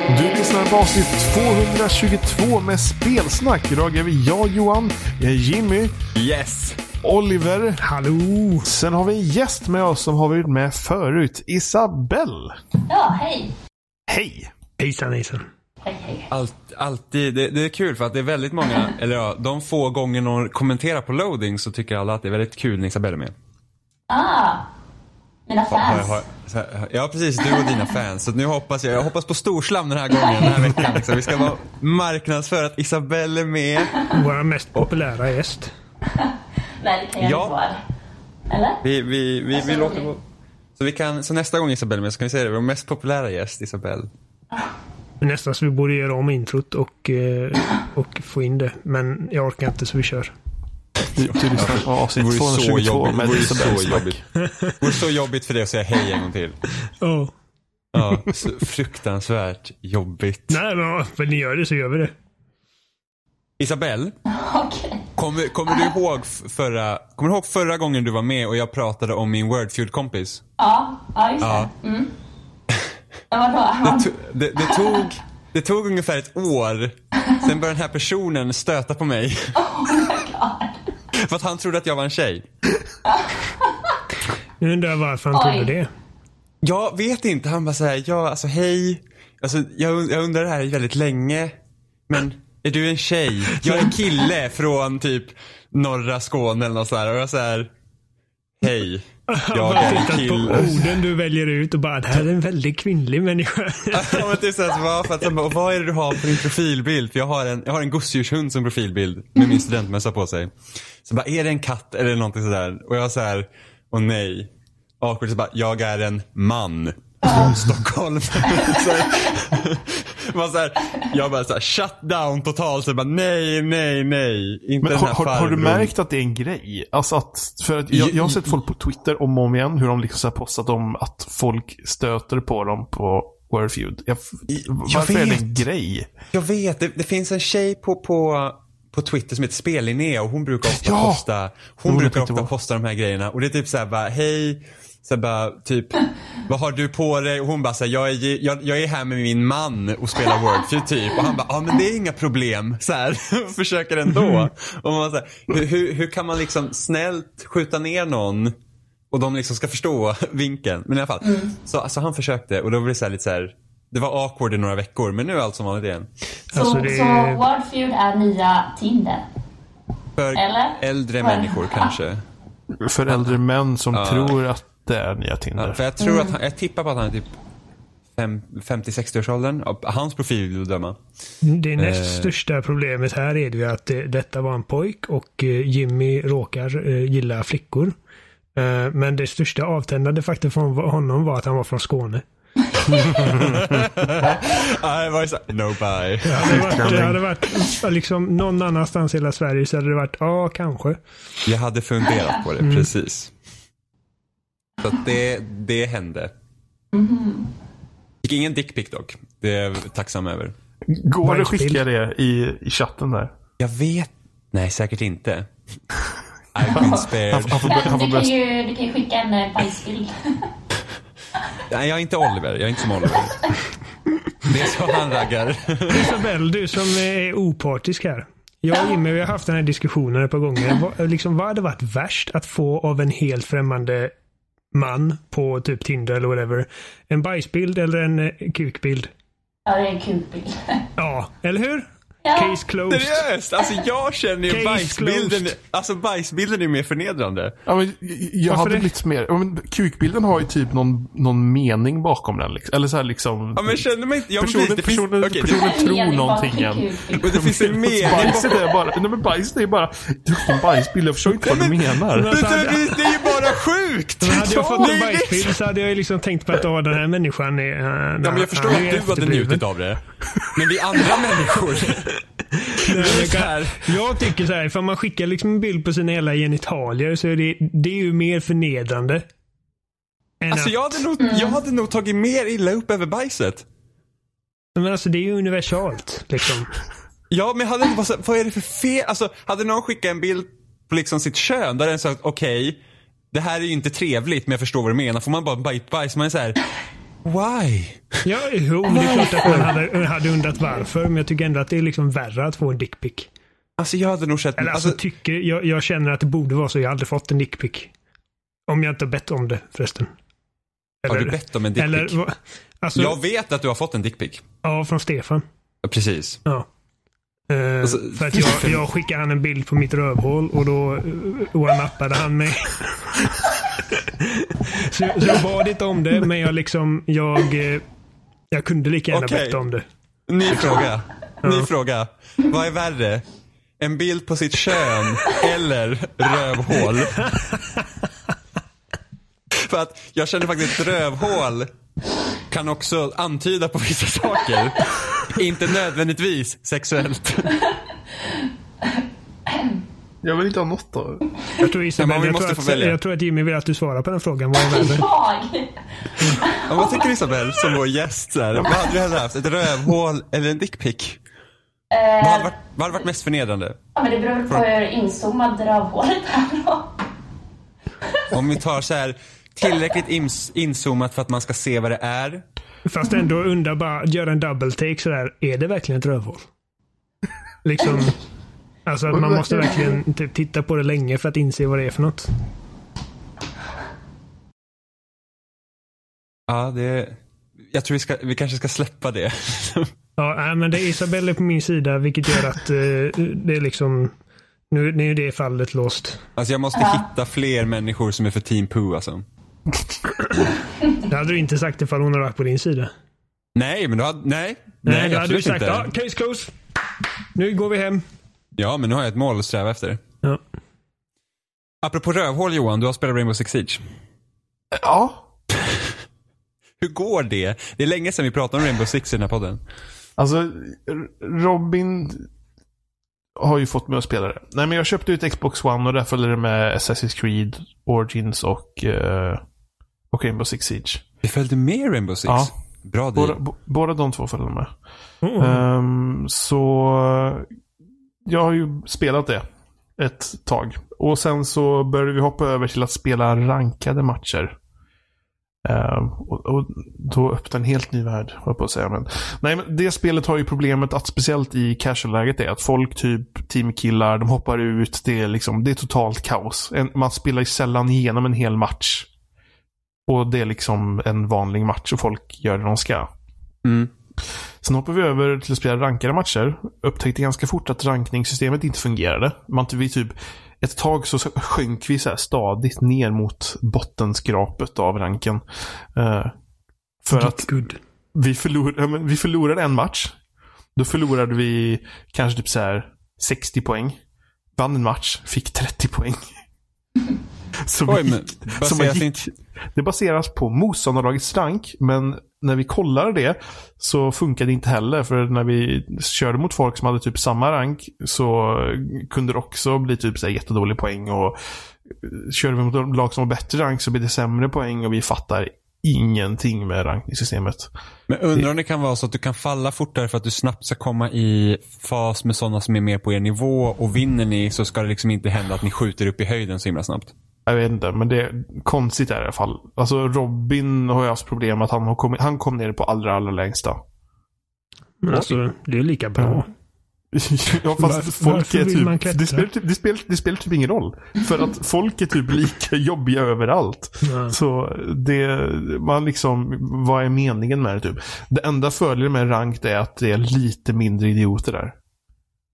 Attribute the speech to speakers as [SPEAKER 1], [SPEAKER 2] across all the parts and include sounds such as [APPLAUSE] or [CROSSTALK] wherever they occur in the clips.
[SPEAKER 1] välkomna till avsnitt 222 med spelsnack. Idag är vi jag Johan, jag är Jimmy,
[SPEAKER 2] Yes!
[SPEAKER 1] Oliver.
[SPEAKER 2] Hallå!
[SPEAKER 1] Sen har vi en gäst med oss som har varit med förut. Isabelle.
[SPEAKER 3] Ja, hej.
[SPEAKER 1] Hej!
[SPEAKER 4] Hejsan hejsan.
[SPEAKER 3] Hej, hej.
[SPEAKER 2] Allt, alltid, det, det är kul för att det är väldigt många, eller ja, de få gånger någon kommenterar på loading så tycker alla att det är väldigt kul när Isabella är med.
[SPEAKER 3] Ah, mina
[SPEAKER 2] Har- har-
[SPEAKER 3] fans.
[SPEAKER 2] har- så här- Ja precis, du och dina fans. Så att nu hoppas jag, jag hoppas på storslam den här gången, den här veckan. Liksom. Vi ska vara marknadsföra att Isabelle är med.
[SPEAKER 4] Vår mest populära gäst.
[SPEAKER 3] Nej, det kan jag
[SPEAKER 2] Ja.
[SPEAKER 3] inte vara. Eller?
[SPEAKER 2] Vi, vi, vi, vi låter gå. Så, vi kan, så nästa gång Isabelle är med så kan vi säga det, vår mest populära gäst Isabelle.
[SPEAKER 4] Nästan så vi borde göra om introt och, eh, och få in det. Men jag orkar inte så vi kör.
[SPEAKER 1] Du, du lyssnar på
[SPEAKER 2] Det vore
[SPEAKER 1] avsnitt
[SPEAKER 2] så
[SPEAKER 1] 222
[SPEAKER 2] jobbigt. Det
[SPEAKER 1] med
[SPEAKER 2] vore så
[SPEAKER 1] Isabelle.
[SPEAKER 2] jobbigt. Det vore så jobbigt för dig att säga hej en gång till.
[SPEAKER 4] Oh.
[SPEAKER 2] Ja, så fruktansvärt jobbigt.
[SPEAKER 4] Nej men om ni gör det så gör vi det.
[SPEAKER 2] Isabelle,
[SPEAKER 3] Okej.
[SPEAKER 2] kommer, kommer, du ihåg f- förra, kommer du ihåg förra gången du var med och jag pratade om min Wordfeud-kompis?
[SPEAKER 3] Ja, ja, just det. Mm. Men vadå?
[SPEAKER 2] To- Det, det, tog, det tog ungefär ett år, sen började den här personen stöta på mig. För att han trodde att jag var en tjej.
[SPEAKER 4] Nu undrar jag varför han
[SPEAKER 3] Oj.
[SPEAKER 4] trodde det.
[SPEAKER 2] Jag vet inte, han bara såhär, ja alltså hej. Alltså, jag, und- jag undrar det här väldigt länge. Men är du en tjej? Jag är en kille från typ norra Skåne eller något sådär. Och jag såhär, hej. Jag är en
[SPEAKER 4] Tittat på
[SPEAKER 2] kille.
[SPEAKER 4] orden du väljer ut och bara det här är en väldigt kvinnlig människa. [LAUGHS]
[SPEAKER 2] Ja men typ såhär, så bara, för att, så bara, vad är det du har på din profilbild? För jag har en, jag har en gosedjurshund som profilbild med min studentmössa på sig. Så bara, är det en katt eller någonting sådär? Och jag så här, och nej. Awkward, så bara, jag är en man. Från Stockholm. [LAUGHS] så här, man så här, jag bara såhär, shut down totalt. Så bara, nej, nej, nej. Inte
[SPEAKER 1] Men
[SPEAKER 2] den
[SPEAKER 1] har,
[SPEAKER 2] här
[SPEAKER 1] har, har du
[SPEAKER 2] farbrorn.
[SPEAKER 1] märkt att det är en grej? Alltså att, för att jag, jag har sett folk på Twitter om och om igen hur de liksom så här postat om att folk stöter på dem på Warfeud. Jag, varför är det en
[SPEAKER 2] vet.
[SPEAKER 1] grej?
[SPEAKER 2] Jag vet, det, det finns en tjej på, på, på Twitter som heter Spellinnea och hon brukar ofta
[SPEAKER 1] Ja!
[SPEAKER 2] posta Hon
[SPEAKER 1] Hon
[SPEAKER 2] brukar
[SPEAKER 1] tänkte
[SPEAKER 2] ofta
[SPEAKER 1] på.
[SPEAKER 2] posta de här grejerna och det är typ såhär bara, hej, så här bara, [LAUGHS] typ, vad har du på dig? Och hon bara såhär, jag är, ge- jag, jag är här med min man och spelar Wordfeud typ. Och han bara, ja ah, men det är inga problem. Så här, [LAUGHS] och försöker [LAUGHS] ändå. Och man bara, så här, hur, hur, hur kan man liksom snällt skjuta ner någon och de liksom ska förstå [LAUGHS] vinkeln. Men i alla fall. Så alltså, han försökte och då blev det så här lite så här. Det var awkward i några veckor men nu är allt som vanligt igen.
[SPEAKER 3] Så,
[SPEAKER 4] Alltså, det
[SPEAKER 3] så
[SPEAKER 4] är-
[SPEAKER 3] Wordfeud är nya Tinder?
[SPEAKER 2] För
[SPEAKER 3] Eller?
[SPEAKER 2] äldre
[SPEAKER 3] För-
[SPEAKER 2] människor kanske.
[SPEAKER 1] För äldre män som tror att det är nya Tinder.
[SPEAKER 2] För jag tror att han, jag tippar på att han är typ fem- 50-60-årsåldern. Av Hans profil vill döma.
[SPEAKER 4] Det näst största problemet här är det ju att det, detta var en pojk och eh, Jimmy råkar eh, gilla flickor. Eh, men det största avtändande faktum från honom var att han var från Skåne.
[SPEAKER 2] Ja, det var ju så här, no bye.
[SPEAKER 4] Det hade varit, det hade varit ja, liksom, någon annanstans i hela Sverige så hade det varit ja, kanske.
[SPEAKER 2] Jag hade funderat på det, precis. Så att det, det hände. Fick ingen dickpic dock. Det är jag tacksam över.
[SPEAKER 1] Går det att
[SPEAKER 4] Whitefield.
[SPEAKER 1] skicka det i, i chatten där?
[SPEAKER 2] Jag vet. Nej, säkert inte. I've been spared.
[SPEAKER 1] Han får, börja- han
[SPEAKER 3] Men
[SPEAKER 1] får
[SPEAKER 3] Du kan,
[SPEAKER 1] börja,
[SPEAKER 3] ju, du kan ju skicka en eh, bajsbild. [LAUGHS]
[SPEAKER 2] Nej, jag är inte Oliver. Jag är inte som Oliver. Det är så han raggar.
[SPEAKER 4] Isabel, du som är opartisk här. Jag och Jimmy vi har haft den här diskussionen ett par gånger. Vad, liksom, vad hade varit värst att få av en helt främmande man på typ Tinder eller whatever? En bajsbild eller en eh, kukbild?
[SPEAKER 3] Ja, det är en kul bild. [LAUGHS]
[SPEAKER 4] Ja, eller hur?
[SPEAKER 3] Ja.
[SPEAKER 4] Case closed.
[SPEAKER 2] Seriöst! Alltså jag känner ju
[SPEAKER 4] Case
[SPEAKER 2] bajsbilden.
[SPEAKER 4] closed.
[SPEAKER 2] Alltså bajsbilden är ju mer förnedrande.
[SPEAKER 1] ja, men, jag
[SPEAKER 4] Varför
[SPEAKER 1] hade
[SPEAKER 4] det?
[SPEAKER 1] blivit mer... Ja, men, kukbilden har ju typ någon, någon mening bakom den. Liksom. Eller så här liksom...
[SPEAKER 2] Ja men känner man inte... Ja, men
[SPEAKER 1] personen
[SPEAKER 2] precis, det finns-
[SPEAKER 1] personen,
[SPEAKER 2] okej, det-
[SPEAKER 1] personen
[SPEAKER 3] [LAUGHS] En
[SPEAKER 1] tror
[SPEAKER 3] mening bakom
[SPEAKER 1] någonting än.
[SPEAKER 3] kukbild.
[SPEAKER 2] Och det
[SPEAKER 1] [LAUGHS]
[SPEAKER 2] finns en mening
[SPEAKER 1] Bajset är bara... Nej men bajset är bara... Du har en bajsbild. Jag förstår inte vad du menar.
[SPEAKER 2] Det, det, det är ju bara sjukt!
[SPEAKER 4] Men hade jag
[SPEAKER 2] Ja,
[SPEAKER 4] fått
[SPEAKER 2] det
[SPEAKER 4] en
[SPEAKER 2] är liksom-
[SPEAKER 4] bajsbild så hade jag ju liksom tänkt på att ja, den här människan är... eh,
[SPEAKER 2] Ja, men jag förstår
[SPEAKER 4] han är
[SPEAKER 2] att du hade
[SPEAKER 4] efterbliven.
[SPEAKER 2] njutit av det. Men vi [LAUGHS] andra människor.
[SPEAKER 4] Nej, men
[SPEAKER 2] Så
[SPEAKER 4] kan-
[SPEAKER 2] här.
[SPEAKER 4] Jag tycker så här, ifall man skickar liksom en bild på sina hela genitalier så är det, det är ju mer förnedrande. Än
[SPEAKER 2] Alltså
[SPEAKER 4] att,
[SPEAKER 2] jag hade, nog, jag hade nog tagit mer illa upp över bajset.
[SPEAKER 4] Men alltså det är ju universalt. Liksom.
[SPEAKER 2] Ja, men jag hade inte bara så, vad är det för fel? Alltså, hade någon skickat en bild på liksom sitt kön där den sa okej, det här är ju inte trevligt men jag förstår vad du menar. Får man bara en bajt bajs, man är så här. Why?
[SPEAKER 4] Ja, jo, det är klart att man hade, hade undrat varför, men jag tycker ändå att det är liksom värre att få en dickpic.
[SPEAKER 2] Alltså jag hade nog sett...
[SPEAKER 4] Eller alltså, tycker, jag, jag känner att det borde vara så. Jag har aldrig fått en dickpic. Om jag inte har bett om det förresten.
[SPEAKER 2] har du bett om en dickpic?
[SPEAKER 4] Eller, va- alltså,
[SPEAKER 2] Jag vet att du har fått en dickpic.
[SPEAKER 4] Ja, från Stefan.
[SPEAKER 2] Ja, Precis.
[SPEAKER 4] Ja. Eh,
[SPEAKER 2] Alltså,
[SPEAKER 4] för
[SPEAKER 2] [LAUGHS]
[SPEAKER 4] att jag, jag skickade han en bild på mitt rövhål och då one-uppade han mig. [LAUGHS] så, jag- så jag bad inte om det, men jag liksom, jag, eh, jag kunde lika gärna
[SPEAKER 2] Okej.
[SPEAKER 4] bett om det.
[SPEAKER 2] Ny fråga. Ny fråga. Vad är värre? En bild på sitt kön eller rövhål? För att jag känner faktiskt att rövhål kan också antyda på vissa saker. Inte nödvändigtvis sexuellt.
[SPEAKER 1] Jag vill inte ha något av det.
[SPEAKER 4] Jag tror, Isabel,
[SPEAKER 2] Ja, men vi
[SPEAKER 4] jag, tror
[SPEAKER 2] måste få
[SPEAKER 4] att,
[SPEAKER 2] välja.
[SPEAKER 4] jag tror att Jimmy vill att du svarar på den frågan. Vad är värre?
[SPEAKER 3] Jag!
[SPEAKER 2] Ja, vad tycker Isabel som vår gäst? Så här? Vad hade du hellre haft? Ett rövhål eller en dickpic? Vad hade varit, vad hade varit mest förnedrande?
[SPEAKER 3] Ja, men det beror väl på hur inzoomad rövhålet är då.
[SPEAKER 2] Om vi tar så här tillräckligt ins- inzoomat för att man ska se vad det är.
[SPEAKER 4] Fast ändå undrar bara, göra en double take sådär. Är det verkligen ett rövhål? Liksom. Alltså att man måste verkligen typ titta på det länge för att inse vad det är för något.
[SPEAKER 2] Ja, det... Jag tror vi, ska, vi kanske ska släppa det. [LAUGHS]
[SPEAKER 4] Ja, nej, men det är Isabelle på min sida vilket gör att eh, det är liksom. Nu, nu är det fallet låst.
[SPEAKER 2] Alltså jag måste hitta fler människor som är för team poo alltså.
[SPEAKER 4] Det hade du inte sagt ifall hon hade varit på din sida.
[SPEAKER 2] Nej, men du hade... Nej.
[SPEAKER 4] Nej, då hade du
[SPEAKER 2] absolut
[SPEAKER 4] sagt
[SPEAKER 2] inte.
[SPEAKER 4] ja, case closed. Nu går vi hem.
[SPEAKER 2] Ja, men nu har jag ett mål att sträva efter.
[SPEAKER 4] Ja.
[SPEAKER 2] Apropå rövhål Johan, du har spelat Rainbow Six Siege.
[SPEAKER 1] Ja.
[SPEAKER 2] Hur går det? Det är länge sedan vi pratade om Rainbow Six i den här podden.
[SPEAKER 1] Alltså, R- Robin har ju fått mig att spela det. Nej, men jag köpte ut Xbox One och där följde det med Assassin's Creed, Origins och, eh, och Rainbow Six Siege.
[SPEAKER 2] Vi följde med i Rainbow Six.
[SPEAKER 1] Ja.
[SPEAKER 2] Bra deal.
[SPEAKER 1] Båda, bo- båda de två följde med.
[SPEAKER 4] Oh.
[SPEAKER 1] Ehm, så jag har ju spelat det ett tag. Och sen så började vi hoppa över till att spela rankade matcher. Ehm, och, och då öppnade en helt ny värld, höll jag på att säga. Men, nej, men det spelet har ju problemet att speciellt i casual-läget är att folk typ teamkillar, de hoppar ut, det är, liksom, det är totalt kaos. En, man spelar ju sällan igenom en hel match. Och det är liksom en vanlig match och folk gör det de ska.
[SPEAKER 2] Mm.
[SPEAKER 1] Sen hoppade vi över till att spela rankade matcher. Upptäckte ganska fort att rankningssystemet inte fungerade. Man, vi typ, ett tag så sjönk vi så här stadigt ner mot bottenskrapet av ranken. Eh, för att
[SPEAKER 4] Good.
[SPEAKER 1] vi, förlor, ja, men vi förlorade en match. Då förlorade vi kanske typ så här 60 poäng. Vann en match, fick 30 poäng. [LAUGHS] Så vi
[SPEAKER 2] Oj, men
[SPEAKER 1] gick- så man
[SPEAKER 2] baseras
[SPEAKER 1] gick-
[SPEAKER 2] inte...
[SPEAKER 1] det baseras på motståndarlagets rank, men när vi kollade det så funkade det inte heller. För när vi körde mot folk som hade typ samma rank så kunde det också bli typ så här jättedålig poäng. Och eh, körde vi mot de lag som har bättre rank så blir det sämre poäng och vi fattar ingenting med rankningssystemet.
[SPEAKER 2] Men undrar om det kan vara så att du kan falla fortare för att du snabbt ska komma i fas med sådana som är mer på er nivå och vinner ni så ska det liksom inte hända att ni skjuter upp i höjden så himla snabbt.
[SPEAKER 1] Jag vet inte, men det är konstigt är det i alla fall. Alltså Robin har ju haft problem att han, har kommit, han kom ner på allra, allra längsta.
[SPEAKER 4] Men alltså, det är lika bra.
[SPEAKER 1] [LAUGHS] Ja,
[SPEAKER 4] Varför-
[SPEAKER 1] fast folk
[SPEAKER 4] varför
[SPEAKER 1] är
[SPEAKER 4] vill man
[SPEAKER 1] typ,
[SPEAKER 4] klättra?
[SPEAKER 1] det spelar, typ, det, spelar, det spelar typ ingen roll. För att folk är typ lika jobbiga överallt.
[SPEAKER 4] Ja.
[SPEAKER 1] Så det, man liksom, vad är meningen med det typ? Det enda fördelen med rankt är att det är lite mindre idioter där.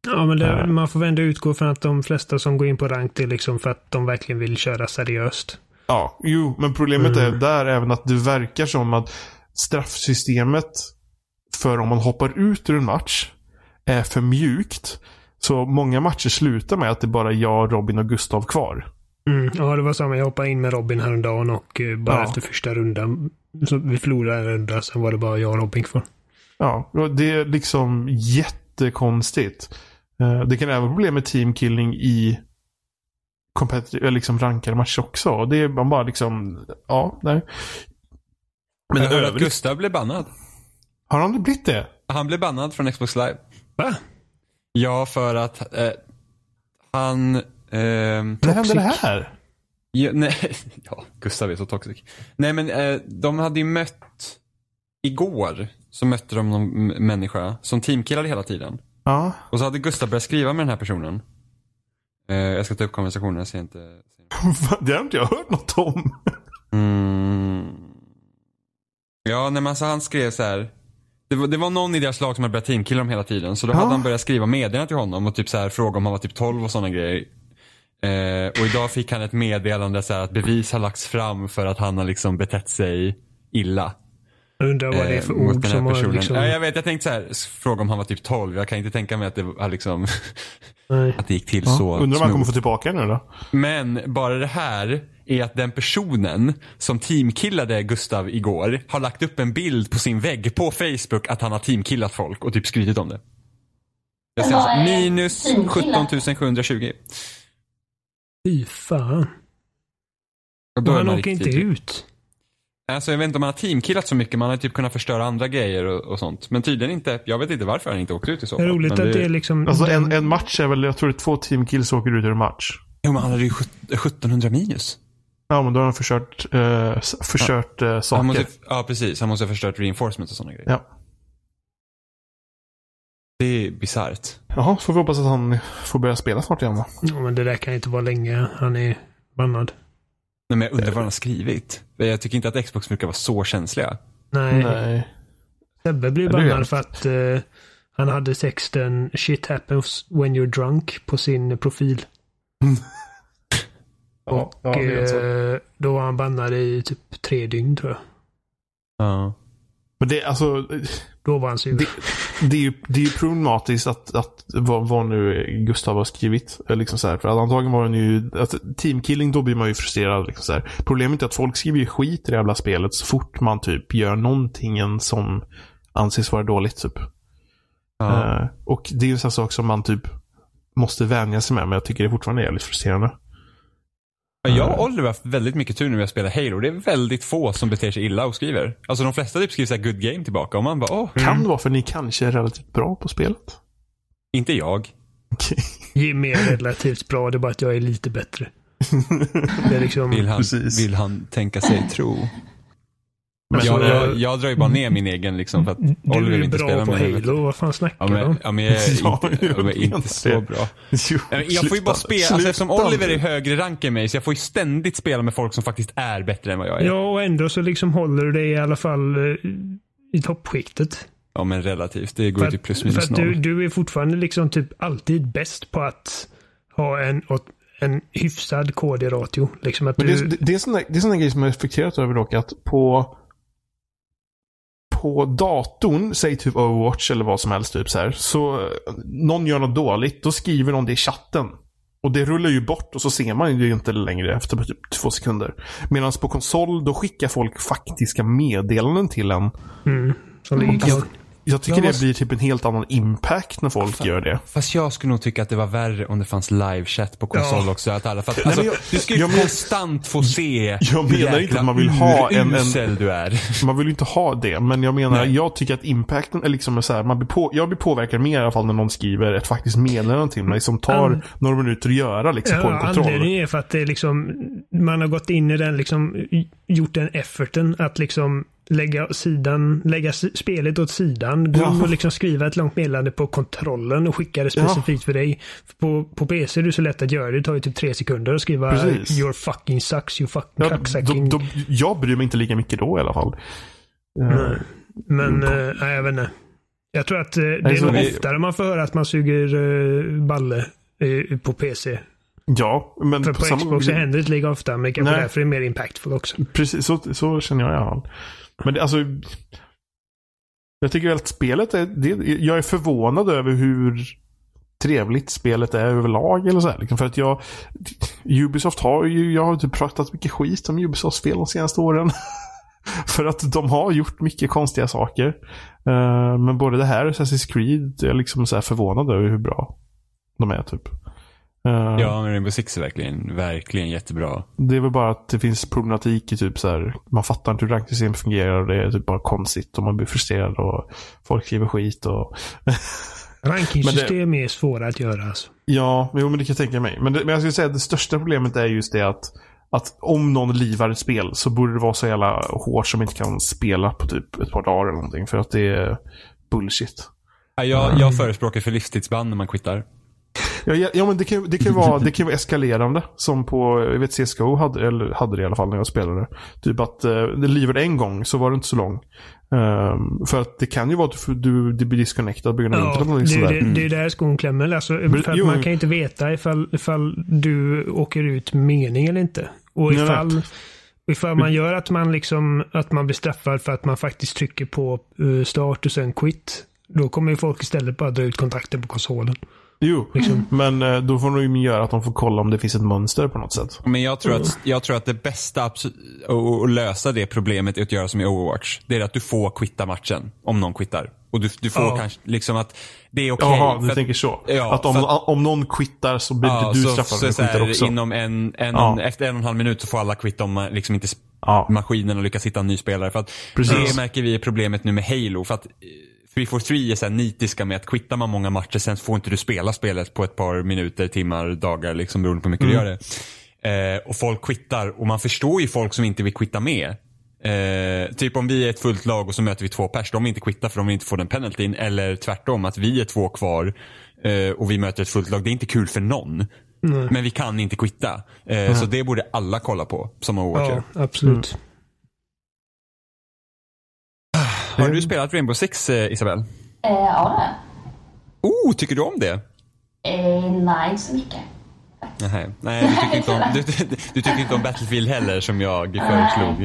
[SPEAKER 4] Ja, men det,
[SPEAKER 1] Eh.
[SPEAKER 4] man får väl ändå utgå från att de flesta som går in på rank det är liksom för att de verkligen vill köra seriöst.
[SPEAKER 1] Ja, jo, men problemet är
[SPEAKER 4] Mm.
[SPEAKER 1] där även att det verkar som att straffsystemet för om man hoppar ut ur en match är för mjukt. Så många matcher slutar med att det är bara jag, Robin och Gustav kvar.
[SPEAKER 4] Mm. Ja, det var samma. Jag hoppade in med Robin häromdagen och eh, bara
[SPEAKER 1] Ja.
[SPEAKER 4] efter första rundan. Så vi förlorade en runda, sen var det bara jag och Robin kvar.
[SPEAKER 1] Ja, och det är liksom jättekonstigt. Eh, Det kan även vara problem med teamkilling i competitive- eller liksom rankade matcher också. Och Det är man bara liksom, ja, nej. Men
[SPEAKER 2] jag hörde att
[SPEAKER 1] övrigt,
[SPEAKER 2] Äh, Gustav blev bannad.
[SPEAKER 1] har han aldrig blivit det?
[SPEAKER 2] Han blev bannad från Xbox Live.
[SPEAKER 4] Va?
[SPEAKER 2] Ja, för att eh, han... ehm, [LAUGHS]
[SPEAKER 1] När hände det här?
[SPEAKER 2] Ja, nej, ja, Gustav är så toxic. Nej men eh, de hade ju mött igår så mötte de någon m- människa som teamkillade hela tiden.
[SPEAKER 1] Ja. [LAUGHS]
[SPEAKER 2] Och så hade Gustav börjat skriva med den här personen. Eh, jag ska ta upp konversationen, jag ser inte. ser inte.
[SPEAKER 1] Det har inte jag hört något om.
[SPEAKER 2] Mm. Ja, nej, men alltså han skrev så här. Det var, det var någon i deras lag som hade börjat teamkilla dem hela tiden. Så då
[SPEAKER 1] Ja.
[SPEAKER 2] hade han börjat skriva meddelanden till honom och typ så här, fråga om han var typ 12 och sådana grejer. Eh, och idag fick han ett meddelande så här, att bevis har lagts fram för att han har liksom betett sig illa.
[SPEAKER 4] Jag undrar vad det är för
[SPEAKER 2] eh, mot den
[SPEAKER 4] ord
[SPEAKER 2] här
[SPEAKER 4] som har
[SPEAKER 2] personen.
[SPEAKER 4] liksom...
[SPEAKER 2] ja, jag vet, jag tänkte så här, s- fråga om han var typ 12. Jag kan inte tänka mig att det, var liksom, [LAUGHS]
[SPEAKER 4] Nej.
[SPEAKER 2] att det gick till så.
[SPEAKER 1] Undrar om han
[SPEAKER 2] smooth.
[SPEAKER 1] kommer få tillbaka nu då?
[SPEAKER 2] Men bara det här är att den personen som teamkillade Gustav igår har lagt upp en bild på sin vägg på Facebook att han har teamkillat folk och typ skrytit om det. Jag ser
[SPEAKER 3] Vad
[SPEAKER 2] alltså,
[SPEAKER 3] är
[SPEAKER 2] minus
[SPEAKER 3] teamkillat?
[SPEAKER 2] 17 720.
[SPEAKER 4] Fy fan.
[SPEAKER 2] Och
[SPEAKER 4] Och
[SPEAKER 2] är typ-
[SPEAKER 4] han
[SPEAKER 2] man
[SPEAKER 4] åker inte
[SPEAKER 2] riktigt-
[SPEAKER 4] ut.
[SPEAKER 2] Alltså jag vet inte om han har teamkillat så mycket, man har typ kunnat förstöra andra grejer och, och sånt. Men tydligen inte, jag vet inte varför han inte åkte ut i så
[SPEAKER 4] Det är
[SPEAKER 2] fall.
[SPEAKER 4] roligt
[SPEAKER 2] men
[SPEAKER 4] att det är liksom...
[SPEAKER 1] Alltså en, en match är väl, jag tror det är två teamkills åker ut ur en match.
[SPEAKER 2] Jo men han hade ju sjut- 1700 minus.
[SPEAKER 1] Ja, men då har de förstört, eh, s- förstört eh, saker.
[SPEAKER 2] Han måste, ja precis, han måste ha förstört reinforcement och sådana grejer.
[SPEAKER 1] Ja.
[SPEAKER 2] Det är bisarrt.
[SPEAKER 1] Jaha, så får vi hoppas att han får börja spela snart igen då.
[SPEAKER 4] Ja, men det där kan inte vara länge. Han är bannad.
[SPEAKER 2] Nej, men jag
[SPEAKER 1] Eh.
[SPEAKER 2] undrar vad han har skrivit. Jag tycker inte att Xbox brukar vara så känsliga.
[SPEAKER 4] Nej.
[SPEAKER 1] Nej.
[SPEAKER 4] Sebbe blev
[SPEAKER 1] Ja, det
[SPEAKER 4] bannad
[SPEAKER 1] vet.
[SPEAKER 4] för att eh, han hade texten “Shit happens when you're drunk” på sin profil.
[SPEAKER 1] Ja, ja,
[SPEAKER 4] Och,
[SPEAKER 1] det är så.
[SPEAKER 4] eh, då var han bannad i typ tre dygn tror jag.
[SPEAKER 2] Ja.
[SPEAKER 1] Men det, är alltså,
[SPEAKER 4] Då var han sur.
[SPEAKER 1] Det- det är ju, det är ju problematiskt att, att vad, vad nu Gustav har skrivit. eh, Liksom så här, för att antagligen var den ju, att teamkilling, då blir man ju frustrerad. Liksom så här. Problemet är att folk skriver ju skit i det jävla spelet så fort man typ gör någonting som anses vara dåligt. Typ.
[SPEAKER 2] Ja.
[SPEAKER 1] Eh, och det är ju en sån här sak som man typ måste vänja sig med, men jag tycker det fortfarande är jävligt frustrerande.
[SPEAKER 2] Men Jag och Oliver har haft väldigt mycket tur när vi har spelat Halo. Det är väldigt få som beter sig illa och skriver. Alltså de flesta typ skriver så här good game tillbaka och man bara åh,
[SPEAKER 1] Kan det vara för att ni kanske är relativt bra på spelet? [LAUGHS]
[SPEAKER 2] inte jag.
[SPEAKER 1] Okej.
[SPEAKER 4] [LAUGHS] Jimmy är relativt bra, det är bara att jag är
[SPEAKER 2] [LAUGHS]
[SPEAKER 4] lite bättre. Det är
[SPEAKER 2] Vill
[SPEAKER 4] liksom...
[SPEAKER 2] han,
[SPEAKER 1] Precis.
[SPEAKER 2] vill han tänka sig tro?
[SPEAKER 4] Men
[SPEAKER 2] jag,
[SPEAKER 4] så-
[SPEAKER 2] jag, jag drar ju bara ner min egen liksom för att Oliver
[SPEAKER 4] Mm. Du är
[SPEAKER 2] vill inte spelar
[SPEAKER 4] bra på
[SPEAKER 2] med mig.
[SPEAKER 4] Halo, vad fan snackar
[SPEAKER 2] Ja
[SPEAKER 4] du om?
[SPEAKER 2] men, ja, men jag
[SPEAKER 1] [LAUGHS]
[SPEAKER 2] är
[SPEAKER 1] Ja,
[SPEAKER 2] inte,
[SPEAKER 1] jag
[SPEAKER 2] jag är
[SPEAKER 1] menar
[SPEAKER 2] inte så
[SPEAKER 1] det.
[SPEAKER 2] bra.
[SPEAKER 1] [LAUGHS] Jo,
[SPEAKER 2] Nej, men Jag får ju bara
[SPEAKER 1] sluta.
[SPEAKER 2] spela, alltså, eftersom
[SPEAKER 1] Sluta
[SPEAKER 2] Oliver
[SPEAKER 1] nu.
[SPEAKER 2] är högre rank än mig så jag får ju ständigt spela med folk som faktiskt är bättre än vad jag är.
[SPEAKER 4] Ja, och ändå så liksom håller du dig i alla fall eh, i toppskiktet.
[SPEAKER 2] Ja men relativt, det går
[SPEAKER 4] För
[SPEAKER 2] ju
[SPEAKER 4] att,
[SPEAKER 2] till plus
[SPEAKER 4] för
[SPEAKER 2] minus
[SPEAKER 4] att du,
[SPEAKER 2] noll.
[SPEAKER 4] du är fortfarande liksom typ alltid bäst på att ha en, åt- en hyfsad KD-ratio. Liksom att
[SPEAKER 1] Men
[SPEAKER 4] du,
[SPEAKER 1] det, det är sådana det är såna grejer som jag har reflekterat över dock. Att på, på datorn, säg typ Overwatch eller vad som helst. Typ så, här, så eh, någon gör något dåligt, då skriver de det i chatten. Och det rullar ju bort och så ser man ju inte längre efter typ två sekunder. Medan på konsol, då skickar folk faktiska meddelanden till en.
[SPEAKER 4] mm, som ligger kvar.
[SPEAKER 1] Jag tycker
[SPEAKER 2] Jag
[SPEAKER 1] det
[SPEAKER 2] måste-
[SPEAKER 1] blir typ en helt annan impact när folk gör det.
[SPEAKER 2] Fast jag skulle nog tycka att det var värre om det fanns livechatt på konsol
[SPEAKER 4] Ja.
[SPEAKER 2] också. Att alla, för att, alltså,
[SPEAKER 1] men jag-
[SPEAKER 2] du ska ju
[SPEAKER 1] jag men-
[SPEAKER 2] konstant få se
[SPEAKER 1] Jag
[SPEAKER 2] hur
[SPEAKER 1] menar inte
[SPEAKER 2] jäkla
[SPEAKER 1] att man vill ha en- en-
[SPEAKER 2] urusel du är.
[SPEAKER 1] Man vill ju inte ha det, men jag menar,
[SPEAKER 2] Nej.
[SPEAKER 1] jag tycker att impacten är liksom så här, man blir på, jag blir påverkad mer i alla fall när någon skriver ett faktiskt meddelande till mig som tar
[SPEAKER 4] An-
[SPEAKER 1] några minuter att göra liksom, på en
[SPEAKER 4] Ja,
[SPEAKER 1] kontroll.
[SPEAKER 4] anledningen är för att det är liksom, man har gått in i den, liksom, i- gjort den efforten att liksom lägga, sidan, lägga s- spelet åt sidan. Gå
[SPEAKER 1] Ja.
[SPEAKER 4] in och liksom skriva ett långt meddelande på kontrollen och skicka det specifikt för dig. På, på PC är det så lätt att göra det. Det tar ju typ tre sekunder att skriva
[SPEAKER 1] Precis.
[SPEAKER 4] “Your fucking sucks, you fucking
[SPEAKER 1] Ja, då,
[SPEAKER 4] cucksucking”.
[SPEAKER 1] då, jag bryr mig inte lika mycket då i alla fall. Eh,
[SPEAKER 4] Nej. Men eh, nej, jag vet inte. Jag tror att eh, det
[SPEAKER 1] Mm. Nej,
[SPEAKER 4] är
[SPEAKER 1] så
[SPEAKER 4] nog
[SPEAKER 2] vi-
[SPEAKER 4] oftare man får höra att man suger eh, balle eh, på PC.
[SPEAKER 1] Ja, men
[SPEAKER 4] För
[SPEAKER 1] på,
[SPEAKER 4] på,
[SPEAKER 1] samma,
[SPEAKER 4] Xbox så händer det inte lika ofta, men kanske
[SPEAKER 1] Nej.
[SPEAKER 4] därför är det mer impactful också.
[SPEAKER 1] Precis, så, så känner jag i alla fall. Men det, alltså, jag tycker väl att spelet är, det, jag är förvånad över hur trevligt spelet är överlag. Eller så här, liksom, för att jag, Ubisoft har ju, jag har typ pratat mycket skit om Ubisofts spel de senaste åren. [LAUGHS] för att de har gjort mycket konstiga saker. Eh, men både det här och Assassin's Creed är jag liksom så här förvånad över hur bra de är typ. Eh,
[SPEAKER 2] Ja, men Rainbow Six är verkligen, verkligen jättebra.
[SPEAKER 1] det är väl bara att det finns problematik i typ så här. Man fattar inte hur rankingsystemet fungerar och det är typ bara konstigt och man blir frustrerad och folk skriver skit och... [LAUGHS]
[SPEAKER 4] Rankingsystem är svåra att göra alltså.
[SPEAKER 1] ja, jo, men det kan jag tänka mig. Men, det, men jag skulle säga att det största problemet är just det att Att om någon livar ett spel så borde det vara så jävla hårt som inte kan spela på typ ett par dagar eller någonting. För att det är bullshit.
[SPEAKER 2] Ja, Jag, jag förespråkar för livstidsband när man quittar.
[SPEAKER 1] Ja, ja, ja men det kan, ju- det, kan ju vara, det kan ju vara eskalerande. Som på, jag vet CSGO hade, eller hade det i alla fall när jag spelade. Typ att eh, det livade en gång så var det inte så lång. Ehm, för att det kan ju vara att du, får- du, du blir disconnectad på grund av internet.
[SPEAKER 4] Ja,
[SPEAKER 1] eller
[SPEAKER 4] det,
[SPEAKER 1] sådär.
[SPEAKER 4] är ju- det är ju där skon klämmer. Alltså, för att
[SPEAKER 1] jo.
[SPEAKER 4] man kan ju inte veta ifall, ifall du åker ut med mening eller inte. Och
[SPEAKER 1] Nej,
[SPEAKER 4] ifall, ifall man gör att man, liksom, att man blir straffad för att man faktiskt trycker på eh, start och sen quit. Då kommer ju folk istället bara dra ut kontakten på konsolen.
[SPEAKER 1] Jo,
[SPEAKER 4] liksom.
[SPEAKER 1] men eh, då får de ju göra att de får kolla om det finns ett mönster på något sätt.
[SPEAKER 2] Men jag tror, att, jag tror att det bästa abs- att- att lösa det problemet är att göra som i Overwatch. Det är att du får quitta matchen om någon quittar. Och du, du får
[SPEAKER 4] Ja.
[SPEAKER 2] kanske liksom att det är okej.
[SPEAKER 1] Jaha,
[SPEAKER 2] för
[SPEAKER 1] du
[SPEAKER 2] att-
[SPEAKER 1] tänker så.
[SPEAKER 2] Ja,
[SPEAKER 1] att om,
[SPEAKER 2] för
[SPEAKER 1] om någon quittar så blir
[SPEAKER 2] Ja,
[SPEAKER 1] du
[SPEAKER 2] så-
[SPEAKER 1] straffad
[SPEAKER 2] så
[SPEAKER 1] om du
[SPEAKER 2] så här,
[SPEAKER 1] quittar också.
[SPEAKER 2] Inom en, en,
[SPEAKER 1] Ja.
[SPEAKER 2] Efter en och en halv minut så får alla quitta om man liksom inte s-
[SPEAKER 1] Ja.
[SPEAKER 2] maskinerna lyckas hitta en ny spelare. För att
[SPEAKER 1] Precis.
[SPEAKER 2] Det märker vi är problemet nu med Halo. För att eh, 343 är så här nitiska med att quittar man många matcher sen får inte du spela spelet på ett par minuter, timmar, dagar liksom beroende på hur mycket du gör det. Eh, och folk quittar och man förstår ju folk som inte vill quitta med. Eh, typ om vi är ett fullt lag och så möter vi två pers, de vill inte quitta för de vill inte få den penaltyn. Eller tvärtom, att vi är två kvar eh, och vi möter ett fullt lag. Det är inte kul för någon. Men vi kan inte quitta. Eh, Så det borde alla kolla på som Overwatch gör.
[SPEAKER 4] Ja, absolut.
[SPEAKER 2] Har du spelat Rainbow Six, eh, Isabel?
[SPEAKER 3] Eh, ja, det.
[SPEAKER 2] Oh, tycker du om det?
[SPEAKER 3] Eh, nej, inte så mycket.
[SPEAKER 2] Nej, Nej du, tycker inte om, du, du, du tycker inte om Battlefield heller som jag föreslog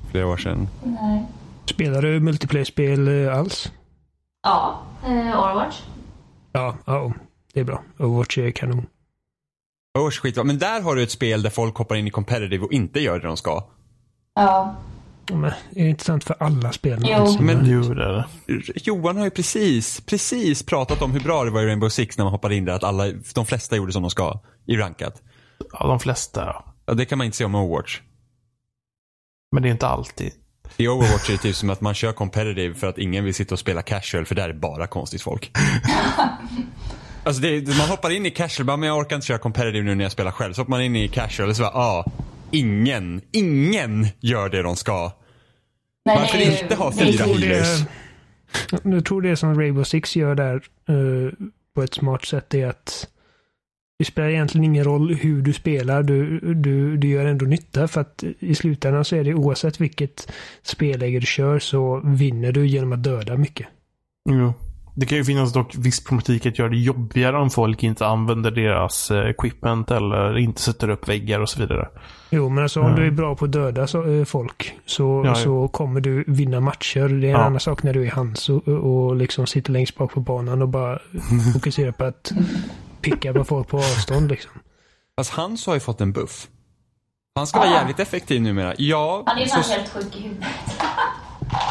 [SPEAKER 2] för flera år sedan.
[SPEAKER 3] Nej.
[SPEAKER 4] Spelar du multiplayer-spel eh, alls?
[SPEAKER 3] Ja, eh, Overwatch.
[SPEAKER 4] Ja, ja, det är bra. Overwatch är kanon.
[SPEAKER 2] Overwatch är skitbra. Men där har du ett spel där folk hoppar in i competitive och inte gör det de ska.
[SPEAKER 3] Ja.
[SPEAKER 4] Ja, Men, är det intressant för alla spel? Alltså,
[SPEAKER 3] Jo.
[SPEAKER 4] någonsin?
[SPEAKER 2] Men-
[SPEAKER 1] Jo, det är det.
[SPEAKER 2] Johan har ju precis, precis pratat om hur bra det var i Rainbow Six när man hoppade in där. Att alla, de flesta gjorde som de ska i rankat.
[SPEAKER 1] Ja, de flesta. ja.
[SPEAKER 2] Ja, det kan man inte se om Overwatch.
[SPEAKER 1] Men det är inte alltid.
[SPEAKER 2] I Overwatch är det typ som att man kör competitive för att ingen vill sitta och spela casual för där är bara konstigt folk. Alltså det, är- man hoppar in i casual, bara, men jag orkar inte köra competitive nu när jag spelar själv. Så hoppar man in i casual och så bara, ah, ingen, ingen gör det de ska.
[SPEAKER 3] Nej,
[SPEAKER 2] Varför
[SPEAKER 3] det är ju-
[SPEAKER 2] inte ha
[SPEAKER 3] det är
[SPEAKER 2] fyra
[SPEAKER 3] ju-
[SPEAKER 4] Det
[SPEAKER 2] healers?
[SPEAKER 4] är- Jag tror det som Rainbow Six gör där eh, på ett smart sätt är att det spelar egentligen ingen roll hur du spelar. Du, du, du gör ändå nytta för att i slutändan så är det oavsett vilket spelläge du kör så vinner du genom att döda mycket.
[SPEAKER 1] Jo. Det kan ju finnas dock viss problematik att göra det jobbigare om folk inte använder deras eh, equipment eller inte sätter upp väggar och så
[SPEAKER 4] [LAUGHS]
[SPEAKER 1] vidare.
[SPEAKER 4] Jo, men alltså om
[SPEAKER 1] Ja.
[SPEAKER 4] du är bra på att döda så, eh, folk så,
[SPEAKER 1] Ja, ja.
[SPEAKER 4] så kommer du vinna matcher. Det är en
[SPEAKER 1] Ja.
[SPEAKER 4] annan sak när du är hans och, och liksom sitter längst bak på banan
[SPEAKER 1] [LAUGHS]
[SPEAKER 4] och bara fokuserar på att picka på folk på avstånd. Liksom.
[SPEAKER 2] Fast han så har ju fått en buff. Han ska vara jävligt effektiv numera. Ja,
[SPEAKER 3] Han är ju fan
[SPEAKER 2] så-
[SPEAKER 3] helt sjuk i huvudet.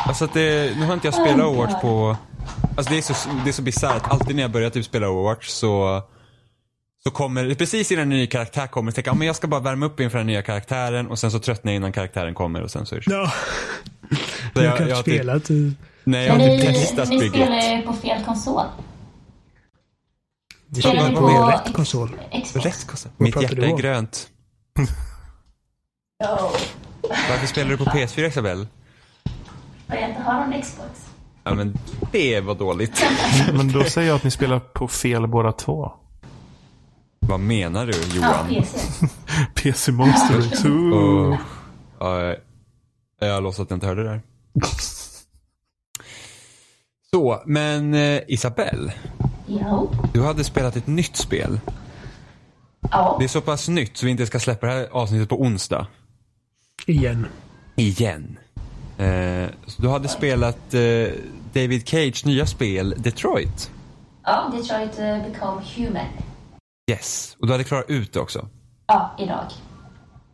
[SPEAKER 2] Alltså att det, nu har inte jag spelat Overwatch på... Alltså det är så, det är så bisarrt. Alltid när jag börjar typ spela Overwatch så... Så kommer, precis innan en ny karaktär kommer, så tänker jag "Ah, men jag ska bara värma upp inför den nya karaktären och sen så tröttnar jag innan karaktären kommer och sen så är det
[SPEAKER 4] Ja,
[SPEAKER 2] så
[SPEAKER 4] jag, kan
[SPEAKER 2] jag
[SPEAKER 4] inte
[SPEAKER 2] har typ,
[SPEAKER 4] spela. till-
[SPEAKER 2] Nej, jag
[SPEAKER 3] Men
[SPEAKER 2] har
[SPEAKER 3] ni,
[SPEAKER 2] typ testat
[SPEAKER 3] ni spelar
[SPEAKER 2] bygget.
[SPEAKER 3] ju på fel konsol.
[SPEAKER 4] Vi
[SPEAKER 3] Spelar
[SPEAKER 4] spelar
[SPEAKER 3] ni
[SPEAKER 4] på
[SPEAKER 3] på
[SPEAKER 4] rätt
[SPEAKER 3] X-
[SPEAKER 4] konsol.
[SPEAKER 3] Xbox?
[SPEAKER 2] Rätt kostnad. Mitt
[SPEAKER 4] pratar
[SPEAKER 2] hjärta
[SPEAKER 4] du
[SPEAKER 2] är
[SPEAKER 4] om?
[SPEAKER 2] grönt.
[SPEAKER 3] Oh,
[SPEAKER 2] Varför spelar du på PS4 Isabel?
[SPEAKER 3] för jag inte har någon Xbox.
[SPEAKER 2] Ja men det var dåligt.
[SPEAKER 1] Men då säger jag att ni spelar på fel båda två.
[SPEAKER 2] Vad menar du
[SPEAKER 3] Ja,
[SPEAKER 2] Johan?
[SPEAKER 3] PC.
[SPEAKER 1] PC [LAUGHS] Monster 2.
[SPEAKER 2] Och, ja, jag låtsas att jag inte hörde det där. [LAUGHS] Så, men eh, Isabel.
[SPEAKER 3] Jo.
[SPEAKER 2] Du hade spelat ett nytt spel.
[SPEAKER 3] Ja.
[SPEAKER 2] Det är så pass nytt så vi inte ska släppa det här avsnittet på onsdag.
[SPEAKER 4] Igen.
[SPEAKER 2] Igen. Eh, så du hade spelat eh, David Cage nya spel Detroit.
[SPEAKER 3] Ja, Detroit eh, Become Human.
[SPEAKER 2] Yes. Och du hade klarat ut det också.
[SPEAKER 3] Ja, idag.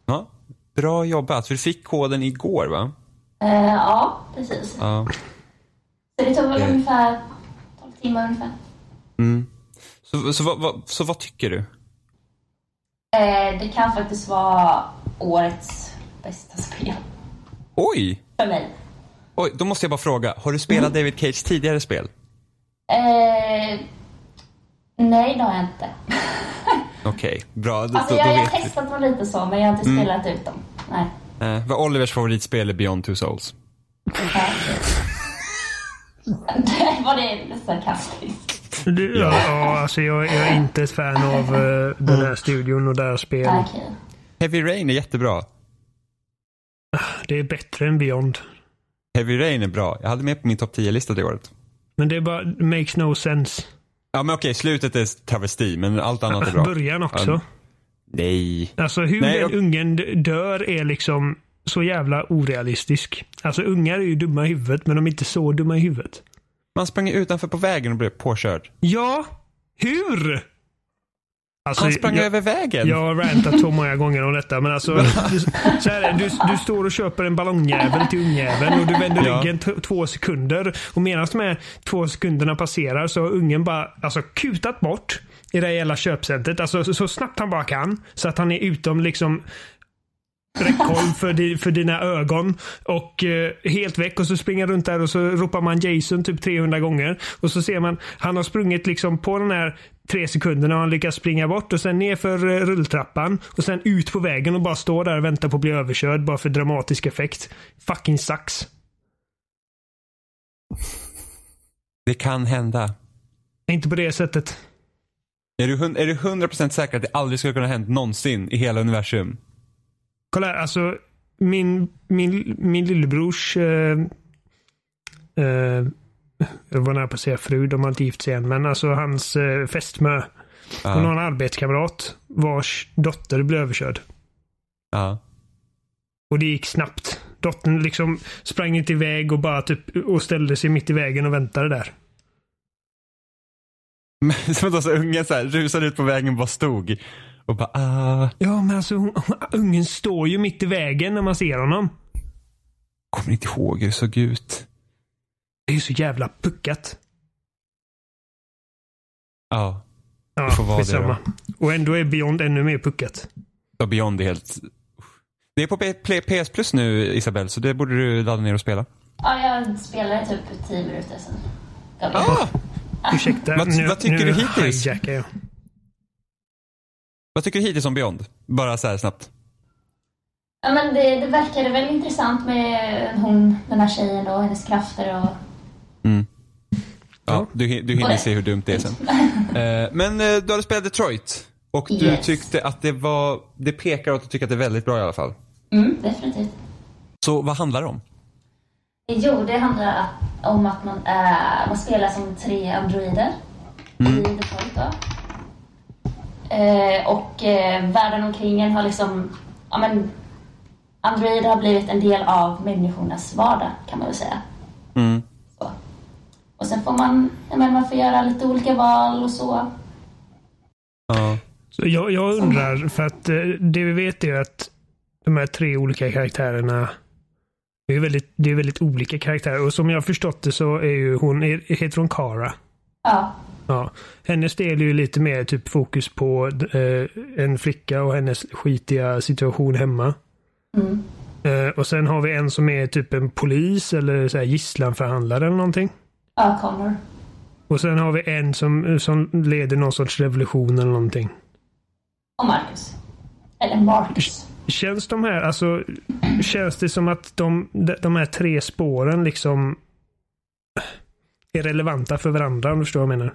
[SPEAKER 2] Ja. Bra jobbat. För du fick koden igår va?
[SPEAKER 3] Eh, ja, precis. Så
[SPEAKER 2] Ja.
[SPEAKER 3] det tog väl
[SPEAKER 2] Eh.
[SPEAKER 3] ungefär 12 timmar ungefär.
[SPEAKER 2] Så, så, vad- vad- så vad tycker du?
[SPEAKER 3] Eh, det kan faktiskt vara årets bästa spel
[SPEAKER 2] Oj!
[SPEAKER 3] för mig.
[SPEAKER 2] Oj, då måste jag bara fråga. Har du
[SPEAKER 3] Mm.
[SPEAKER 2] spelat David Cage tidigare spel?
[SPEAKER 3] Eh, nej, det har jag inte.
[SPEAKER 2] Okej, Okej, bra. Då,
[SPEAKER 3] Alltså,
[SPEAKER 2] då
[SPEAKER 3] jag jag har
[SPEAKER 2] vet vi. Mm.
[SPEAKER 3] testat dem lite så, men jag har inte spelat ut dem. Nej.
[SPEAKER 2] Eh, vad Olivers favoritspel är Beyond Two Souls.
[SPEAKER 3] Ja. det [LAUGHS] var det sarkastiskt.
[SPEAKER 4] Du, ja. ja, alltså jag, jag är inte ett fan av eh, den
[SPEAKER 2] Mm.
[SPEAKER 4] här studion och deras spel.
[SPEAKER 3] Ja, Okej.
[SPEAKER 2] Heavy Rain är jättebra.
[SPEAKER 4] Det är bättre än Beyond.
[SPEAKER 2] Heavy Rain är bra. Jag hade med på min topp 10-lista det året.
[SPEAKER 4] Men det är bara, makes no sense.
[SPEAKER 2] Ja men okej, slutet är travesti men allt annat är bra.
[SPEAKER 4] Början också.
[SPEAKER 2] Ja, nej.
[SPEAKER 4] Alltså hur
[SPEAKER 2] Nej,
[SPEAKER 4] den
[SPEAKER 2] jag-
[SPEAKER 4] ungen d- dör är liksom så jävla orealistisk. Alltså ungar är ju dumma i huvudet men de är inte så dumma i huvudet.
[SPEAKER 2] Man sprang utanför på vägen och blev påkörd.
[SPEAKER 4] Ja, hur? Alltså,
[SPEAKER 2] Han sprang
[SPEAKER 4] jag,
[SPEAKER 2] över vägen.
[SPEAKER 4] Jag har rantat så många gånger om detta men alltså. du, så här, är det, du, du står och köper en ballongjävel till ungjäveln och du vänder
[SPEAKER 2] Ja.
[SPEAKER 4] ryggen t- två sekunder. Och medan de här två sekunderna passerar så har ungen bara alltså, kutat bort i det här jävla köpcentret. Alltså så, så snabbt han bara kan. Så att han är utom liksom räckhåll för, di, för dina ögon. Och eh, helt väck och så springer han runt där och så ropar man Jason typ 300 gånger. Och så ser man, han har sprungit liksom på den här tre sekunderna och han lyckas springa bort och sen ner för eh, rulltrappan och sen ut på vägen och bara stå där och vänta på att bli överkörd bara för dramatisk effekt. Fucking sucks.
[SPEAKER 2] Det kan hända.
[SPEAKER 4] Inte på det sättet.
[SPEAKER 2] Är du, hun- är du 100% säker att det aldrig skulle kunna ha hänt någonsin i hela universum?
[SPEAKER 4] Kolla här, alltså min, min, min lillebrors... Eh, eh, jag var nära på att säga fru, de har inte gift sig än, men alltså hans eh, fästmö. Hon har en arbetskamrat vars dotter blev överkörd.
[SPEAKER 2] Ja. [LAUGHS]
[SPEAKER 4] Och det gick snabbt. Dottern liksom sprang inte iväg och bara typ och ställde sig mitt i vägen och väntade där.
[SPEAKER 2] Men som att så ungen så här rusade ut på vägen och bara stod. Och bara ah,
[SPEAKER 4] Ja, men alltså hon, ungen står ju mitt i vägen när man ser honom.
[SPEAKER 2] kommer inte ihåg hur det såg ut.
[SPEAKER 4] Det är ju så jävla puckat.
[SPEAKER 2] Ja.
[SPEAKER 4] Ja,
[SPEAKER 2] Det får vara det
[SPEAKER 4] skitsamma. Och ändå är Beyond ännu mer puckat.
[SPEAKER 2] Och Beyond är helt... Det är på P- P- PS Plus nu Isabel, så det borde du ladda ner och spela.
[SPEAKER 3] Ja, jag spelade typ 10 minuter sen. Jag vet.
[SPEAKER 2] Ah!
[SPEAKER 4] Ursäkta,
[SPEAKER 2] Vad-
[SPEAKER 4] nu,
[SPEAKER 2] vad tycker
[SPEAKER 4] nu
[SPEAKER 2] du hittills?
[SPEAKER 4] hijackar jag.
[SPEAKER 2] Vad tycker du hittills om Beyond? Bara så här snabbt.
[SPEAKER 3] Ja, men det, det verkade väl intressant med hon, den här tjejen då, hennes krafter och...
[SPEAKER 2] Ja, du, hin- du hinner se hur dumt det är sen. Eh, men eh, du hade spelat Detroit. Och du
[SPEAKER 3] Yes.
[SPEAKER 2] tyckte att det var... Det pekar åt att du tycker att det är väldigt bra i alla fall.
[SPEAKER 3] Mm, definitivt.
[SPEAKER 2] Så vad handlar det om?
[SPEAKER 3] Jo, det handlar att- om att man, är, man spelar som tre androider i Detroit. Då. Eh, och eh, världen omkring en har liksom... Ja, men, androider har blivit en del av människornas vardag, kan man väl säga.
[SPEAKER 2] Mm.
[SPEAKER 3] Så. Och sen får man, ja, men, man får göra lite olika val och så.
[SPEAKER 2] Ja.
[SPEAKER 4] Så jag, jag undrar, för att eh, det vi vet är ju att de här tre olika karaktärerna det är väldigt, det är väldigt olika karaktärer. Och som jag har förstått det så är ju hon, är- heter hon Kara?
[SPEAKER 3] Ja,
[SPEAKER 4] Ja. Hennes del är ju lite mer typ fokus på eh, en flicka och hennes skitiga situation hemma.
[SPEAKER 3] Mm.
[SPEAKER 4] Eh, och sen har vi en som är typ en polis eller så här gisslanförhandlare eller någonting.
[SPEAKER 3] ja Connor.
[SPEAKER 4] Och sen har vi en som, som leder någon sorts revolution eller någonting.
[SPEAKER 3] Och Marcus. Eller Marcus.
[SPEAKER 4] Känns de här, alltså, känns det som att de, de- de här tre spåren liksom är relevanta för varandra om du förstår vad jag menar?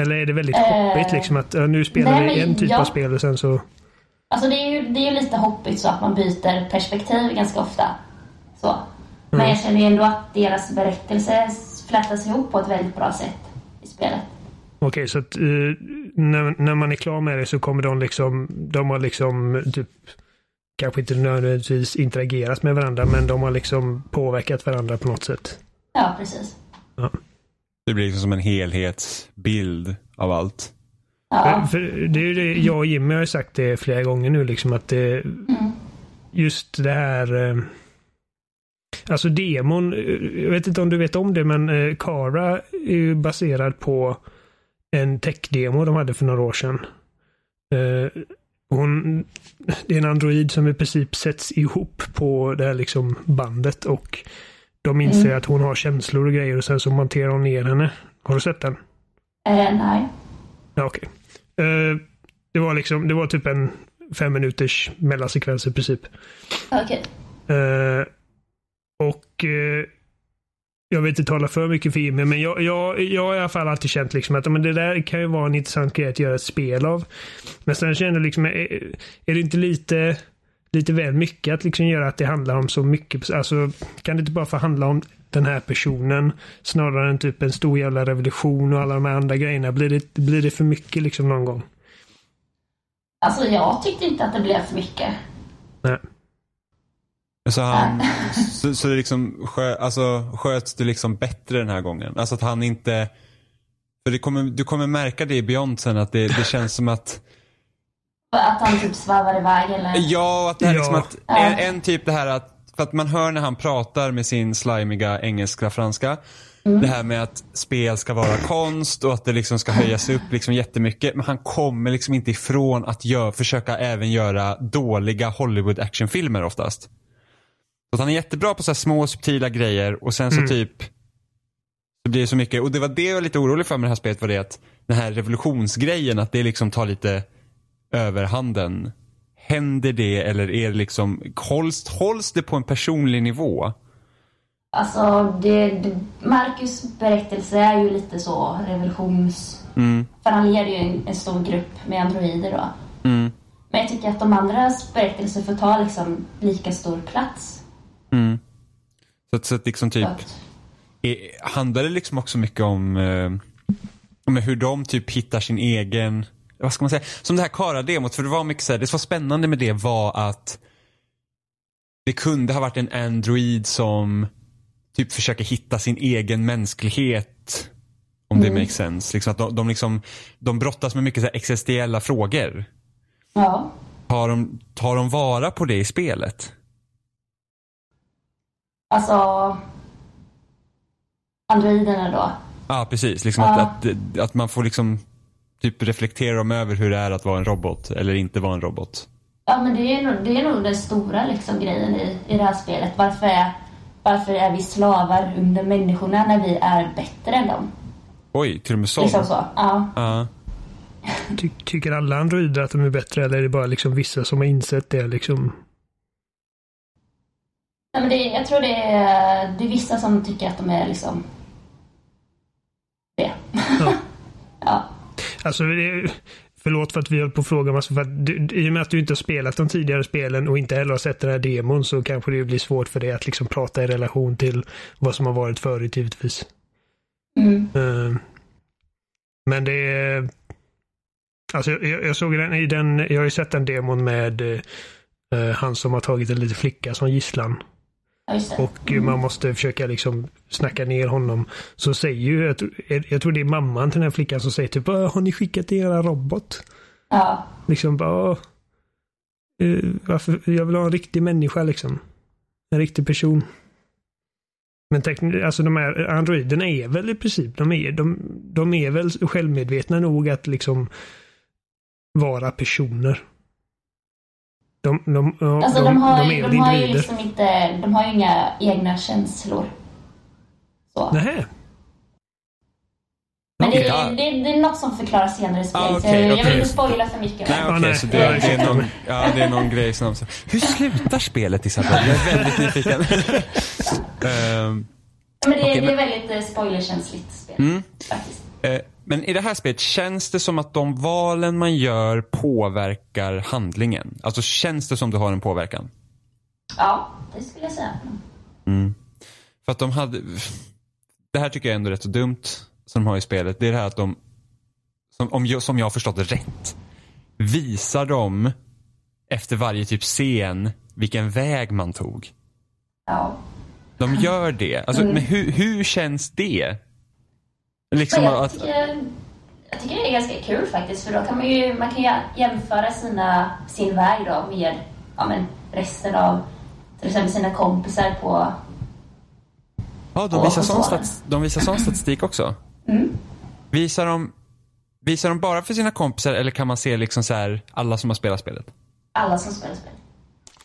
[SPEAKER 4] Eller är det väldigt
[SPEAKER 3] Eh,
[SPEAKER 4] hoppigt liksom att ja, nu spelar
[SPEAKER 3] nej,
[SPEAKER 4] vi
[SPEAKER 3] men
[SPEAKER 4] en typ
[SPEAKER 3] jag-
[SPEAKER 4] av spel och sen så...
[SPEAKER 3] Alltså det är ju det är ju lite hoppigt så att man byter perspektiv ganska ofta. Så. Men jag känner ju ändå att deras berättelse flätas ihop på ett väldigt bra sätt i spelet.
[SPEAKER 4] Okej, så att eh, när, när man är klar med det så kommer de liksom, de har liksom typ kanske inte nödvändigtvis interagerat med varandra men de har liksom påverkat varandra på något sätt.
[SPEAKER 3] Ja, precis.
[SPEAKER 2] Det blir liksom som en helhetsbild av allt.
[SPEAKER 3] Ja,
[SPEAKER 4] För det är ju det, jag och Jimmy har ju sagt det flera gånger nu liksom att det, just det här eh, Alltså demon, eh, jag vet inte om du vet om det men eh, Kara är ju baserad på en tech-demo de hade för några år sedan. Eh, Hon, det är en android som i princip sätts ihop på det här liksom bandet och de inser att hon har känslor och grejer och sen så monterar hon ner henne. Har du sett den?
[SPEAKER 3] eh, nej.
[SPEAKER 4] Ja, okej. Eh, Det var liksom, det var typ en fem minuters mellansekvens i princip.
[SPEAKER 3] Okej.
[SPEAKER 4] Eh, och eh, jag vill inte tala för mycket för Jimmy, men jag, jag, jag har i alla fall alltid känt liksom att men det där kan ju vara en intressant grej att göra ett spel av. Men sen känner jag liksom, är, är det inte lite, lite väl mycket att liksom göra att det handlar om så mycket? Alltså, kan det inte bara få handla om den här personen snarare än typ en stor jävla revolution och alla de här andra grejerna? Blir det, blir det för mycket liksom någon gång?
[SPEAKER 3] Alltså jag tyckte inte att det blev för mycket.
[SPEAKER 4] Nej.
[SPEAKER 2] Så han, så, så det liksom skö, alltså, sköts det liksom bättre den här gången? Alltså att han inte, för det kommer, du kommer märka det i Beyond sen att det, det känns som att
[SPEAKER 3] Att han typ svävar iväg eller?
[SPEAKER 2] Ja, och att det här
[SPEAKER 4] Ja.
[SPEAKER 2] liksom att, en, en typ det här att, för att man hör när han pratar med sin slimiga engelska franska. Det här med att spel ska vara konst och att det liksom ska höjas upp liksom jättemycket. Men han kommer liksom inte ifrån att gö- försöka även göra dåliga Hollywood actionfilmer oftast. Så att han är jättebra på så här små subtila grejer och sen så typ så blir det så mycket. Och det var det jag var lite orolig för med det här spelet var det att den här revolutionsgrejen att det liksom tar lite överhanden. Händer det eller är det liksom, hålls, hålls det på en personlig nivå?
[SPEAKER 3] Alltså, det, det, Marcus berättelse är ju lite så revolutions... För han leder ju en, en stor grupp med androider då. Men jag tycker att de andras berättelser får ta liksom lika stor plats.
[SPEAKER 2] Så att, så att liksom typ,
[SPEAKER 3] Så att-
[SPEAKER 2] är, handlar det liksom också mycket om, eh, om hur de typ hittar sin egen, vad ska man säga, som det här Kara-demot, för det var mycket så här, det som var spännande med det var att det kunde ha varit en android som typ försöker hitta sin egen mänsklighet. Om det makes sense. Liksom att de, de, liksom, de brottas med mycket så här existentiella frågor.
[SPEAKER 3] ja.
[SPEAKER 2] Tar de, tar de vara på det i spelet?
[SPEAKER 3] Alltså... Androiderna då.
[SPEAKER 2] Ja, precis. Liksom
[SPEAKER 3] Ja.
[SPEAKER 2] Att, att, att man får liksom typ reflektera om över hur det är att vara en robot eller inte vara en robot.
[SPEAKER 3] Ja, men det är nog, det är nog den stora liksom, grejen i, i det här spelet. Varför är, varför är vi slavar under människorna när vi är bättre än dem?
[SPEAKER 2] Oj, till och med sån.
[SPEAKER 3] Liksom så. Ja.
[SPEAKER 2] Ja.
[SPEAKER 4] Ty, tycker alla androider att de är bättre eller är det bara liksom vissa som har insett det liksom?
[SPEAKER 3] Nej, men det, jag tror det är, det är vissa som tycker att de är liksom... Det.
[SPEAKER 4] Ja.
[SPEAKER 3] [LAUGHS] ja.
[SPEAKER 4] Alltså, det- förlåt för att vi höll på att fråga massor. För att du, I och med att du inte har spelat de tidigare spelen och inte heller har sett den här demon så kanske det blir svårt för dig att liksom prata i relation till vad som har varit förut givetvis.
[SPEAKER 3] Mm.
[SPEAKER 4] Eh, Men det är... Alltså, jag, jag såg den i den... Jag har ju sett den demon med eh, han som har tagit en liten flicka som gisslan.
[SPEAKER 3] ja, just det.
[SPEAKER 4] Och man måste försöka liksom snacka ner honom. Så säger ju, jag tror- jag, jag tror det är mamman till den här flickan som säger typ "Åh, har ni skickat era robot?
[SPEAKER 3] Ja.
[SPEAKER 4] Liksom bara "Åh, eh, varför, jag vill ha en riktig människa liksom. En riktig person. Men tekn- alltså de här androiderna är väl i princip, de är, de, de är väl självmedvetna nog att liksom vara personer. De, de, ja,
[SPEAKER 3] Alltså
[SPEAKER 4] de,
[SPEAKER 3] de har,
[SPEAKER 4] är
[SPEAKER 3] ju,
[SPEAKER 4] väl
[SPEAKER 3] de har ju
[SPEAKER 4] individer.
[SPEAKER 3] liksom inte... De har ju inga egna känslor. Så.
[SPEAKER 4] Nähä.
[SPEAKER 3] Men det,
[SPEAKER 2] Ja.
[SPEAKER 3] är det, det är något som förklaras senare i spelet.
[SPEAKER 2] Ah,
[SPEAKER 3] så
[SPEAKER 2] okej,
[SPEAKER 3] jag
[SPEAKER 2] okej.
[SPEAKER 3] vill inte spoila för mycket.
[SPEAKER 2] Nej, okej,
[SPEAKER 4] nej.
[SPEAKER 2] så det,
[SPEAKER 4] Ja,
[SPEAKER 2] det, är någon, ja, det är någon grej som... Hur slutar spelet Isabel? Jag är väldigt nyfiken.
[SPEAKER 4] [LAUGHS]
[SPEAKER 2] Ehm,
[SPEAKER 3] Men det,
[SPEAKER 2] Okej,
[SPEAKER 3] det är väldigt eh, spoilerkänsligt spel. Faktiskt.
[SPEAKER 2] eh, men i det här spelet, känns det som att de valen man gör påverkar handlingen? Alltså känns det som du har en påverkan?
[SPEAKER 3] Ja, det skulle jag säga.
[SPEAKER 2] För att de hade... Det här tycker jag ändå är rätt så dumt som de har i spelet. Det är det här att de, som, om jag, som jag har förstått det rätt, visar dem efter varje typ scen vilken väg man tog.
[SPEAKER 3] Ja.
[SPEAKER 2] De gör det. Alltså, Men hur, hur känns det? Liksom
[SPEAKER 3] Men jag,
[SPEAKER 2] att,
[SPEAKER 3] tycker, jag tycker det är ganska kul faktiskt för då kan man ju man kan ju jämföra sina, sin väg då med ja, men resten av till exempel sina kompisar på...
[SPEAKER 2] ja, de, visar
[SPEAKER 3] Ja,
[SPEAKER 2] sån
[SPEAKER 3] svaret.
[SPEAKER 2] stats, de visar sån statistik också.
[SPEAKER 3] Mm.
[SPEAKER 2] Visar, de, visar de bara för sina kompisar eller kan man se liksom så här, alla som har spelat spelet?
[SPEAKER 3] Alla som spelar spel.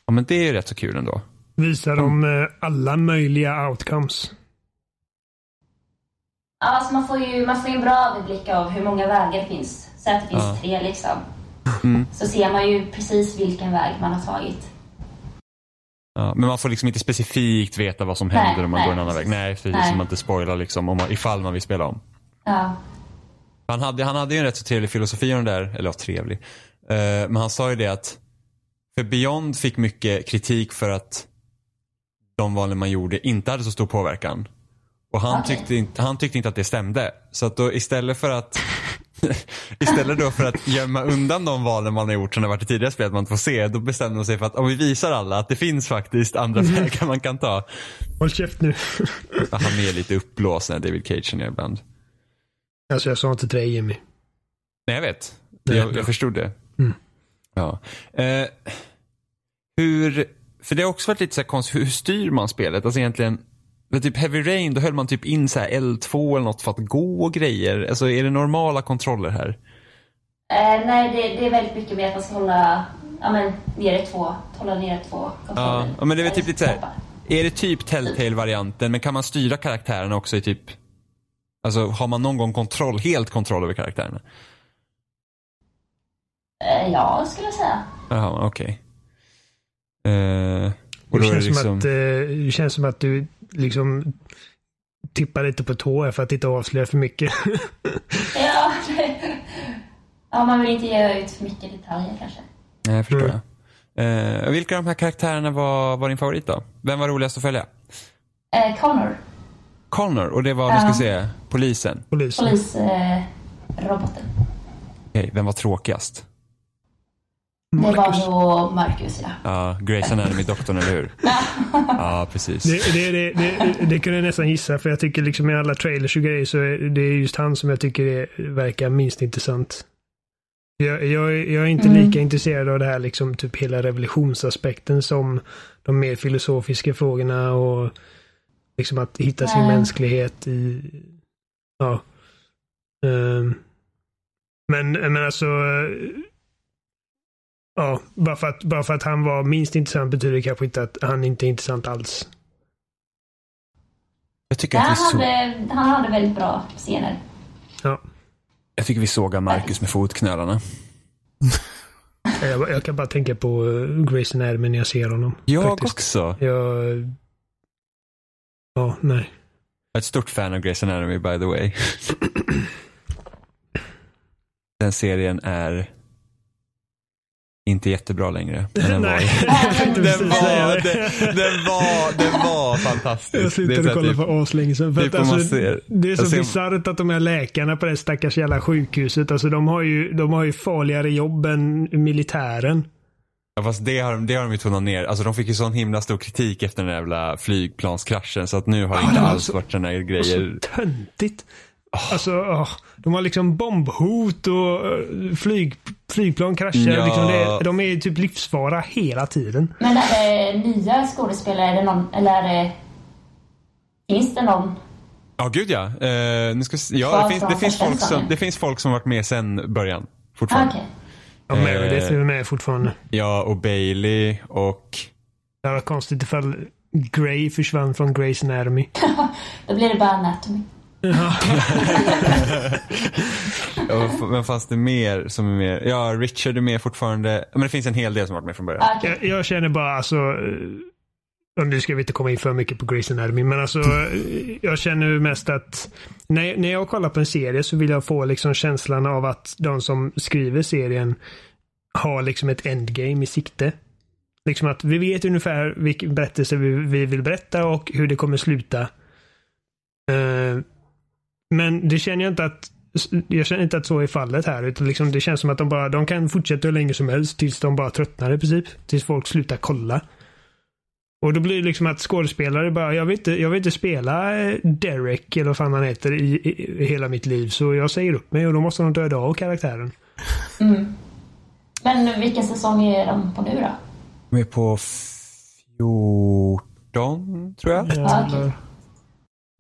[SPEAKER 2] Ja, men det är ju rätt så kul ändå.
[SPEAKER 4] Visar de eh, alla möjliga outcomes?
[SPEAKER 3] Ja, alltså man får ju man får ju en bra överblick av hur många vägar det finns. Säg att det finns
[SPEAKER 2] Ja.
[SPEAKER 3] tre liksom.
[SPEAKER 2] Mm.
[SPEAKER 3] så ser man ju precis vilken väg man har tagit.
[SPEAKER 2] Ja, men man får liksom inte specifikt veta vad som
[SPEAKER 3] Nej,
[SPEAKER 2] händer om man
[SPEAKER 3] nej,
[SPEAKER 2] går en annan väg.
[SPEAKER 3] precis.
[SPEAKER 2] Nej, precis.
[SPEAKER 3] Nej.
[SPEAKER 2] Så man inte spoilar liksom om man, ifall man vill spela om.
[SPEAKER 3] Ja.
[SPEAKER 2] Han hade, han hade ju en rätt så trevlig filosofi om det där. Eller ja, trevlig. Eh, men han sa ju det att för Beyond fick mycket kritik för att de valen man gjorde inte hade så stor påverkan. Och han,
[SPEAKER 3] Okej.
[SPEAKER 2] tyckte, inte, han tyckte inte att det stämde. Så att då istället för att [LAUGHS] Istället då för att gömma undan de valen man har gjort som det har varit i tidigare spel att man inte får se. Då bestämde de sig för att om vi visar alla att det finns faktiskt andra vägar man kan ta.
[SPEAKER 4] Håll käft nu.
[SPEAKER 2] Ja, Han är lite uppblåst när David Cage är ibland.
[SPEAKER 4] [LAUGHS] alltså jag sa inte till dig Jimmy.
[SPEAKER 2] Nej, jag vet.
[SPEAKER 4] Nej,
[SPEAKER 2] jag,
[SPEAKER 4] bra.
[SPEAKER 2] jag förstod det.
[SPEAKER 4] Mm.
[SPEAKER 2] Ja. Eh, hur, för det har också varit lite så här konstigt, hur, hur styr man spelet? Alltså egentligen, för typ Heavy Rain, då höll man typ in så här L2 eller något för att gå och grejer. Alltså är det normala kontroller här?
[SPEAKER 3] Eh, nej, det, det är väldigt mycket med att man ska hålla ja, men, nere två, hålla nere två
[SPEAKER 2] Ja,
[SPEAKER 3] kontroller.
[SPEAKER 2] ja men det är väl typ
[SPEAKER 3] Eller
[SPEAKER 2] lite så här,
[SPEAKER 3] knappar.
[SPEAKER 2] är det typ Telltale-varianten, men kan man styra karaktärerna också i typ, alltså har man någon gång kontroll, helt kontroll över karaktärerna?
[SPEAKER 3] Eh, ja, skulle jag säga.
[SPEAKER 2] Jaha, okej. Eh, och
[SPEAKER 4] Det
[SPEAKER 2] då är liksom-
[SPEAKER 4] känns, som att, eh, det känns som att du liksom tippar lite på tå här för att inte avslöja för mycket. [LAUGHS]
[SPEAKER 3] Ja, [LAUGHS] det- ja, man vill inte ge ut för mycket detaljer kanske.
[SPEAKER 2] Nej, jag Eh, förstår
[SPEAKER 4] Mm.
[SPEAKER 2] jag. Eh, vilka av de här karaktärerna var, var din favorit då? Vem var roligast att följa?
[SPEAKER 3] Eh, Connor,
[SPEAKER 2] Connor, och det var, nu
[SPEAKER 3] Ja.
[SPEAKER 2] ska vi se, polisen.
[SPEAKER 4] Polisen.
[SPEAKER 3] eh, polisroboten.
[SPEAKER 2] Okej, vem var tråkigast?
[SPEAKER 3] det
[SPEAKER 4] Marcus.
[SPEAKER 3] var nog Marcus, ja.
[SPEAKER 2] Ja, Grace Anatomy-doktorn, eller hur? Ja, precis.
[SPEAKER 4] Det, det, det, det, det kunde jag nästan gissa för jag tycker liksom i alla trailers och grejer så är det just han som jag tycker är, verkar minst intressant. Jag, jag, är- jag är inte
[SPEAKER 3] Mm.
[SPEAKER 4] lika intresserad av det här liksom typ hela revolutionsaspekten som de mer filosofiska frågorna och liksom att hitta sin
[SPEAKER 3] Nej.
[SPEAKER 4] mänsklighet i, ja. Ehm. Men, men alltså, eh, ja, bara för, att, bara för att han var minst intressant betyder det kanske inte att han inte är intressant alls.
[SPEAKER 2] Jag tycker,
[SPEAKER 3] Nej,
[SPEAKER 2] att vi
[SPEAKER 3] han,
[SPEAKER 2] så,
[SPEAKER 3] hade, han hade väldigt bra scener.
[SPEAKER 4] Ja.
[SPEAKER 2] jag tycker vi sågar Marcus med fotknölarna.
[SPEAKER 4] Jag, jag kan bara tänka på eh, Grey's Anatomy när jag ser honom.
[SPEAKER 2] Jag
[SPEAKER 4] faktiskt.
[SPEAKER 2] också.
[SPEAKER 4] Jag... Ja, nej.
[SPEAKER 2] Jag är ett stort fan av Grey's Anatomy by the way. Den serien är inte jättebra längre. Men
[SPEAKER 4] [LAUGHS]
[SPEAKER 2] den var,
[SPEAKER 4] Nej.
[SPEAKER 3] Jag tänkte
[SPEAKER 2] den,
[SPEAKER 4] precis säga
[SPEAKER 2] var,
[SPEAKER 4] det.
[SPEAKER 2] den, den, var, den var fantastisk.
[SPEAKER 4] [LAUGHS] Jag
[SPEAKER 2] Det
[SPEAKER 4] slutade
[SPEAKER 2] är så här
[SPEAKER 4] kolla
[SPEAKER 2] typ-
[SPEAKER 4] för aslänge sedan. För
[SPEAKER 2] typ
[SPEAKER 4] att,
[SPEAKER 2] om man
[SPEAKER 4] alltså,
[SPEAKER 2] ser-
[SPEAKER 4] det är
[SPEAKER 2] jag
[SPEAKER 4] så
[SPEAKER 2] ser-
[SPEAKER 4] bisarrt att de här läkarna på det stackars jävla sjukhuset, alltså de har ju, de har ju farligare jobb än militären.
[SPEAKER 2] Ja, fast det har, de- det har de ju tonat ner. Alltså de fick ju sån himla stor kritik efter den där jävla flygplanskraschen så att nu har Ah, det
[SPEAKER 4] Ja,
[SPEAKER 2] inte
[SPEAKER 4] det var
[SPEAKER 2] alls
[SPEAKER 4] så-
[SPEAKER 2] varit såna här
[SPEAKER 4] Och
[SPEAKER 2] grejer.
[SPEAKER 4] så töntigt. Alltså, åh, de har liksom bombhot och eh, flyg, flygplan kraschar.
[SPEAKER 2] Ja.
[SPEAKER 4] Liksom det, är- de är ju typ livsfara hela tiden.
[SPEAKER 3] Men är det nya skådespelare? Är det någon, eller är det, finns det någon?
[SPEAKER 2] Ja, gud ja. Eh, nu ska vi, se- ja
[SPEAKER 3] Kvar
[SPEAKER 2] det, finns, det,
[SPEAKER 3] från
[SPEAKER 2] finns
[SPEAKER 3] första
[SPEAKER 2] folk som,
[SPEAKER 3] säsongen.
[SPEAKER 2] det finns folk som varit med sen början.
[SPEAKER 3] Ah,
[SPEAKER 2] Fortfarande.
[SPEAKER 3] Okej.
[SPEAKER 4] Ja,
[SPEAKER 2] Eh.
[SPEAKER 4] Meredith är med fortfarande.
[SPEAKER 2] Ja, och Bailey och
[SPEAKER 4] Det var konstigt ifall Grey försvann från Grey's Anatomy.
[SPEAKER 3] Då blir det bara Anatomy.
[SPEAKER 2] Ja, vad f- Vem fanns det mer som är med? Ja, Richard är med fortfarande. Men det finns en hel del som har varit med från början.
[SPEAKER 3] Ah, okej.
[SPEAKER 4] Jag, jag känner bara alltså... eh, Nu ska vi inte komma in för mycket på Grey's Anatomy, men alltså eh, jag känner mest att när, när jag kollar på en serie så vill jag få liksom känslan av att de som skriver serien har liksom ett endgame i sikte. Liksom att vi vet ungefär vilken berättelse vi, vi vill berätta och hur det kommer sluta. Eh, men det känner jag inte att jag känner inte att så är fallet här. Utan liksom det känns som att de, bara, de kan fortsätta hur länge som helst tills de bara tröttnar i princip. Tills folk slutar kolla. Och då blir det liksom att skådespelare bara, jag vill inte, jag vill inte spela eh, Derek eller vad fan han heter i, i, i hela mitt liv. Så jag säger upp mig och då måste de döda av karaktären.
[SPEAKER 3] Mm. Men vilken säsong är de på nu då? Ah,
[SPEAKER 2] De är på 14, tror jag.
[SPEAKER 4] Jävlar.
[SPEAKER 2] Vänta,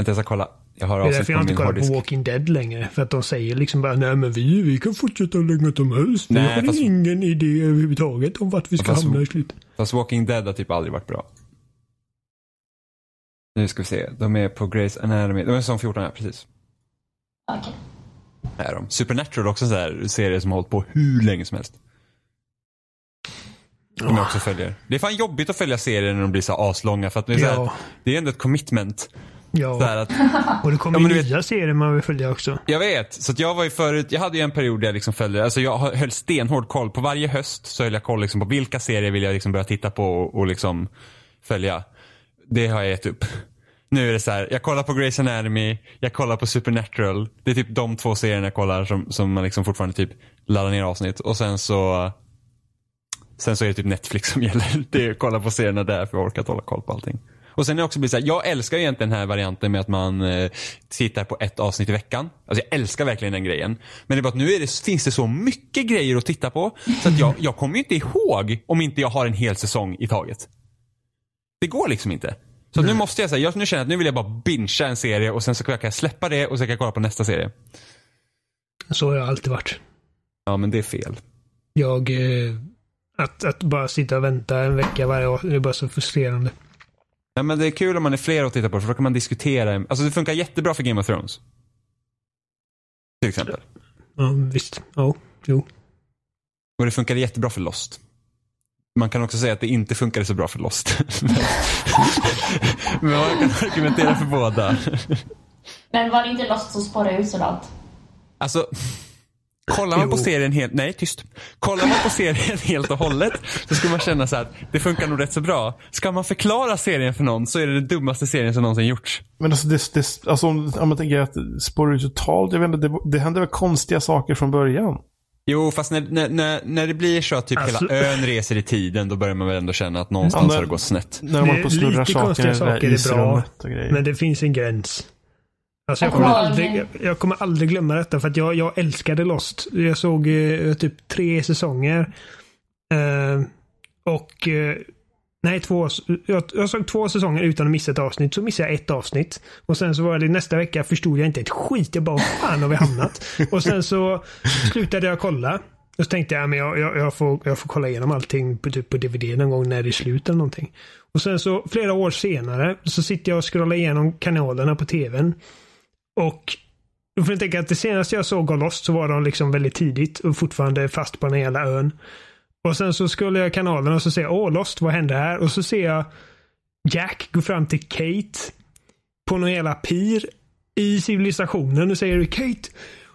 [SPEAKER 2] jag ska kolla. Jag har
[SPEAKER 4] Det är
[SPEAKER 2] avsnitt
[SPEAKER 4] därför jag
[SPEAKER 2] på
[SPEAKER 4] inte
[SPEAKER 2] min
[SPEAKER 4] kollar på
[SPEAKER 2] hårddisk.
[SPEAKER 4] Walking Dead längre. För att de säger liksom bara, nej men vi, vi kan fortsätta hur länge som helst. Vi
[SPEAKER 2] Nej,
[SPEAKER 4] har
[SPEAKER 2] fast-
[SPEAKER 4] ingen idé överhuvudtaget om vart vi ska
[SPEAKER 2] Fast-
[SPEAKER 4] hamna i slutet.
[SPEAKER 2] Fast Walking Dead har typ aldrig varit bra. Nu ska vi se. De är på Grace Anatomy. De är säsong 14, ja precis.
[SPEAKER 3] Ah, Okej.
[SPEAKER 2] Här är de. Supernatural är också en sån här serie som har hållit på hur länge som helst. Som jag
[SPEAKER 4] Ah.
[SPEAKER 2] också följer. Det är fan jobbigt att följa serier när de blir så aslånga. För att det, är så här,
[SPEAKER 4] Ja.
[SPEAKER 2] det är ändå ett commitment. Så
[SPEAKER 4] Ja,
[SPEAKER 2] här att,
[SPEAKER 4] och det kommer
[SPEAKER 2] Ja, men
[SPEAKER 4] ju
[SPEAKER 2] du vet-
[SPEAKER 4] nya serier man vill följa också.
[SPEAKER 2] jag vet. Så att jag var ju förut, jag hade ju en period där jag liksom följde, alltså jag höll stenhård koll. På varje höst så höll jag koll liksom på vilka serier vill jag liksom börja titta på och, och liksom följa. Det har jag gett upp. Nu är det så här, jag kollar på Grey's Anatomy, jag kollar på Supernatural. Det är typ de två serierna jag kollar som, som man liksom fortfarande typ laddar ner avsnitt. Och sen så Sen så är det typ Netflix som [LAUGHS] gäller. Det är att kolla på serierna där för jag har orkat hålla koll på allting. Och sen är det också blivit så här, jag älskar ju egentligen den här varianten med att man eh, tittar på ett avsnitt i veckan. Alltså jag älskar verkligen den grejen. Men det är bara att nu är det, finns det så mycket grejer att titta på så att jag, jag kommer ju inte ihåg om inte jag har en hel säsong i taget. Det går liksom inte. Så att nu måste jag säga, jag nu känner jag att nu vill jag bara bingea en serie och sen så kan jag släppa det och sen kan jag kolla på nästa serie.
[SPEAKER 4] Så har jag alltid varit.
[SPEAKER 2] Ja men det är fel.
[SPEAKER 4] Jag... Eh, att, att bara sitta och vänta en vecka varje år, det är bara så frustrerande.
[SPEAKER 2] Ja, men det är kul om man är fler och tittar på det, för då kan man diskutera. Alltså det funkar jättebra för Game of Thrones. Till exempel.
[SPEAKER 4] Ja, visst. Ja, jo.
[SPEAKER 2] Och det funkar jättebra för Lost. Man kan också säga att det inte funkade så bra för Lost. [LAUGHS] Men- men man kan argumentera för båda.
[SPEAKER 3] Men var det inte Lost som spårade ut sådant?
[SPEAKER 2] Alltså, kollar man på
[SPEAKER 4] Jo.
[SPEAKER 2] serien helt, nej tyst. Kollar man på serien helt och hållet så skulle man känna så här, det funkar nog rätt så bra. Ska man förklara serien för någon så är det den dummaste serien som någonsin gjorts.
[SPEAKER 1] Men alltså, det, det, alltså om, om man tänker att det spårar ut totalt. Jag vet inte, det, det händer väl konstiga saker från början.
[SPEAKER 2] Jo, fast när, när, när, när det blir så att typ
[SPEAKER 4] Alltså-
[SPEAKER 2] hela ön reser i tiden, då börjar man väl ändå känna att någonstans
[SPEAKER 1] Ja, men-
[SPEAKER 2] har det gått snett.
[SPEAKER 1] När de
[SPEAKER 4] Det-
[SPEAKER 1] håller på och snurrar
[SPEAKER 4] lite
[SPEAKER 1] saker i
[SPEAKER 4] konstiga
[SPEAKER 1] det där
[SPEAKER 4] saker är bra,
[SPEAKER 1] isrummet och
[SPEAKER 2] Mm.
[SPEAKER 1] grejer.
[SPEAKER 4] Men det finns en gräns. Alltså jag,
[SPEAKER 3] Jag
[SPEAKER 4] kommer
[SPEAKER 3] kommer ihåg-
[SPEAKER 4] aldrig, jag- jag kommer aldrig glömma detta för att jag, jag älskade Lost. Jag såg eh, typ tre säsonger. Eh, och... Eh, nej, två. Jag, jag såg två säsonger utan att missa ett avsnitt. Så missade jag ett avsnitt. Och sen så var det nästa vecka förstod jag inte ett skit. Jag bara, fan har vi hamnat? och sen så slutade jag kolla. Och så tänkte jag, ja, men jag, jag, jag, får, jag får kolla igenom allting på, typ på DVD någon gång när det är slut eller någonting. Och sen så flera år senare så sitter jag och scrollar igenom kanalerna på TVn. Och då får jag tänka att det senaste jag såg av Lost så var de liksom väldigt tidigt och fortfarande fast på den här jävla ön. Och sen så skulle jag kanalerna och så ser jag åh Lost, vad hände här? Och så ser jag Jack gå fram till Kate på någon jävla pir i civilisationen och säger Kate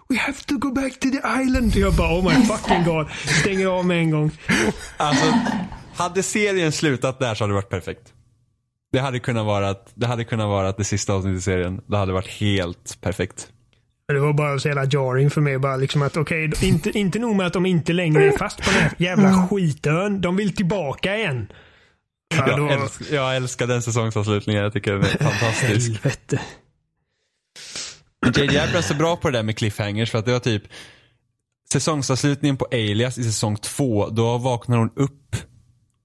[SPEAKER 4] We have to go back to the island. Jag bara oh my fucking god. Stänger av med en gång.
[SPEAKER 2] Alltså, hade serien slutat där så hade det varit perfekt. Det hade kunnat vara att det, hade kunnat vara att det sista avsnittet i serien, det hade varit helt perfekt.
[SPEAKER 4] Det var bara så jävla jarring för mig. Bara liksom att, okej, inte, inte nog med att de inte längre är fast på den här jävla skitön. De vill tillbaka igen. Ja, det
[SPEAKER 2] Jag,
[SPEAKER 4] var-
[SPEAKER 2] älsk, jag älskar den säsongsavslutningen, jag tycker den är fantastisk.
[SPEAKER 4] Helvete.
[SPEAKER 2] JJ Abrams är bra på det där med cliffhangers för att det var typ säsongsavslutningen på Alias i säsong två, då vaknar hon upp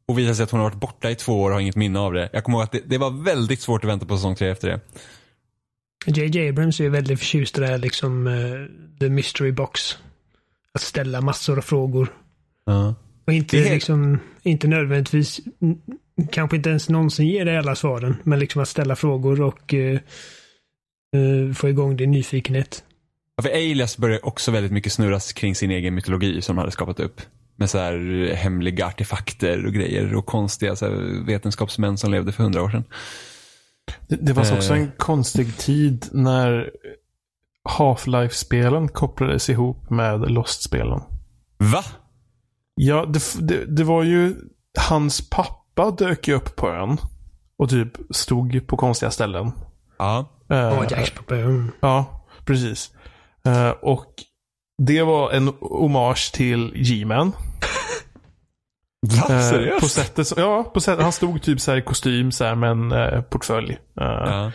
[SPEAKER 2] och visar sig att hon har varit borta i två år och har inget minne av det. Jag kommer ihåg att det, det var väldigt svårt att vänta på säsong tre efter det.
[SPEAKER 4] JJ Abrams är väldigt förtjust i det här liksom eh, the mystery box. Att ställa massor av frågor. Och inte,
[SPEAKER 2] Det är helt-
[SPEAKER 4] liksom, inte nödvändigtvis, n- kanske inte ens någonsin ger dig alla svaren. Men liksom att ställa frågor och eh, eh, få igång din nyfikenhet.
[SPEAKER 2] Ja, för Alias började också väldigt mycket snurras kring sin egen mytologi som de hade skapat upp. Med så här eh, hemliga artefakter och grejer och konstiga så här, vetenskapsmän som levde för hundra år sedan.
[SPEAKER 1] Det, det fanns också
[SPEAKER 2] Eh.
[SPEAKER 1] en konstig tid när Half-Life-spelen kopplades ihop med Lost-spelen.
[SPEAKER 2] Va?
[SPEAKER 1] Ja, det, f- det, det var ju... Hans pappa dök ju upp på ön. Och typ stod på konstiga ställen.
[SPEAKER 2] Ja.
[SPEAKER 1] Eh,
[SPEAKER 4] Ja, Jacks pappa, mm.
[SPEAKER 1] ja, precis. Eh, och det var en hommage till G-Man.
[SPEAKER 2] Va?
[SPEAKER 1] Eh,
[SPEAKER 2] Seriöst?
[SPEAKER 1] på sättet som, ja, på sätt, han stod typ så här i kostym så här, med en eh, portfölj. Eh,
[SPEAKER 2] Ja.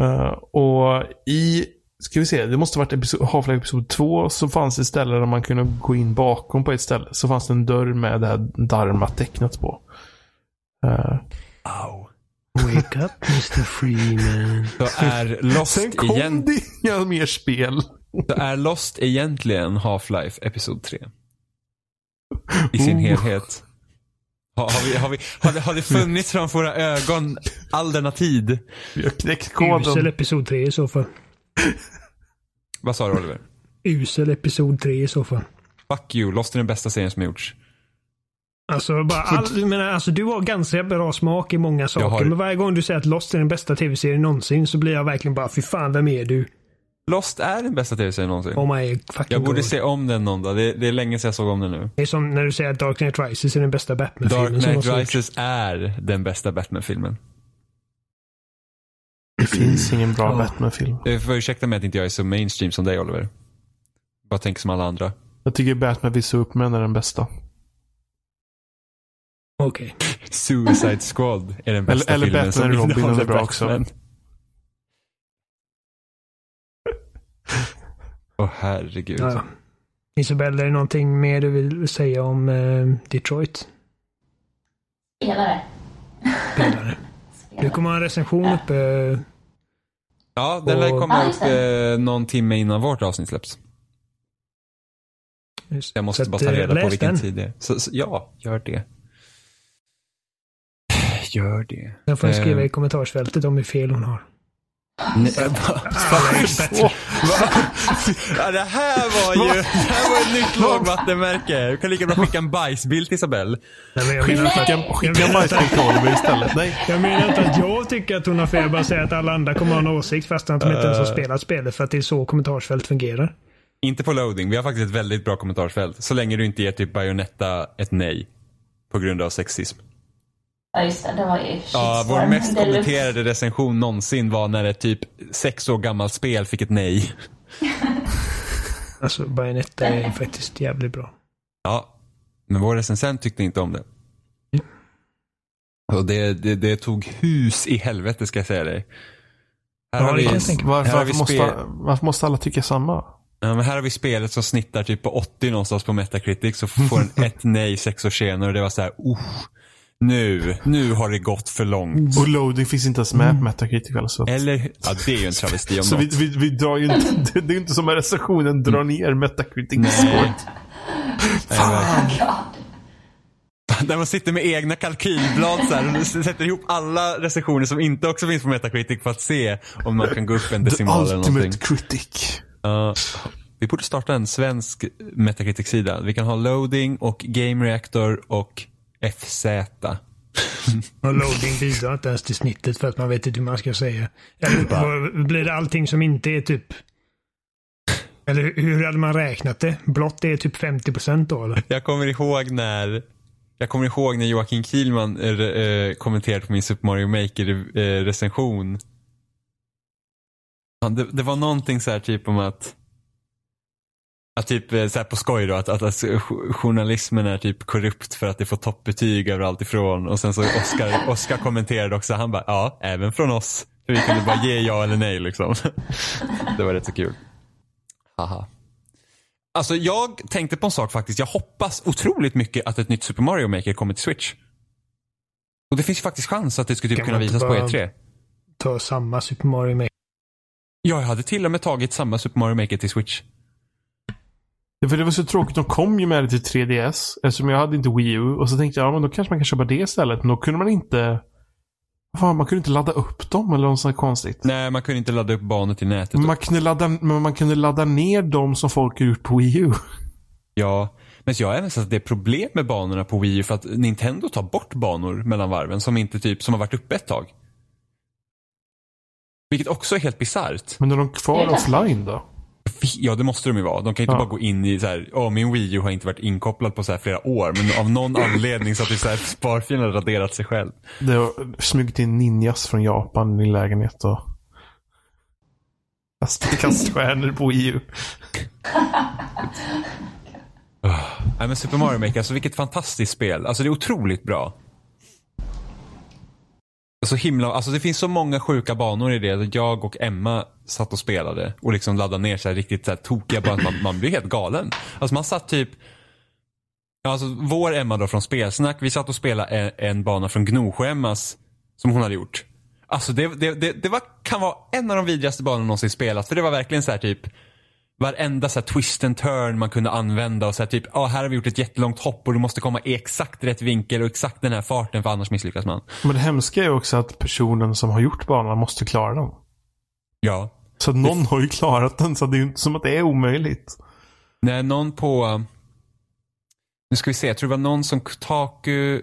[SPEAKER 1] Eh, och i, ska vi se, det måste ha varit episod, Half-Life Episod 2, så fanns det ett ställe där man kunde gå in bakom på ett ställe. Så fanns det en dörr med det här Dharma-tecknet på. Eh,
[SPEAKER 2] Au.
[SPEAKER 4] Wake up
[SPEAKER 2] [LAUGHS]
[SPEAKER 4] Mr. Freeman.
[SPEAKER 2] Så är Lost
[SPEAKER 1] sen kom
[SPEAKER 2] igen.
[SPEAKER 1] det inga mer spel.
[SPEAKER 2] Så är Lost egentligen Half-Life Episod 3? I sin
[SPEAKER 1] Oh.
[SPEAKER 2] helhet. Har, har, vi, har, vi, har, det, har det funnits framför våra ögon all denna tid?
[SPEAKER 1] Vi har knäckt
[SPEAKER 4] Usel
[SPEAKER 1] koden.
[SPEAKER 4] episod 3 i så fall.
[SPEAKER 2] Vad sa du Oliver?
[SPEAKER 4] Usel episod 3 i så fall.
[SPEAKER 2] Fuck you, Lost är den bästa serien som har gjorts.
[SPEAKER 4] Alltså, bara all, men alltså, du har ganska bra smak i många saker.
[SPEAKER 2] har-
[SPEAKER 4] Men varje gång du säger att Lost är den bästa tv-serien någonsin så blir jag verkligen bara, fy fan, vem är du?
[SPEAKER 2] Lost är den bästa tv-serien någonsin.
[SPEAKER 4] Oh my fucking
[SPEAKER 2] jag borde
[SPEAKER 4] god.
[SPEAKER 2] se om den någon dag. Det, det är länge sedan jag såg om den nu.
[SPEAKER 4] Det är som när du säger att Dark Knight Rises är den bästa
[SPEAKER 2] Dark
[SPEAKER 4] Batman-filmen. som
[SPEAKER 2] Knight
[SPEAKER 4] har gjorts.
[SPEAKER 2] Rises är den bästa Batman-filmen.
[SPEAKER 1] Det finns ingen bra
[SPEAKER 4] Ja.
[SPEAKER 1] Batman-film.
[SPEAKER 2] Du får Eh, ursäkta mig att inte jag är så mainstream som dig Oliver. Bara tänker som alla andra.
[SPEAKER 1] Jag tycker Batman vi såg upp med är den bästa.
[SPEAKER 4] Okej.
[SPEAKER 2] Suicide Squad är den bästa
[SPEAKER 1] Eller- eller
[SPEAKER 2] filmen som
[SPEAKER 1] Batman och Robin
[SPEAKER 2] innehåller
[SPEAKER 1] är bra också.
[SPEAKER 2] Batman. Åh herregud.
[SPEAKER 4] Ja, ja. Isabella, är det någonting mer du vill säga om eh, Detroit?
[SPEAKER 3] Spelare.
[SPEAKER 4] Spelare. Du kommer ha en recension uppe. eh,
[SPEAKER 2] Ja, den lär
[SPEAKER 4] Och-
[SPEAKER 2] komma
[SPEAKER 3] Ja,
[SPEAKER 2] upp
[SPEAKER 3] just
[SPEAKER 2] eh, någon timme innan vårt avsnitt släpps.
[SPEAKER 4] just-
[SPEAKER 2] Jag måste
[SPEAKER 4] så
[SPEAKER 2] bara
[SPEAKER 4] att,
[SPEAKER 2] ta
[SPEAKER 4] eh,
[SPEAKER 2] reda på
[SPEAKER 4] läs
[SPEAKER 2] vilken
[SPEAKER 4] den.
[SPEAKER 2] tid det är. Så, så, ja, gör det. Gör det.
[SPEAKER 4] Sen får ni skriva
[SPEAKER 2] Eh.
[SPEAKER 4] i kommentarsfältet om hur fel hon har.
[SPEAKER 2] Nej, va? Va? Ja, det här var ju det här var ett nytt lågvattenmärke. Du kan lika bra skicka en bajsbild till Isabelle.
[SPEAKER 4] Nej, men jag menar inte att-
[SPEAKER 1] Skicka, skicka bajsbild till Oliver istället. Nej.
[SPEAKER 4] Jag menar inte att jag tycker att hon har fel. Jag bara säger att alla andra kommer ha en åsikt fast att de inte ens har spelat spelet för att det är så kommentarsfält fungerar.
[SPEAKER 2] Inte på loading. Vi har faktiskt ett väldigt bra kommentarsfält. Så länge du inte ger typ Bayonetta ett nej. På grund av sexism.
[SPEAKER 3] Ja, just det. Det var ju
[SPEAKER 2] Ja, vår
[SPEAKER 3] shitstorm
[SPEAKER 2] mest
[SPEAKER 3] deluxe. [LAUGHS]
[SPEAKER 2] kommenterade recension någonsin var när ett typ sex år gammalt spel fick ett nej.
[SPEAKER 4] Alltså Bayonetta är faktiskt jävligt bra.
[SPEAKER 2] Ja, men vår recensent tyckte inte om det. Och det, det, det tog hus i helvete ska jag säga dig. Här
[SPEAKER 4] Ja,
[SPEAKER 2] har
[SPEAKER 4] det
[SPEAKER 2] vi,
[SPEAKER 4] kan jag tänka
[SPEAKER 2] här
[SPEAKER 4] mig.
[SPEAKER 1] Varför,
[SPEAKER 2] har vi
[SPEAKER 1] varför, måste,
[SPEAKER 2] spel-
[SPEAKER 1] varför måste alla tycka samma?
[SPEAKER 2] ja, men här har vi spelet som snittar typ på 80 någonstans på Metacritic så får en [LAUGHS] ett nej sex år senare och det var så här, oh, nu, nu har det gått för långt.
[SPEAKER 1] Och loading finns inte ens med på Metacritic alltså.
[SPEAKER 2] Eller, ja det är ju en travesti om
[SPEAKER 1] Så vi,
[SPEAKER 2] något.
[SPEAKER 1] vi, vi drar ju inte, [LAUGHS] det, det är ju inte som att recensionen drar ner Metacritic.
[SPEAKER 2] Mm. Nej.
[SPEAKER 1] Fan.
[SPEAKER 3] God.
[SPEAKER 2] Där man sitter med egna kalkylblad så här, och sätter ihop alla recensioner som inte också finns på Metacritic för att se om man kan gå upp en
[SPEAKER 1] The
[SPEAKER 2] decimal eller någonting.
[SPEAKER 1] ultimate critic.
[SPEAKER 2] Ja, vi borde starta en svensk Metacritic-sida. Vi kan ha loading och game reactor och FZ.
[SPEAKER 4] Och loading bidrar inte ens till snittet för att man vet inte hur man ska säga. Eller vad- blir det allting som inte är typ... Eller hur- hur hade man räknat det? Blått är typ 50% då eller?
[SPEAKER 2] Jag kommer ihåg när jag kommer ihåg när Joakim Kihlman eh, eh, kommenterade på min Super Mario eh, Maker-recension. det, det var någonting så här typ om att att typ eh, så här på skoj då, att, att, att jo- journalismen är typ korrupt för att det får toppbetyg överallt ifrån. Och sen så
[SPEAKER 4] [LAUGHS]
[SPEAKER 2] Oscar, Oscar kommenterade också, han bara ja, även från oss. För vi kunde bara ge ja eller nej liksom. [LAUGHS] Det var rätt så kul. Haha. Alltså jag tänkte på en sak faktiskt. Jag hoppas otroligt mycket att ett nytt Super Mario Maker kommer till Switch. Och det finns ju faktiskt chans att det skulle typ
[SPEAKER 4] Kan
[SPEAKER 2] kunna
[SPEAKER 4] man inte
[SPEAKER 2] visas på
[SPEAKER 4] bara-
[SPEAKER 2] E3.
[SPEAKER 4] Ta samma Super Mario Maker.
[SPEAKER 2] Ja, Jag hade till och med tagit samma Super Mario Maker till Switch.
[SPEAKER 1] Ja, För det var så tråkigt. De kom ju med det till 3DS. Eftersom jag hade inte Wii U. Och så tänkte jag, ja men då kanske man kan köpa det istället. Men då kunde man inte... vad Fan, man kunde inte ladda upp dem eller något sånt konstigt.
[SPEAKER 2] Nej, man kunde inte ladda upp banor till nätet.
[SPEAKER 1] Men man, kunde ladda, men man kunde ladda ner dem som folk har gjort på Wii U.
[SPEAKER 2] Ja, men så jag har även sett att det är problem med banorna på Wii U för att Nintendo tar bort banor mellan varven som inte typ, som har varit uppe ett tag. Vilket också är helt bisarrt.
[SPEAKER 1] Men är de kvar
[SPEAKER 3] Det är
[SPEAKER 1] offline då?
[SPEAKER 2] Ja, det måste de ju vara. De kan ju inte
[SPEAKER 1] Ja.
[SPEAKER 2] bara gå in i så här, åh min Wii U har inte varit inkopplad på så här flera år, men av någon anledning så har typ så här [LAUGHS] sparfilen har raderat sig själv.
[SPEAKER 1] Det har smugit in ninjas från Japan i min lägenhet och... Kastat kaststjärnor på Wii U.
[SPEAKER 2] Nej men Super Mario Maker, alltså vilket fantastiskt spel. Alltså det är otroligt bra. Så himla, alltså det finns så många sjuka banor i det. Jag och Emma satt och spelade och liksom laddade ner så här riktigt så här tokiga banor. Man, man blir helt galen. Alltså man satt typ, ja, alltså vår Emma då från Spelsnack, vi satt och spelade en, en bana från Gnosjö-Emmas som hon hade gjort. Alltså det, det, det, det var, kan vara en av de vidrigaste banorna någonsin spelat. För det var verkligen så här typ, varenda så här twist and turn man kunde använda och så här typ, ja här har vi gjort ett jättelångt hopp och du måste komma i exakt rätt vinkel och exakt den här farten för annars misslyckas man.
[SPEAKER 1] Men det hemska är ju också att personen som har gjort banan måste klara den.
[SPEAKER 2] Ja.
[SPEAKER 1] Så att någon har ju klarat den, så det är ju inte som att det är omöjligt.
[SPEAKER 2] När någon på eh, Nu ska vi se, jag tror det var någon som Kotaku,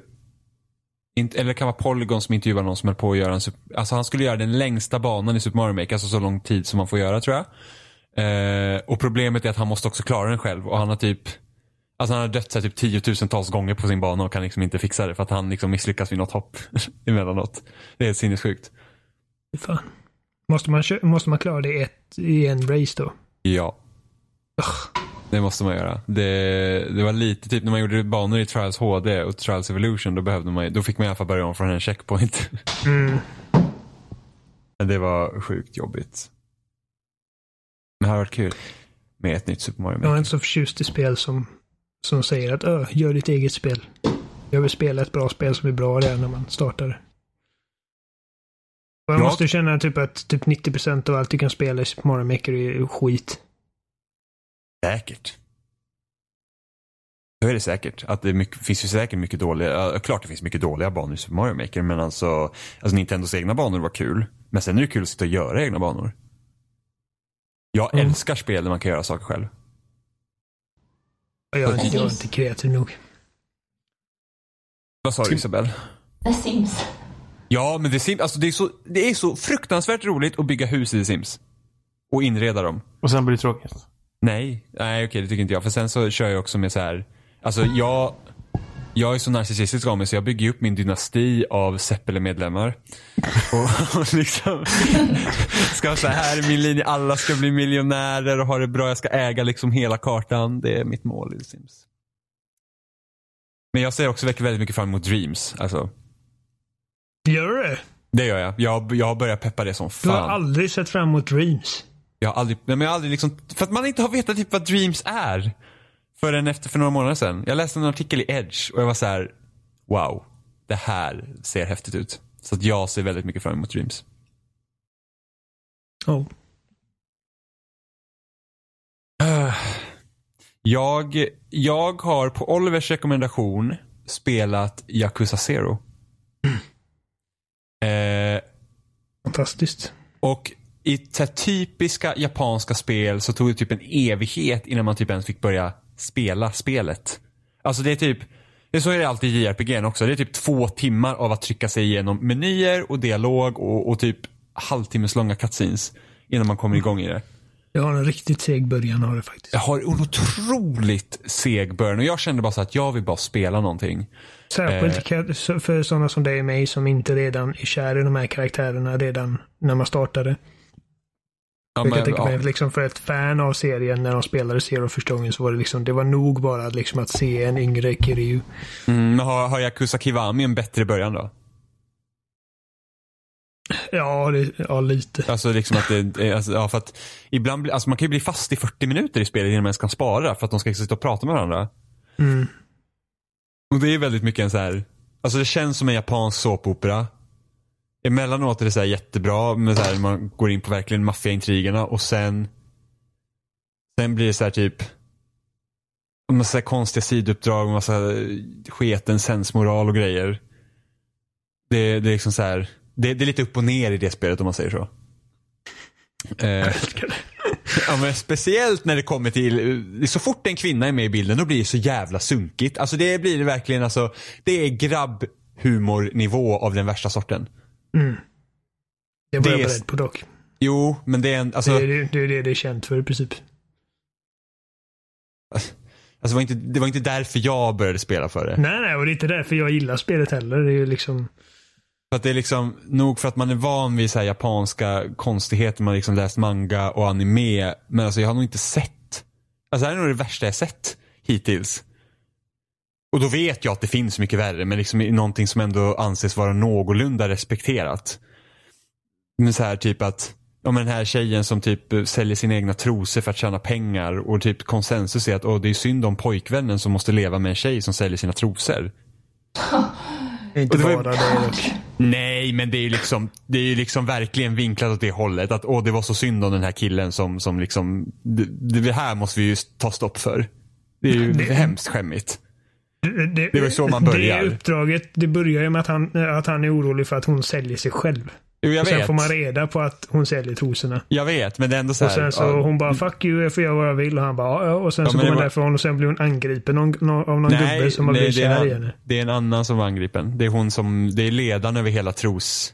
[SPEAKER 2] inte, eller det kan vara Polygon som intervjuade någon som höll på att göra en, sup- alltså han skulle göra den längsta banan i Super Mario Maker, alltså så lång tid som man får göra tror jag. Eh, och problemet är att han måste också klara den själv och han har typ, alltså han har dött så här typ tiotusentals gånger på sin bana och kan liksom inte fixa det för att han liksom misslyckas vid något hopp [LAUGHS] emellanåt. Det är helt sinnessjukt.
[SPEAKER 4] Fy Fan. Måste, man, kö- måste man klara det i ett, i en race då?
[SPEAKER 2] Ja. Det måste man göra. Det, det var lite, typ när man gjorde banor i Trials HD och Trials Evolution, då, behövde man, ju- då fick man i alla fall börja om från en checkpoint. [LAUGHS]
[SPEAKER 4] Mm.
[SPEAKER 2] Men Det var sjukt jobbigt. Men det hade varit kul med ett nytt Super Mario
[SPEAKER 4] Jag är
[SPEAKER 2] Maker.
[SPEAKER 4] inte så förtjust i spel som, som säger att Ö, gör ditt eget spel. Jag vill spela ett bra spel som är bra redan när man startar det. Och jag
[SPEAKER 2] Ja.
[SPEAKER 4] måste känna typ att typ 90% av allt du kan spela i Super Mario Maker är skit.
[SPEAKER 2] Säkert. Så är det säkert. Att det är mycket, finns ju säkert mycket dåliga, ja, klart det finns mycket dåliga banor i Super Mario Maker men alltså, alltså Nintendos egna banor var kul. Men sen är det kul att sitta och göra egna banor. Jag
[SPEAKER 4] Mm.
[SPEAKER 2] älskar spel där man kan göra saker själv.
[SPEAKER 4] Och jag är inte, jag är
[SPEAKER 3] Precis.
[SPEAKER 4] inte kreativ nog.
[SPEAKER 2] Vad sa du Isabel?
[SPEAKER 3] The Sims.
[SPEAKER 2] Ja, men The Sims, alltså det, är så, det är så fruktansvärt roligt att bygga hus i The Sims. Och inreda dem.
[SPEAKER 1] Och sen blir det tråkigt.
[SPEAKER 2] Nej, nej okej det tycker inte jag. För sen så kör jag också med så här. Alltså jag, jag är så narcissistisk av mig så jag bygger ju upp min dynasti av Zeppelin-medlemmar. Och, och liksom ska så här är min linje, alla ska bli miljonärer och ha det bra. Jag ska äga liksom hela kartan. Det är mitt mål i The Sims. Men jag ser också väldigt mycket fram emot Dreams. Alltså,
[SPEAKER 4] Gör du det?
[SPEAKER 2] det gör jag. Jag, jag börjar peppa det som
[SPEAKER 4] Du
[SPEAKER 2] fan.
[SPEAKER 4] har aldrig sett fram emot Dreams.
[SPEAKER 2] Jag har aldrig, nej men jag har aldrig liksom, för att man inte har vetat typ vad dreams är. Förrän efter, för några månader sedan. Jag läste en artikel i Edge och jag var så här: wow, det här ser häftigt ut. Så att jag ser väldigt mycket fram emot dreams.
[SPEAKER 4] Oh.
[SPEAKER 2] Jag, jag har på Olivers rekommendation spelat Yakuza Zero. Eh,
[SPEAKER 4] Fantastiskt.
[SPEAKER 2] Och i så här typiska japanska spel så tog det typ en evighet innan man typ ens fick börja spela spelet. Alltså det är typ, det är så är det alltid i JRPG också. Det är typ två timmar av att trycka sig igenom menyer och dialog och, och typ halvtimmeslånga cutscenes innan man kommer igång i det.
[SPEAKER 4] Jag har en riktigt seg början av det faktiskt.
[SPEAKER 2] Jag har en otroligt seg början och jag kände bara så att jag vill bara spela någonting. Eh.
[SPEAKER 4] Särskilt ka- för sådana som dig och mig som inte redan är kär i de här karaktärerna redan när man startade.
[SPEAKER 2] Ja,
[SPEAKER 4] jag
[SPEAKER 2] men-
[SPEAKER 4] kan tänka mig
[SPEAKER 2] ja.
[SPEAKER 4] liksom för ett fan av serien när de spelade Zero första gången så var det liksom, det var nog bara att liksom att se en yngre Kiryu.
[SPEAKER 2] Mm, men har, har Yakuza Kiwami en bättre början då?
[SPEAKER 4] Ja, det, ja lite.
[SPEAKER 2] Alltså liksom att det, eh, alltså, ja, för att ibland, blir- alltså man kan ju bli fast i 40 minuter i spelet innan man ens kan spara för att de ska sitta och prata med varandra.
[SPEAKER 4] Mm.
[SPEAKER 2] Och det är väldigt mycket en så här, alltså det känns som en japansk såpopera. Emellanåt är det så här jättebra, men så här, man går in på verkligen maffiaintrigerna och sen, sen blir det så här typ, en massa konstiga sidouppdrag, en massa sketen sensmoral och grejer. Det, det är liksom så här, det, det är lite upp och ner i det spelet om man säger så. Eh, Ja, men speciellt när det kommer till, så fort en kvinna är med i bilden då blir det så jävla sunkigt. Alltså det blir det verkligen, alltså, det är grabbhumornivå av den värsta sorten.
[SPEAKER 4] Det var
[SPEAKER 2] Det
[SPEAKER 4] jag
[SPEAKER 2] är-
[SPEAKER 4] beredd på dock.
[SPEAKER 2] Jo, men det är en, alltså,
[SPEAKER 4] Det är det, det är det det är känt för i princip.
[SPEAKER 2] alltså det, var inte, det var inte därför jag började spela för det.
[SPEAKER 4] Nej, nej, och det är inte därför jag gillar spelet heller. Det är ju liksom,
[SPEAKER 2] För att det är liksom, nog för att man är van vid så här japanska konstigheter, man har liksom läst manga och anime, men alltså jag har nog inte sett, alltså det här är nog det värsta jag sett hittills. Och då vet jag att det finns mycket värre, men liksom i någonting som ändå anses vara någorlunda respekterat. Men så här typ att, om den här tjejen som typ eh, säljer sina egna trosor för att tjäna pengar och typ konsensus är att åh, det är synd om pojkvännen som måste leva med en tjej som säljer sina trosor.
[SPEAKER 4] [LAUGHS] det är inte
[SPEAKER 2] Och det var ju-
[SPEAKER 4] bara det dock.
[SPEAKER 2] Nej, men det är ju liksom, det är ju liksom verkligen vinklat åt det hållet. Att åh, det var så synd om den här killen som, som liksom, det, det här måste vi ju ta stopp för. Det är ju hemskt skämmigt.
[SPEAKER 4] Det,
[SPEAKER 2] Det var ju så man börjar.
[SPEAKER 4] Det uppdraget, det börjar ju med att han, att han är orolig för att hon säljer sig själv.
[SPEAKER 2] Jo, jag
[SPEAKER 4] Och sen
[SPEAKER 2] vet.
[SPEAKER 4] får man reda på att hon säljer trosorna.
[SPEAKER 2] Jag vet, men det är ändå så
[SPEAKER 4] Och
[SPEAKER 2] här.
[SPEAKER 4] sen så
[SPEAKER 2] ja.
[SPEAKER 4] hon bara fuck you, jag får göra vad jag vill. Och han bara ja, ja. Och sen
[SPEAKER 2] Ja,
[SPEAKER 4] så
[SPEAKER 2] men
[SPEAKER 4] går
[SPEAKER 2] det
[SPEAKER 4] hon
[SPEAKER 2] var-
[SPEAKER 4] därifrån och sen blir hon angripen av någon, av någon gubbe som har blivit
[SPEAKER 2] det, är
[SPEAKER 4] kär i
[SPEAKER 2] en,
[SPEAKER 4] henne.
[SPEAKER 2] det är en annan som var angripen. Det är hon som, det är ledaren över hela tros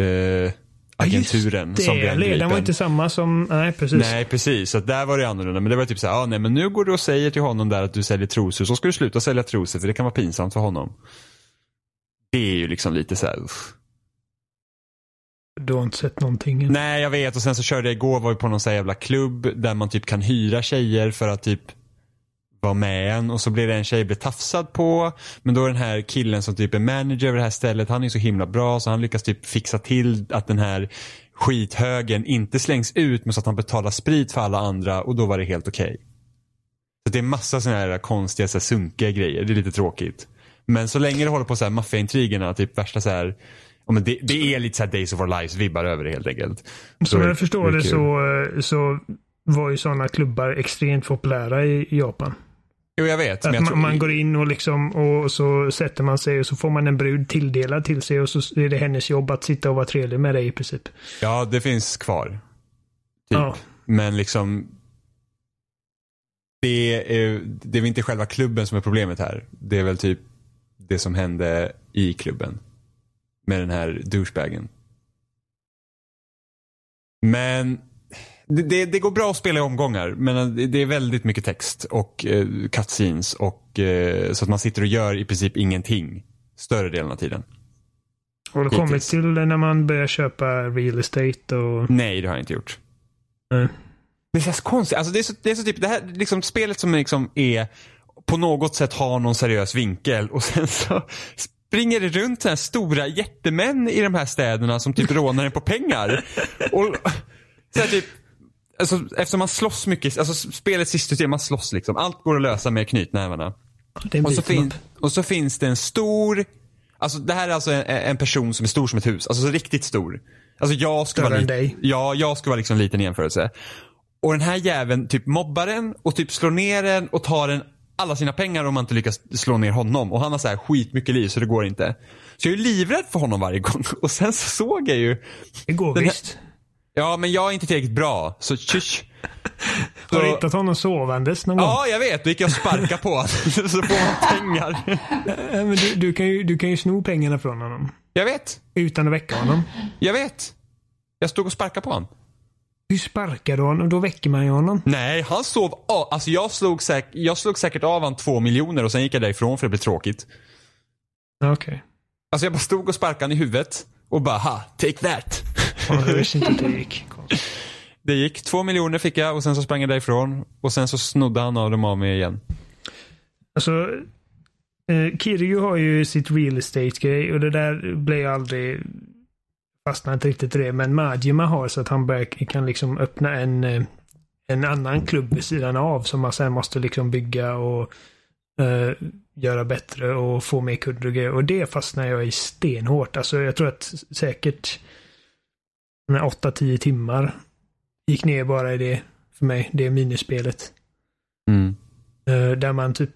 [SPEAKER 2] eh, agenturen
[SPEAKER 4] det,
[SPEAKER 2] som blir angripen.
[SPEAKER 4] ledaren var inte samma som, nej precis.
[SPEAKER 2] Nej precis, så att där var det annorlunda. Men det var typ så här, ah, nej men nu går du och säger till honom där att du säljer trosor. Så ska du sluta sälja trosor för det kan vara pinsamt för honom. Det är ju liksom lite så här, uff.
[SPEAKER 4] Du har inte sett någonting. än.
[SPEAKER 2] Nej jag vet och sen så körde jag igår var vi på någon så här jävla klubb där man typ kan hyra tjejer för att typ vara med en och så blir det en tjej jag blir tafsad på. Men då är den här killen som typ är manager över det här stället, han är ju så himla bra så han lyckas typ fixa till att den här skithögen inte slängs ut men så att han betalar sprit för alla andra och då var det helt okej. Så det är massa sådana här konstiga, så här, sunkiga grejer. Det är lite tråkigt. Men så länge det håller på så här maffiaintrigerna, typ värsta så här ja, men det, det är lite så här Days of Our Lives vibbar över det helt enkelt. Så
[SPEAKER 4] Som
[SPEAKER 2] är
[SPEAKER 4] jag förstår det
[SPEAKER 2] kul.
[SPEAKER 4] så, eh, så var ju sådana klubbar extremt populära i Japan.
[SPEAKER 2] Jo jag vet. Men
[SPEAKER 4] Att
[SPEAKER 2] jag
[SPEAKER 4] man,
[SPEAKER 2] tror,
[SPEAKER 4] man går in och, liksom, och så sätter man sig och så får man en brud tilldelad till sig och så är det hennes jobb att sitta och vara trevlig med dig i princip.
[SPEAKER 2] Ja det finns kvar. Typ.
[SPEAKER 4] Ja.
[SPEAKER 2] Men liksom det är, det är väl inte själva klubben som är problemet här. Det är väl typ det som hände i klubben. Med den här douchebagen. Men det, det, det går bra att spela i omgångar. Men det- det är väldigt mycket text och eh, cutscenes. Och, eh, så att man sitter och gör i princip ingenting. Större delen av tiden.
[SPEAKER 4] Har du kommit
[SPEAKER 2] Hittills.
[SPEAKER 4] till när man börjar köpa real estate och...
[SPEAKER 2] Nej, det har jag inte gjort.
[SPEAKER 4] Nej.
[SPEAKER 2] Det känns konstigt. Alltså det, är så, det är så typ, det här liksom, spelet som liksom är på något sätt har någon seriös vinkel och sen så springer det runt så här stora jättemän i de här städerna som typ rånar en på pengar. Och så här typ, alltså, eftersom man slåss mycket, alltså spelets sista system, man slåss liksom. Allt går att lösa med knytnävarna.
[SPEAKER 4] Det är en
[SPEAKER 2] Och så,
[SPEAKER 4] bit
[SPEAKER 2] fin- och så finns det en stor, alltså det här är alltså en, en person som är stor som ett hus, alltså så riktigt stor. Alltså jag skulle
[SPEAKER 4] Större
[SPEAKER 2] vara
[SPEAKER 4] än
[SPEAKER 2] lit-
[SPEAKER 4] dig.
[SPEAKER 2] Ja, jag skulle vara liksom liten i jämförelse. Och den här jäveln typ mobbar en och typ slår ner en och tar en alla sina pengar om man inte lyckas slå ner honom. Och han har så här skitmycket liv så det går inte. Så jag är ju livrädd för honom varje gång. [LAUGHS] Och sen så såg jag ju,
[SPEAKER 4] Det går
[SPEAKER 2] den här-
[SPEAKER 4] visst.
[SPEAKER 2] ja men jag är inte tillräckligt bra, så tjysch.
[SPEAKER 4] Har du
[SPEAKER 2] Så-
[SPEAKER 4] hittat honom sovandes någon gång?
[SPEAKER 2] Ja, jag vet. Då gick jag och sparkade på honom. [LAUGHS] Så får man pengar.
[SPEAKER 4] Nej, Eh, men du, du, kan ju, du kan ju sno pengarna från honom.
[SPEAKER 2] Jag vet.
[SPEAKER 4] Utan att väcka honom.
[SPEAKER 2] Jag vet. Jag stod och sparkade på honom.
[SPEAKER 4] Hur sparkar du honom? Då väcker man ju honom.
[SPEAKER 2] Nej, han sov av. Alltså jag slog, säk- jag slog säkert av han två miljoner och sen gick jag därifrån för det blev tråkigt.
[SPEAKER 4] Ja, Okej.
[SPEAKER 2] Alltså jag bara stod och sparkade han i huvudet och bara ha, take that. [LAUGHS]
[SPEAKER 4] Okay. Jag visste inte att det gick. Konstigt.
[SPEAKER 2] Det gick, två miljoner fick jag och sen så sprang jag därifrån och sen så snodde han av dem av mig igen.
[SPEAKER 4] Alltså, eh, Kirju har ju sitt real estate-grej och det där blev jag aldrig... Fastnade inte riktigt i det. Men Majima har så att han börjar, kan liksom öppna en, eh, en annan klubb vid sidan av som man sen måste liksom bygga och eh, göra bättre och få mer kunder och grejer. Och det fastnar jag i stenhårt. Alltså jag tror att säkert 8-10 timmar gick ner bara i det för mig. Det minispelet.
[SPEAKER 2] Mm.
[SPEAKER 4] Eh, Där man typ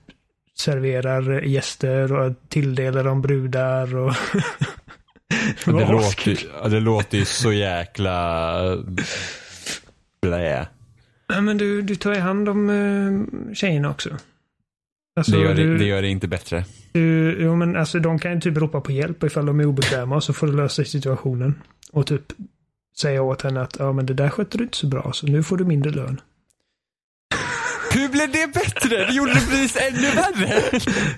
[SPEAKER 4] serverar gäster och tilldelar dem
[SPEAKER 2] [LAUGHS]
[SPEAKER 4] brudar och...
[SPEAKER 2] Och
[SPEAKER 4] var
[SPEAKER 2] Det, låter,
[SPEAKER 4] askul.
[SPEAKER 2] ju- ja, det låter ju så jäkla... äh, Blä.
[SPEAKER 4] Ja, men du, du tar ju hand om uh, tjejerna också. Alltså,
[SPEAKER 2] Det gör
[SPEAKER 4] du,
[SPEAKER 2] det, det gör det inte bättre.
[SPEAKER 4] Du, jo, men alltså de kan ju typ ropa på hjälp ifall de är obekväma och så får du lösa situationen. Och typ säga åt henne att ja, men det där skötte du inte så bra så nu får du mindre lön.
[SPEAKER 2] Hur blev det bättre? Vi gjorde det precis ännu värre.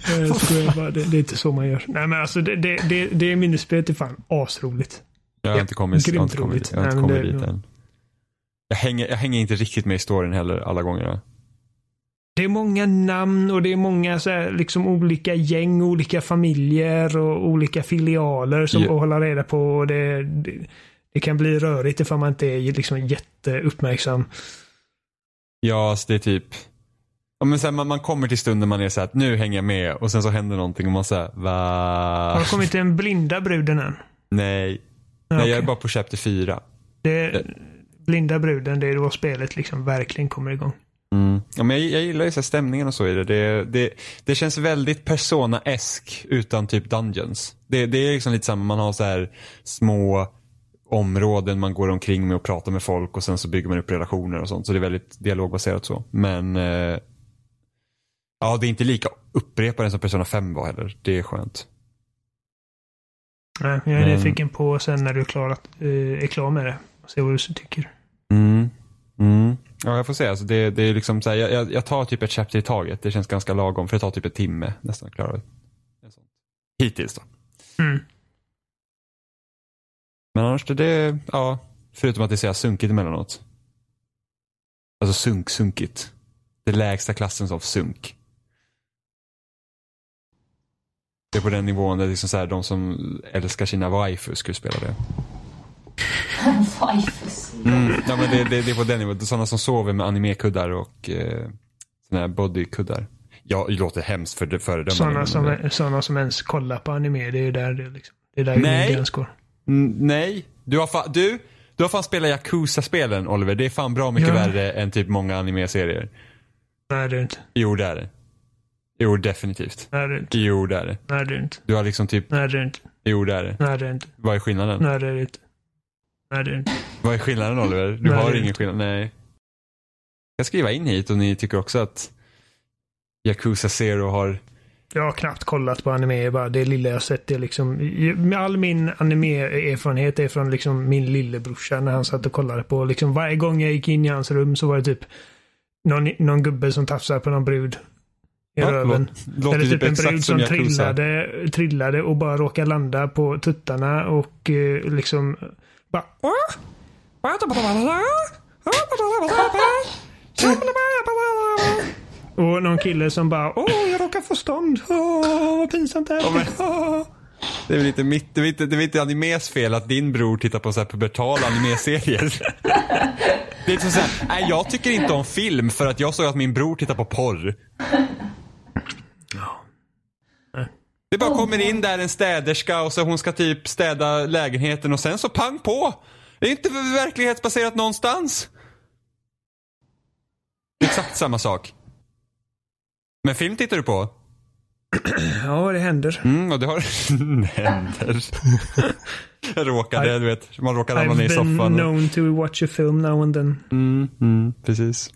[SPEAKER 4] Eh, Jag skojar bara, det, det är inte så man gör. Nej men alltså det, det, det, det minnesspelet är fan asroligt.
[SPEAKER 2] Jag har
[SPEAKER 4] Ja,
[SPEAKER 2] inte kommit, jag har
[SPEAKER 4] grymt
[SPEAKER 2] inte kommit,
[SPEAKER 4] roligt.
[SPEAKER 2] jag har inte
[SPEAKER 4] Nej, men
[SPEAKER 2] kommit
[SPEAKER 4] det-
[SPEAKER 2] dit än. Jag hänger, jag hänger inte riktigt med i storyn heller alla gånger.
[SPEAKER 4] Det är många namn och det är många så här, liksom olika gäng, olika familjer och olika filialer som
[SPEAKER 2] Ja.
[SPEAKER 4] att hålla reda på. Och det, det, det kan bli rörigt ifall man inte är liksom jätteuppmärksam.
[SPEAKER 2] Ja, alltså det är typ. Ja, men sen man, man kommer till stunden man är så här att nu hänger jag med och sen så händer någonting och man säger
[SPEAKER 4] Har
[SPEAKER 2] va?
[SPEAKER 4] det kommit till den blinda bruden än?
[SPEAKER 2] Nej.
[SPEAKER 4] Ja,
[SPEAKER 2] Nej, jag är
[SPEAKER 4] okej.
[SPEAKER 2] bara på chapter 4.
[SPEAKER 4] det, blinda bruden, det är då spelet liksom verkligen kommer igång.
[SPEAKER 2] Mm. Ja, men jag, jag gillar ju så här stämningen och så i det. Det, det. det känns väldigt Persona-esk utan typ Dungeons. Det, det är liksom lite samma, man har så här små områden man går omkring med och pratar med folk och sen så bygger man upp relationer och sånt. Så det är väldigt dialogbaserat så. Men eh, ja, det är inte lika upprepande som Persona 5 var heller. Det är skönt.
[SPEAKER 4] Nej, jag är
[SPEAKER 2] Men-
[SPEAKER 4] nyfiken på sen när du är klar, att, eh, är klar med det. Se vad du tycker.
[SPEAKER 2] Mm. Mm. Ja, jag får se. Alltså det, det är liksom så här, jag- jag, jag tar typ ett chapter i taget. Det känns ganska lagom för det tar typ en timme nästan att klara det. Hittills då.
[SPEAKER 4] Mm.
[SPEAKER 2] Men annars det, det ja, förutom att det är så jävla sunkigt emellanåt. Alltså sunk, sunkigt. Det lägsta klassen av sunk. Det är på den nivån där liksom så här, de som älskar sina waifus skulle spela det.
[SPEAKER 3] Fifus.
[SPEAKER 2] Mm. Ja, men det, det, det är på den nivån. Sådana som sover med animekuddar och eh, sådana här bodykuddar. Ja, det låter hemskt för det föredömande.
[SPEAKER 4] Sådana
[SPEAKER 2] men-
[SPEAKER 4] som, sådana som ens kollar på anime, det är ju där det, är liksom, det är där
[SPEAKER 2] Nej.
[SPEAKER 4] min gräns går.
[SPEAKER 2] Mm, nej, du har, fa- du, du har fan spelat Yakuza-spelen Oliver. Det är fan bra mycket
[SPEAKER 4] Ja.
[SPEAKER 2] värre än typ många anime-serier.
[SPEAKER 4] Nej, det är det inte.
[SPEAKER 2] Jo, det är det. Jo, definitivt.
[SPEAKER 4] Nej, det är det inte.
[SPEAKER 2] Jo, det är det.
[SPEAKER 4] Nej, det är det inte.
[SPEAKER 2] Du har liksom typ,
[SPEAKER 4] Nej, det är det inte.
[SPEAKER 2] jo, det är det.
[SPEAKER 4] Nej, det är det inte.
[SPEAKER 2] Vad är skillnaden?
[SPEAKER 4] Nej, det är det inte. Nej, det är det inte.
[SPEAKER 2] Vad är skillnaden Oliver? Du
[SPEAKER 4] Nej,
[SPEAKER 2] har
[SPEAKER 4] det är
[SPEAKER 2] ingen
[SPEAKER 4] inte.
[SPEAKER 2] skillnad. Nej. Jag skriver in hit och ni tycker också att Yakuza Zero har
[SPEAKER 4] Jag har knappt kollat på anime, bara det lilla jag sett. Det är liksom, med all min anime-erfarenhet är från liksom min lillebrorsa när han satt och kollade på. Liksom varje gång jag gick in i hans rum så var det typ någon, någon gubbe som tafsade på någon brud i
[SPEAKER 2] Ja,
[SPEAKER 4] röven.
[SPEAKER 2] lå- låter
[SPEAKER 4] Eller typ
[SPEAKER 2] typ
[SPEAKER 4] en
[SPEAKER 2] exakt
[SPEAKER 4] brud
[SPEAKER 2] som
[SPEAKER 4] som
[SPEAKER 2] Yakuza.
[SPEAKER 4] trillade, trillade och bara råkade landa på tuttarna och eh, liksom bara Och någon kille som bara Åh, jag råkar få stånd. Åh, vad pinsamt det här
[SPEAKER 2] men-
[SPEAKER 4] är. Åh.
[SPEAKER 2] Det är väl inte mitt, det är väl inte, det är väl inte animes fel att din bror tittar på så här pubertala animeserier. Det är liksom så här, nej jag tycker inte om film för att jag såg att min bror tittar på porr. Det bara kommer in där en städerska och så hon ska typ städa lägenheten och sen så pang på. Det är inte verklighetsbaserat någonstans. Det är Exakt samma sak. Men film tittar du på?
[SPEAKER 4] Ja, det händer.
[SPEAKER 2] Mm, och det har [LAUGHS] händer. Jag råkade, du vet, man råkade ramla ner i
[SPEAKER 4] I've
[SPEAKER 2] soffan.
[SPEAKER 4] been known to watch a film now and then.
[SPEAKER 2] Mm, mm, precis.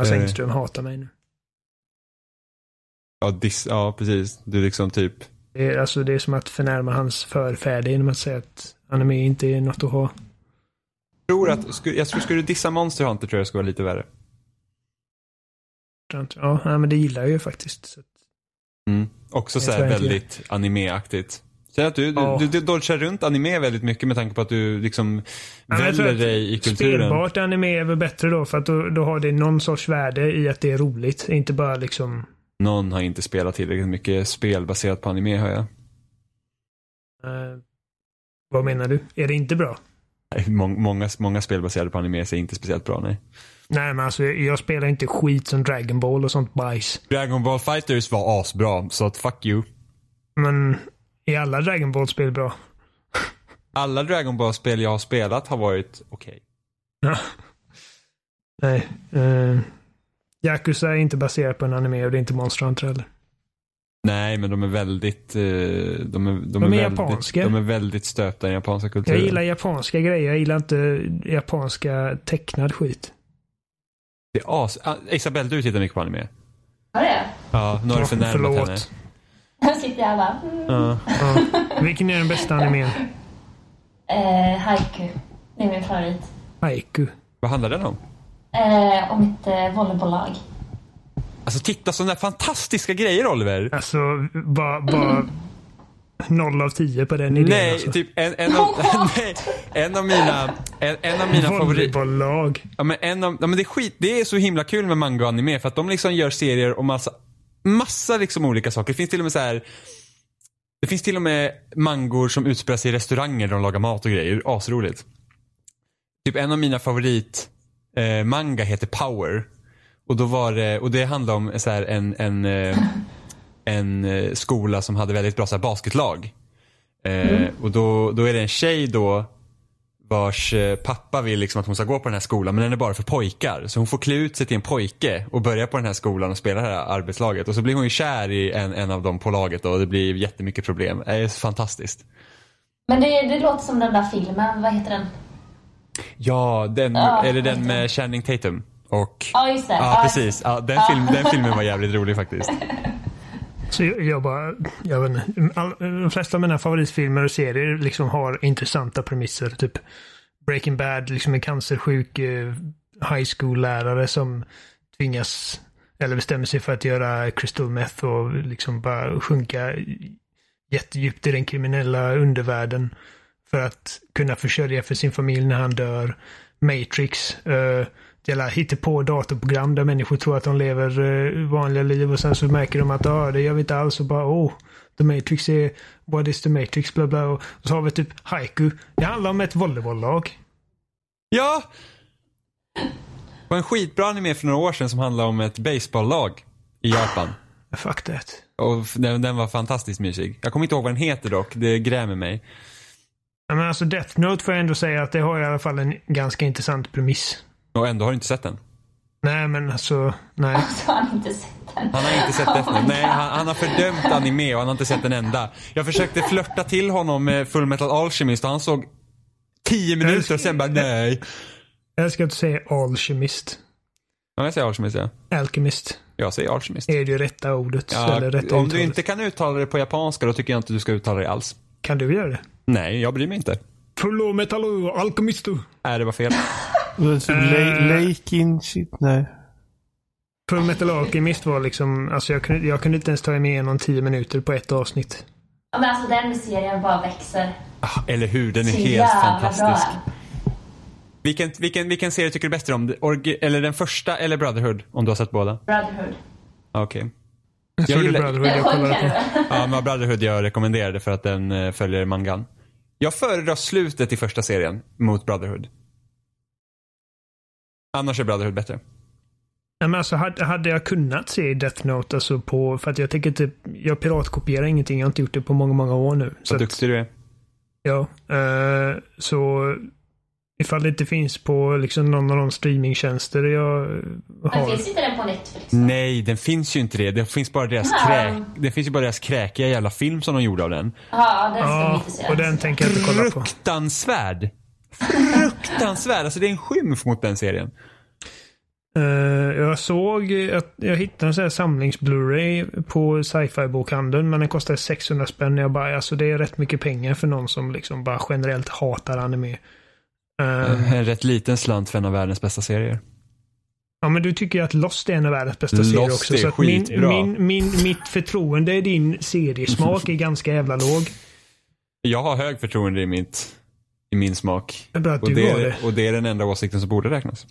[SPEAKER 4] Mats
[SPEAKER 2] Eh.
[SPEAKER 4] Engström hatar mig nu.
[SPEAKER 2] Ja, dis, ja, precis. Du liksom typ.
[SPEAKER 4] Det är, alltså, det är som att förnärma hans förfäder genom att säga att anime inte är något att ha.
[SPEAKER 2] Tror att, sku, jag tror skulle du dissa Monster Hunter tror jag skulle vara lite värre.
[SPEAKER 4] Ja, nej, men det gillar jag ju faktiskt. Så. att-
[SPEAKER 2] Mm. Också
[SPEAKER 4] Jag
[SPEAKER 2] så här
[SPEAKER 4] tror jag inte
[SPEAKER 2] väldigt animeaktigt. Känner att du,
[SPEAKER 4] Ja.
[SPEAKER 2] du, du, du dodgar runt anime väldigt mycket med tanke på att du liksom
[SPEAKER 4] Ja, men jag tror
[SPEAKER 2] väljer
[SPEAKER 4] att
[SPEAKER 2] dig i kulturen.
[SPEAKER 4] Spelbart anime är väl bättre då för att då, då har det någon sorts värde i att det är roligt. Inte bara liksom...
[SPEAKER 2] Någon har inte spelat tillräckligt mycket spel baserat på anime hör jag.
[SPEAKER 4] eh, vad menar du? Är det inte bra?
[SPEAKER 2] Nej, Mång, många, många spel baserade på anime är inte speciellt bra nej.
[SPEAKER 4] Nej men alltså jag, jag spelar inte skit som Dragon Ball och sånt bajs.
[SPEAKER 2] Dragon Ball Fighters var asbra, så att fuck you.
[SPEAKER 4] Men är alla Dragon Ball-spel bra?
[SPEAKER 2] Alla Dragon Ball-spel jag har spelat har varit okej.
[SPEAKER 4] Nej. Uh, Yakuza är inte baserat på en anime och det är inte Monster Hunter heller.
[SPEAKER 2] Nej, men de är väldigt... eh, De är, de är,
[SPEAKER 4] är
[SPEAKER 2] väldigt,
[SPEAKER 4] japanska.
[SPEAKER 2] De är väldigt stöpta i den japanska
[SPEAKER 4] Jag
[SPEAKER 2] kulturen.
[SPEAKER 4] gillar japanska grejer. Jag gillar inte japanska tecknad skit.
[SPEAKER 2] Det är as... Ah, Isabel, du tittar mycket på anime.
[SPEAKER 3] Vad är det?
[SPEAKER 2] Ja, nu har du
[SPEAKER 4] Ja,
[SPEAKER 2] förnärmat
[SPEAKER 4] förlåt.
[SPEAKER 2] henne.
[SPEAKER 3] Här sitter jag bara. Mm.
[SPEAKER 2] Ja.
[SPEAKER 4] Ja. Vilken är den bästa animen?
[SPEAKER 3] Eh, haiku. Det är min favorit.
[SPEAKER 4] Haiku.
[SPEAKER 2] Vad handlar den om?
[SPEAKER 3] Eh, om mitt eh, volleybollag.
[SPEAKER 2] Alltså titta sådana där fantastiska grejer Oliver!
[SPEAKER 4] Alltså, bara, bara noll av tio på den idén.
[SPEAKER 2] Nej,
[SPEAKER 4] alltså.
[SPEAKER 2] typ en, en, av, [LAUGHS] nej, en av mina, en, en av mina favoriter.
[SPEAKER 4] Volleybolllag.
[SPEAKER 2] Ja men, en av, ja, men det, är skit, det är så himla kul med manga och anime för att de liksom gör serier om massa, massa liksom olika saker. Det finns till och med så här. Det finns till och med mangor som utspelar sig i restauranger där de lagar mat och grejer. Asroligt. Typ en av mina favorit eh, manga heter Power. Och då var det, och det handlar om så här en, en, eh, en eh, skola som hade väldigt bra så här basketlag. Eh, Och då, då är det en tjej då vars eh, pappa vill liksom att hon ska gå på den här skolan men den är bara för pojkar. Så hon får klä ut sig till en pojke och börja på den här skolan och spela det här arbetslaget. Och så blir hon ju kär i en, en av dem på laget då, och det blir jättemycket problem. Det är fantastiskt.
[SPEAKER 3] Men det, det låter som den där filmen, vad heter den?
[SPEAKER 2] Ja, den,
[SPEAKER 3] Ja,
[SPEAKER 2] är det den
[SPEAKER 3] just det.
[SPEAKER 2] med Channing Tatum? Och...
[SPEAKER 3] Ja, just det.
[SPEAKER 2] Ja,
[SPEAKER 3] [LAUGHS]
[SPEAKER 2] precis. Ja, den, film, den filmen var jävligt rolig faktiskt.
[SPEAKER 4] Så jag, jag bara, jag vet inte. All, de flesta av mina favoritfilmer och serier liksom har intressanta premisser. Typ Breaking Bad, liksom en cancersjuk eh, high school-lärare som tvingas, eller bestämmer sig för att göra crystal meth och liksom bara sjunka jättedjupt i den kriminella undervärlden. För att kunna försörja för sin familj när han dör. Matrix. Uh, jävla hittepå datorprogram där människor tror att de lever eh, vanliga liv och sen så märker de att ah, det gör vi inte alls och bara oh, The Matrix är what is the Matrix bla bla. Och så har vi typ Haiku. Det handlar om ett volleybolllag.
[SPEAKER 2] Ja! Det var en skitbra anime för några år sedan som handlade om ett baseballlag i Japan.
[SPEAKER 4] Fuck that.
[SPEAKER 2] Och f- den, den var fantastiskt mysig. Jag kommer inte ihåg vad den heter dock, det grämer mig.
[SPEAKER 4] Ja, Men alltså Death Note får jag ändå säga att det har i alla fall en ganska intressant premiss.
[SPEAKER 2] Och ändå har du inte sett den.
[SPEAKER 4] Nej men alltså, nej.
[SPEAKER 3] Så har han inte sett den.
[SPEAKER 2] Han har inte sett Death Note. Nej, han, han har fördömt anime och han har inte sett en enda. Jag försökte flörta till honom med Full Metal Alchemist och han såg 10 minuter och sen bara nej.
[SPEAKER 4] Jag ska inte säga Alchemist.
[SPEAKER 2] Ja, jag säger Alchemist ja.
[SPEAKER 4] Alchemist
[SPEAKER 2] Jag säger Alchemist.
[SPEAKER 4] är det rätta ordet. eller
[SPEAKER 2] Ja,
[SPEAKER 4] rätta
[SPEAKER 2] om du
[SPEAKER 4] uttalet.
[SPEAKER 2] inte kan uttala det på japanska då tycker jag inte du ska uttala det alls.
[SPEAKER 4] Kan du göra det?
[SPEAKER 2] Nej, jag bryr mig inte.
[SPEAKER 4] Fullo metallo alchemistu.
[SPEAKER 2] Nej, det var fel.
[SPEAKER 1] Det är typ Le- Lake in shit, nej.
[SPEAKER 4] Full Metal Alchemist var liksom, alltså jag kunde, jag kunde inte ens ta mig igenom 10 minuter på ett avsnitt.
[SPEAKER 3] Ja, men alltså den serien bara växer.
[SPEAKER 2] Ah, Eller hur? Den är
[SPEAKER 3] Så
[SPEAKER 2] helt
[SPEAKER 3] jävla
[SPEAKER 2] fantastisk.
[SPEAKER 3] bra.
[SPEAKER 2] Vilken, vilken, vilken serie tycker du bäst om? Orgi- eller den första eller Brotherhood? Om du har sett båda?
[SPEAKER 3] Brotherhood.
[SPEAKER 2] Ah, Okej.
[SPEAKER 4] Jag
[SPEAKER 2] Jag
[SPEAKER 4] såg det
[SPEAKER 2] gillar-
[SPEAKER 4] Brotherhood jag kollade på.
[SPEAKER 2] Ja, men Brotherhood jag rekommenderade för att den eh, följer mangan. Jag föredrar slutet i första serien mot Brotherhood. Annars är Brotherhood bättre.
[SPEAKER 4] Nej, men alltså, hade, hade jag kunnat se Death Note alltså på, för att jag tänker typ, jag piratkopierar ingenting, jag har inte gjort det på många, många år nu. Så
[SPEAKER 2] Vad
[SPEAKER 4] att,
[SPEAKER 2] duktig du är.
[SPEAKER 4] ja, eh, så ifall det inte finns på liksom någon av de streamingtjänster jag
[SPEAKER 3] Men
[SPEAKER 4] har.
[SPEAKER 3] finns inte [LAUGHS] den på Netflix?
[SPEAKER 2] Nej, den finns ju inte det. Det finns bara deras, kräk, det finns ju bara deras kräkiga jävla film som de gjorde av den.
[SPEAKER 3] Ja, den ska vi
[SPEAKER 4] Ja,
[SPEAKER 3] inte se.
[SPEAKER 4] och den tänker jag inte kolla på.
[SPEAKER 2] Fruktansvärd! Fruktansvärd! Alltså det är en skymf mot den serien.
[SPEAKER 4] Eh, jag såg att jag hittade en sån här samlings-Blu-ray på sci-fi bokhandeln men den kostade 600 spänn. Jag bara, alltså det är rätt mycket pengar för någon som liksom bara generellt hatar anime. Eh,
[SPEAKER 2] En rätt liten slant för en av världens bästa serier.
[SPEAKER 4] Ja men du tycker ju att Lost är en av världens bästa serier
[SPEAKER 2] Lost
[SPEAKER 4] också.
[SPEAKER 2] är
[SPEAKER 4] så att min,
[SPEAKER 2] skitbra.
[SPEAKER 4] min, min, mitt förtroende i din seriesmak är ganska jävla låg.
[SPEAKER 2] Jag har hög förtroende i, mitt, i min smak.
[SPEAKER 4] Det är Bra att
[SPEAKER 2] Och
[SPEAKER 4] du
[SPEAKER 2] det,
[SPEAKER 4] har det.
[SPEAKER 2] är, och det är den enda åsikten som borde räknas.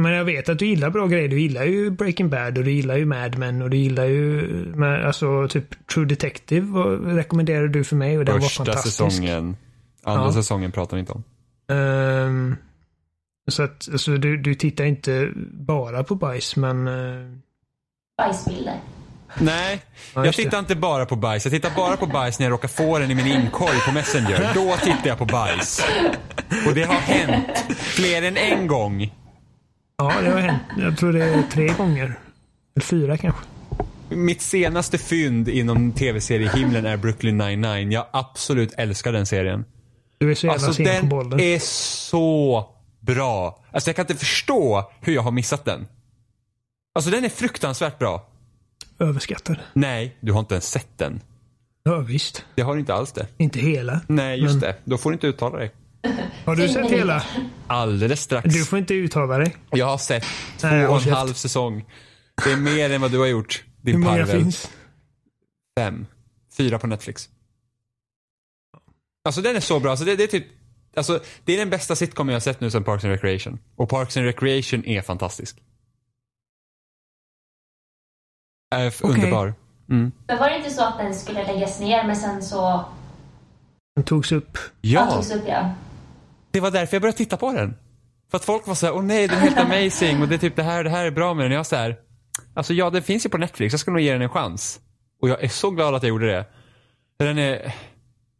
[SPEAKER 4] Men jag vet att du gillar bra grejer. Du gillar ju Breaking Bad och du gillar ju Mad Men och du gillar ju men, alltså typ True Detective och rekommenderade du för mig och den var
[SPEAKER 2] Första
[SPEAKER 4] fantastisk.
[SPEAKER 2] säsongen. Andra
[SPEAKER 4] Ja.
[SPEAKER 2] säsongen pratar vi inte om.
[SPEAKER 4] Ehm, så att alltså, du, du tittar inte bara på bajs men... eh,
[SPEAKER 3] Bajsbilder.
[SPEAKER 2] Nej,
[SPEAKER 4] Ja,
[SPEAKER 2] jag
[SPEAKER 4] just det.
[SPEAKER 2] tittar inte bara på bajs. Jag tittar bara på bajs när jag råkar få den i min inkorg på Messenger. Då tittar jag på bajs. Och det har hänt fler än en gång.
[SPEAKER 4] ja, det har hänt. Jag tror det är tre gånger. Eller fyra kanske.
[SPEAKER 2] Mitt senaste fynd inom tv-seriehimlen är Brooklyn 99. Jag absolut älskar den serien.
[SPEAKER 4] Du är så jävla
[SPEAKER 2] Alltså
[SPEAKER 4] sen på
[SPEAKER 2] den
[SPEAKER 4] bollen.
[SPEAKER 2] är så bra. Alltså jag kan inte förstå hur jag har missat den. Alltså den är fruktansvärt bra.
[SPEAKER 4] Överskattad.
[SPEAKER 2] Nej, du har inte ens sett den.
[SPEAKER 4] Ja, visst.
[SPEAKER 2] Det har du inte alls det.
[SPEAKER 4] Inte hela.
[SPEAKER 2] Nej, just
[SPEAKER 4] Men-
[SPEAKER 2] det. Då får du inte uttala dig.
[SPEAKER 4] Har du
[SPEAKER 3] Tio
[SPEAKER 4] sett
[SPEAKER 3] minuter.
[SPEAKER 4] hela?
[SPEAKER 2] Alldeles strax.
[SPEAKER 4] Du får inte uttala dig.
[SPEAKER 2] Jag har sett två
[SPEAKER 4] Nej, jag har
[SPEAKER 2] och en
[SPEAKER 4] sett.
[SPEAKER 2] halv säsong. Det är mer än vad du har gjort. Din
[SPEAKER 4] Hur många
[SPEAKER 2] parvel.
[SPEAKER 4] finns?
[SPEAKER 2] Fem. Fyra på Netflix. Alltså den är så bra. Alltså, det, det är typ, alltså, det är den bästa sitcom jag har sett nu sedan Parks and Recreation. Och Parks and Recreation är fantastisk. Äh, f-
[SPEAKER 4] Okej.
[SPEAKER 2] Underbar. Mm.
[SPEAKER 3] Men var det inte så att den skulle läggas ner men sen så...
[SPEAKER 4] Den togs upp.
[SPEAKER 3] Ja.
[SPEAKER 4] Alltså,
[SPEAKER 2] Ja,
[SPEAKER 3] Togs upp, ja.
[SPEAKER 2] det var därför jag började titta på den. För att folk var så här, åh nej, den är helt amazing och det är typ det här, det här är bra med den. Jag var så här, alltså ja, den finns ju på Netflix, jag ska nog ge den en chans. Och jag är så glad att jag gjorde det. För den är,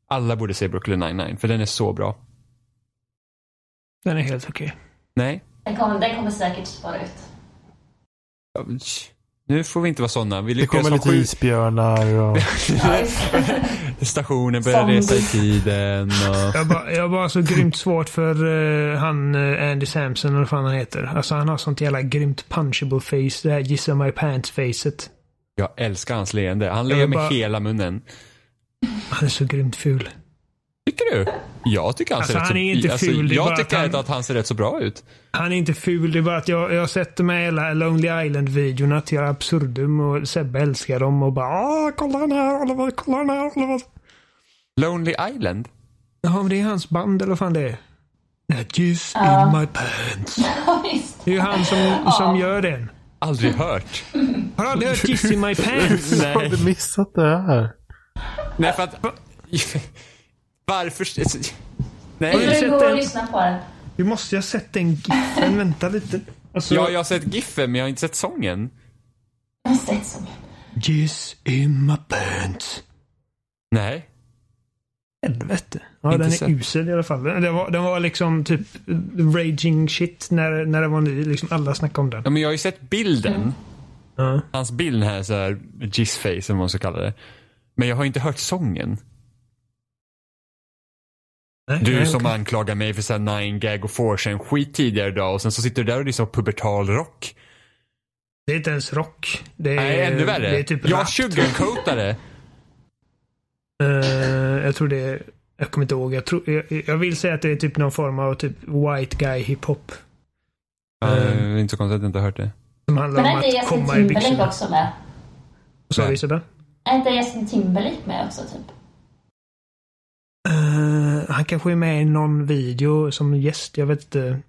[SPEAKER 2] alla borde se Brooklyn 99 för den är så bra.
[SPEAKER 4] Den är helt okej.
[SPEAKER 2] Nej,
[SPEAKER 3] Den kommer, den kommer säkert spara ut.
[SPEAKER 2] Nu får vi inte vara sådana. Vi
[SPEAKER 1] Det
[SPEAKER 2] lyckades
[SPEAKER 1] kommer
[SPEAKER 2] ha
[SPEAKER 1] lite
[SPEAKER 2] sju...
[SPEAKER 1] isbjörnar och...
[SPEAKER 3] Ja, just det. [LAUGHS]
[SPEAKER 2] Stationen börjar resa i tiden. Och...
[SPEAKER 4] Jag bara,
[SPEAKER 2] [LAUGHS]
[SPEAKER 4] jag bara så grymt svårt för eh, han eh, Andy Samson eller vad fan han heter. Alltså han har sånt jävla grymt punchable face. Det här gissa my pants facet.
[SPEAKER 2] Jag älskar hans leende. Han
[SPEAKER 4] Jag
[SPEAKER 2] ler med
[SPEAKER 4] bara-
[SPEAKER 2] hela munnen.
[SPEAKER 4] Han är så grymt ful.
[SPEAKER 2] Tycker du? Jag tycker han ser rätt
[SPEAKER 4] Alltså, han
[SPEAKER 2] så-
[SPEAKER 4] är inte
[SPEAKER 2] alltså,
[SPEAKER 4] ful, det är bara
[SPEAKER 2] Jag
[SPEAKER 4] att han-
[SPEAKER 2] tycker inte att han ser rätt så bra ut.
[SPEAKER 4] Han är inte ful. Det är bara att jag, jag sätter med hela Lonely Island-videorna till absurdum och Sebbe älskar dem och bara ah, kolla den här Oliver, kolla den här Oliver.
[SPEAKER 2] Lonely Island?
[SPEAKER 4] Ja, men det är hans band eller vad fan det är. That just in my pants.
[SPEAKER 3] Ja, visst.
[SPEAKER 4] Det är ju han som, som gör den.
[SPEAKER 2] Aldrig hört.
[SPEAKER 4] Har du aldrig hört Kiss in
[SPEAKER 2] [LAUGHS]
[SPEAKER 4] my pants?
[SPEAKER 1] Har du missat det här?
[SPEAKER 2] Nej, för att... [LAUGHS] Varför...
[SPEAKER 4] Har du
[SPEAKER 2] Nej.
[SPEAKER 4] sett
[SPEAKER 3] Nu går och
[SPEAKER 4] den?
[SPEAKER 3] lyssna på den.
[SPEAKER 4] Du måste ju ha sett den giffen. Vänta lite. Alltså,
[SPEAKER 2] Ja, jag har sett Giffen, men jag har inte sett sången.
[SPEAKER 3] Jag har sett så mycket.
[SPEAKER 4] Kiss in my pants.
[SPEAKER 2] Nej.
[SPEAKER 4] Helvete. Ja,
[SPEAKER 2] Inte
[SPEAKER 4] den är
[SPEAKER 2] sett.
[SPEAKER 4] usel i alla fall. Den den var, den var liksom typ raging shit när, när den var ny. Liksom alla snackade om den.
[SPEAKER 2] Ja, men jag har ju sett bilden.
[SPEAKER 4] Ja.
[SPEAKER 2] Hans bild här, så här, face eller vad man ska kalla det. Men jag har inte hört sången.
[SPEAKER 4] Nej,
[SPEAKER 2] Du
[SPEAKER 4] nej,
[SPEAKER 2] som
[SPEAKER 4] okej.
[SPEAKER 2] anklagar mig för såhär 9 gag och forsen skit tidigare idag och sen så sitter du där och lyssnar på pubertal rock.
[SPEAKER 4] Det är inte ens rock. Det är,
[SPEAKER 2] Nej, ännu värre.
[SPEAKER 4] Det är typ
[SPEAKER 2] jag
[SPEAKER 4] rap.
[SPEAKER 2] sugarcoatar det.
[SPEAKER 4] Eh, jag tror det är... Jag kommer inte ihåg. Jag, tror, jag, jag vill säga att det är typ någon form av typ white guy hiphop.
[SPEAKER 2] [LAUGHS] Ja, det är inte så konstigt att jag inte har hört det.
[SPEAKER 4] Som handlar
[SPEAKER 3] Men
[SPEAKER 4] om
[SPEAKER 3] är inte
[SPEAKER 4] att
[SPEAKER 3] Justin
[SPEAKER 4] komma i
[SPEAKER 3] Timberlake
[SPEAKER 4] byxorna.
[SPEAKER 3] också med?
[SPEAKER 4] Vad sa
[SPEAKER 2] Nej.
[SPEAKER 4] du Isabel?
[SPEAKER 3] Är inte Justin Timberlake med också typ?
[SPEAKER 4] Eh, han kanske är med i någon video som gäst. Jag vet inte.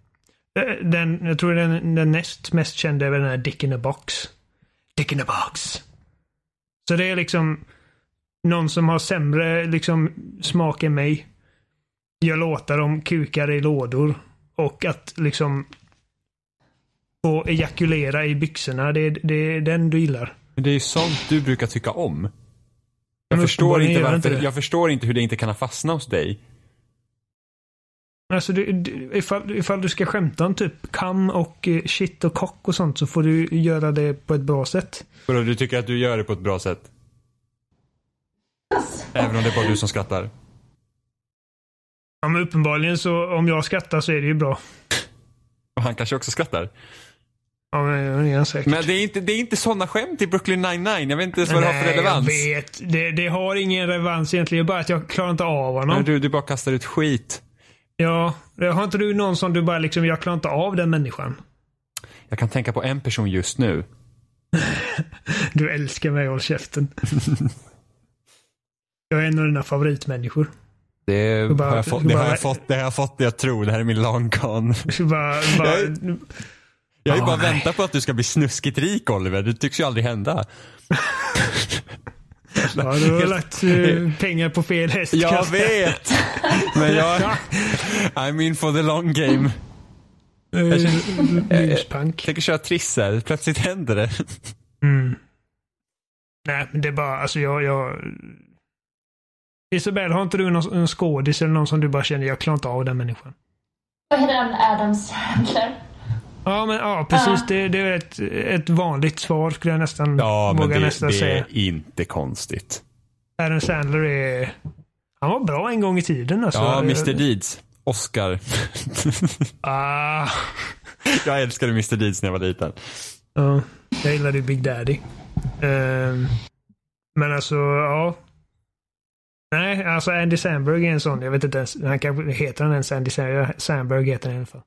[SPEAKER 4] Eh, Den, jag tror den, den näst mest kända är väl den här Dick in a box. Dick in a box. Så det är liksom någon som har sämre liksom, smak än mig. Gör låtar om kukar i lådor. Och att liksom få ejakulera i byxorna. Det är, det är den du gillar.
[SPEAKER 2] Men det är ju sånt du brukar tycka om. Jag
[SPEAKER 4] Men
[SPEAKER 2] förstår
[SPEAKER 4] uppenbarligen
[SPEAKER 2] inte
[SPEAKER 4] gör jag
[SPEAKER 2] varför,
[SPEAKER 4] inte det.
[SPEAKER 2] jag förstår inte hur det inte kan ha fastnat hos dig.
[SPEAKER 4] Alltså du, du, ifall, ifall du ska skämta om typ kam och eh, shit och kock och sånt så får du göra det på ett bra sätt.
[SPEAKER 2] Vadå, du tycker att du gör det på ett bra sätt? Även om det är bara du som skrattar.
[SPEAKER 4] Ja men uppenbarligen så om jag skrattar så är det ju bra.
[SPEAKER 2] Och han kanske också skrattar.
[SPEAKER 4] Ja men det är han säkert.
[SPEAKER 2] Men det är inte, det är inte sådana skämt i Brooklyn 99. Jag vet inte ens vad det har för
[SPEAKER 4] Nej,
[SPEAKER 2] relevans.
[SPEAKER 4] jag vet. Det, det har ingen relevans egentligen. Det är bara att jag klarar inte av honom.
[SPEAKER 2] Men Du, du bara kastar ut skit.
[SPEAKER 4] Ja. Har inte du någon som du bara liksom, jag klarar inte av den människan.
[SPEAKER 2] Jag kan tänka på en person just nu.
[SPEAKER 4] Du älskar mig,
[SPEAKER 2] [LAUGHS]
[SPEAKER 4] håll käften. jag är en av dina favoritmänniskor.
[SPEAKER 2] Det,
[SPEAKER 4] bara-
[SPEAKER 2] har, jag fått,
[SPEAKER 4] du
[SPEAKER 2] det har
[SPEAKER 4] bara-
[SPEAKER 2] jag fått, det har jag fått det jag tror. Det här är min long con.
[SPEAKER 4] Så bara, bara,
[SPEAKER 2] Jag har ju
[SPEAKER 4] Ah,
[SPEAKER 2] bara
[SPEAKER 4] nej.
[SPEAKER 2] väntat på att du ska bli snuskigt rik Oliver. Det tycks ju aldrig hända.
[SPEAKER 4] ja, du har
[SPEAKER 2] [LAUGHS]
[SPEAKER 4] lagt eh, pengar på fel häst.
[SPEAKER 2] Jag
[SPEAKER 4] kanske. [LAUGHS]
[SPEAKER 2] vet! Men jag... I'm in for the long game.
[SPEAKER 4] Eh, Luspank.
[SPEAKER 2] Tänker köra triss här. Plötsligt händer det.
[SPEAKER 4] Nej, men det är bara, alltså jag, jag... Isabel, har inte du någon en skådis eller någon som du bara känner, jag klarar inte av den människan?
[SPEAKER 3] Vad heter han? Adam Sandler?
[SPEAKER 4] Ja, men ja, precis.
[SPEAKER 3] Ja.
[SPEAKER 4] Det, det är ett, ett vanligt svar skulle jag nästan [LAUGHS] våga nästan säga.
[SPEAKER 2] inte konstigt.
[SPEAKER 4] Adam Sandler är... Han var bra en gång i tiden alltså.
[SPEAKER 2] Ja, Mr Deeds. Oscar. [LAUGHS]
[SPEAKER 4] Ah,
[SPEAKER 2] jag älskade Mr Deeds när jag var liten.
[SPEAKER 4] ja. Jag gillade ju Big Daddy. Ehm, men alltså, ja. Nej, alltså Andy Samberg är en sån. Jag vet inte ens, han kanske, heter han ens Andy Samberg? Samberg heter han i alla fall.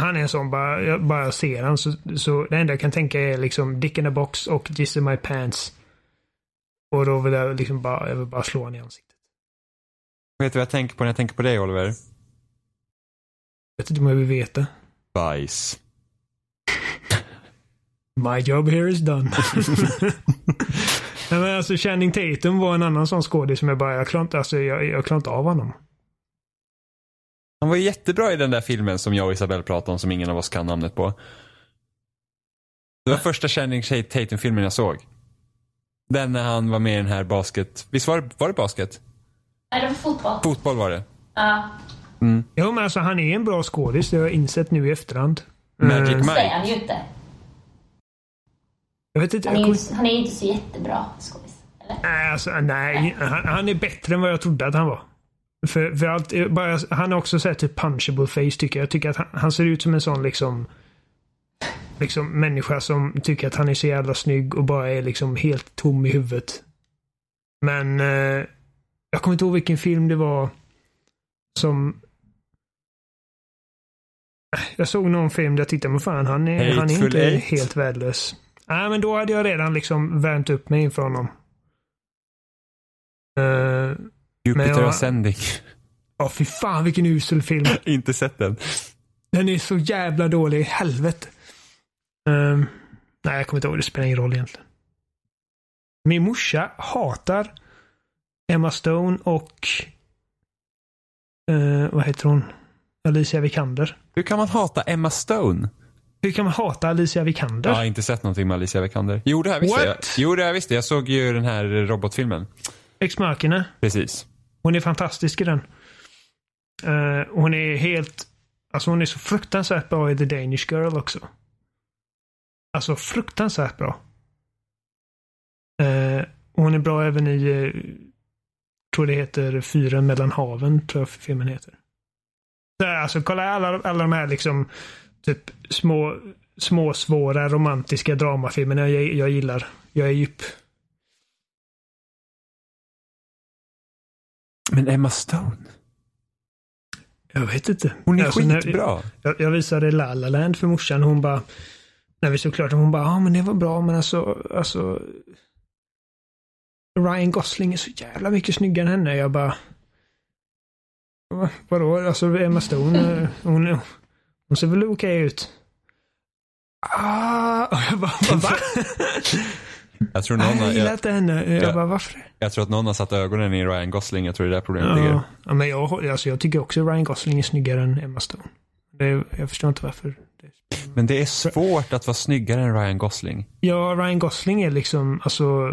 [SPEAKER 4] Han är en sån, bara jag bara ser han så, så det enda jag kan tänka är liksom Dick in a box och Jizz in my pants. Och då vill jag liksom bara, jag vill bara slå honom i ansiktet.
[SPEAKER 2] Vet du vad jag tänker på när jag tänker på dig Oliver?
[SPEAKER 4] Jag vet inte om jag vill veta.
[SPEAKER 2] Bajs.
[SPEAKER 4] My job here is done. Nej, men alltså Channing Tatum var en annan sån skådis som jag bara, jag klarar inte, alltså, jag, jag klarar inte av honom.
[SPEAKER 2] Han var ju jättebra i den där filmen som jag och Isabel pratade om som ingen av oss kan namnet på. Det var första Channing Tatum-filmen jag såg. Den när han var med i den här basket... Visst var det, var det basket?
[SPEAKER 3] Nej, det var fotboll.
[SPEAKER 2] Fotboll var det.
[SPEAKER 3] Ja,
[SPEAKER 4] Jo men alltså han är en bra skådis, det har jag insett nu i efterhand.
[SPEAKER 2] Magic
[SPEAKER 4] Eh,
[SPEAKER 3] det är
[SPEAKER 2] Mike.
[SPEAKER 3] han ju inte.
[SPEAKER 4] Jag vet inte,
[SPEAKER 3] Han
[SPEAKER 4] jag
[SPEAKER 3] är
[SPEAKER 4] kommer
[SPEAKER 3] ju han är ju inte så jättebra skådis.
[SPEAKER 4] Nej, alltså, nej. Han, han är bättre än vad jag trodde att han var. För, för allt, bara, han är också så här typ punchable face tycker jag. Jag tycker att han, han ser ut som en sån liksom liksom människa som tycker att han är så jävla snygg och bara är liksom helt tom i huvudet. Men eh, jag kommer inte ihåg vilken film det var som... Äh, Jag såg någon film där jag tittade, men fan han är, han är
[SPEAKER 2] Hateful
[SPEAKER 4] inte
[SPEAKER 2] Eight.
[SPEAKER 4] helt värdelös. Nej, men då hade jag redan liksom värmt upp mig inför honom. Eh, Men
[SPEAKER 2] Jupiter
[SPEAKER 4] jag-
[SPEAKER 2] och sändning.
[SPEAKER 4] Ja, fy fan vilken usel film.
[SPEAKER 2] [LAUGHS] Inte sett den.
[SPEAKER 4] Den är så jävla dålig. Helvete. Ehm, nej, jag kommer inte ihåg. Det spelar ingen roll egentligen. Min morsa hatar Emma Stone och eh, vad heter hon? Alicia Vikander.
[SPEAKER 2] Hur kan man hata Emma Stone?
[SPEAKER 4] Hur kan man hata Alicia Vikander?
[SPEAKER 2] Jag har inte sett någonting med Alicia Vikander. Jo, det här visste jag.
[SPEAKER 4] What?
[SPEAKER 2] Jo, det här visste jag. Jag såg ju den här robotfilmen.
[SPEAKER 4] Ex Machina.
[SPEAKER 2] Precis.
[SPEAKER 4] Hon är fantastisk i den. Eh, hon är helt... Alltså hon är så fruktansvärt bra i The Danish Girl också. Alltså fruktansvärt bra. Eh, och hon är bra även i... eh, tror det heter Fyren mellan haven, tror jag filmen heter. Där, alltså kolla alla, alla de här liksom typ små, små svåra romantiska dramafilmerna jag, jag gillar. Jag är djup.
[SPEAKER 2] Men Emma Stone?
[SPEAKER 4] Jag vet inte.
[SPEAKER 2] Hon är
[SPEAKER 4] Alltså, när-
[SPEAKER 2] skitbra.
[SPEAKER 4] Jag, jag visade La La Land för morsan och hon bara, när vi såg klart, hon bara, ja ah, men det var bra men alltså, alltså Ryan Gosling är så jävla mycket snyggare än henne. Jag bara, "Va- vadå, alltså Emma Stone, eh, hon, hon ser väl okej ut? Ah, och jag bara, va?
[SPEAKER 2] Jag tror någon
[SPEAKER 4] Nej,
[SPEAKER 2] har,
[SPEAKER 4] [LAUGHS] jag gillar
[SPEAKER 2] jag,
[SPEAKER 4] inte henne. Jag
[SPEAKER 2] Ja.
[SPEAKER 4] bara, varför? det?"
[SPEAKER 2] jag tror att någon har satt ögonen i Ryan Gosling. Jag tror det är där problemet ligger.
[SPEAKER 4] Ja, ja, men jag, alltså, jag tycker också Ryan Gosling är snyggare än Emma Stone. Det, jag förstår inte varför. Det
[SPEAKER 2] Men det är svårt att vara snyggare än Ryan Gosling.
[SPEAKER 4] Ja, Ryan Gosling är liksom, alltså,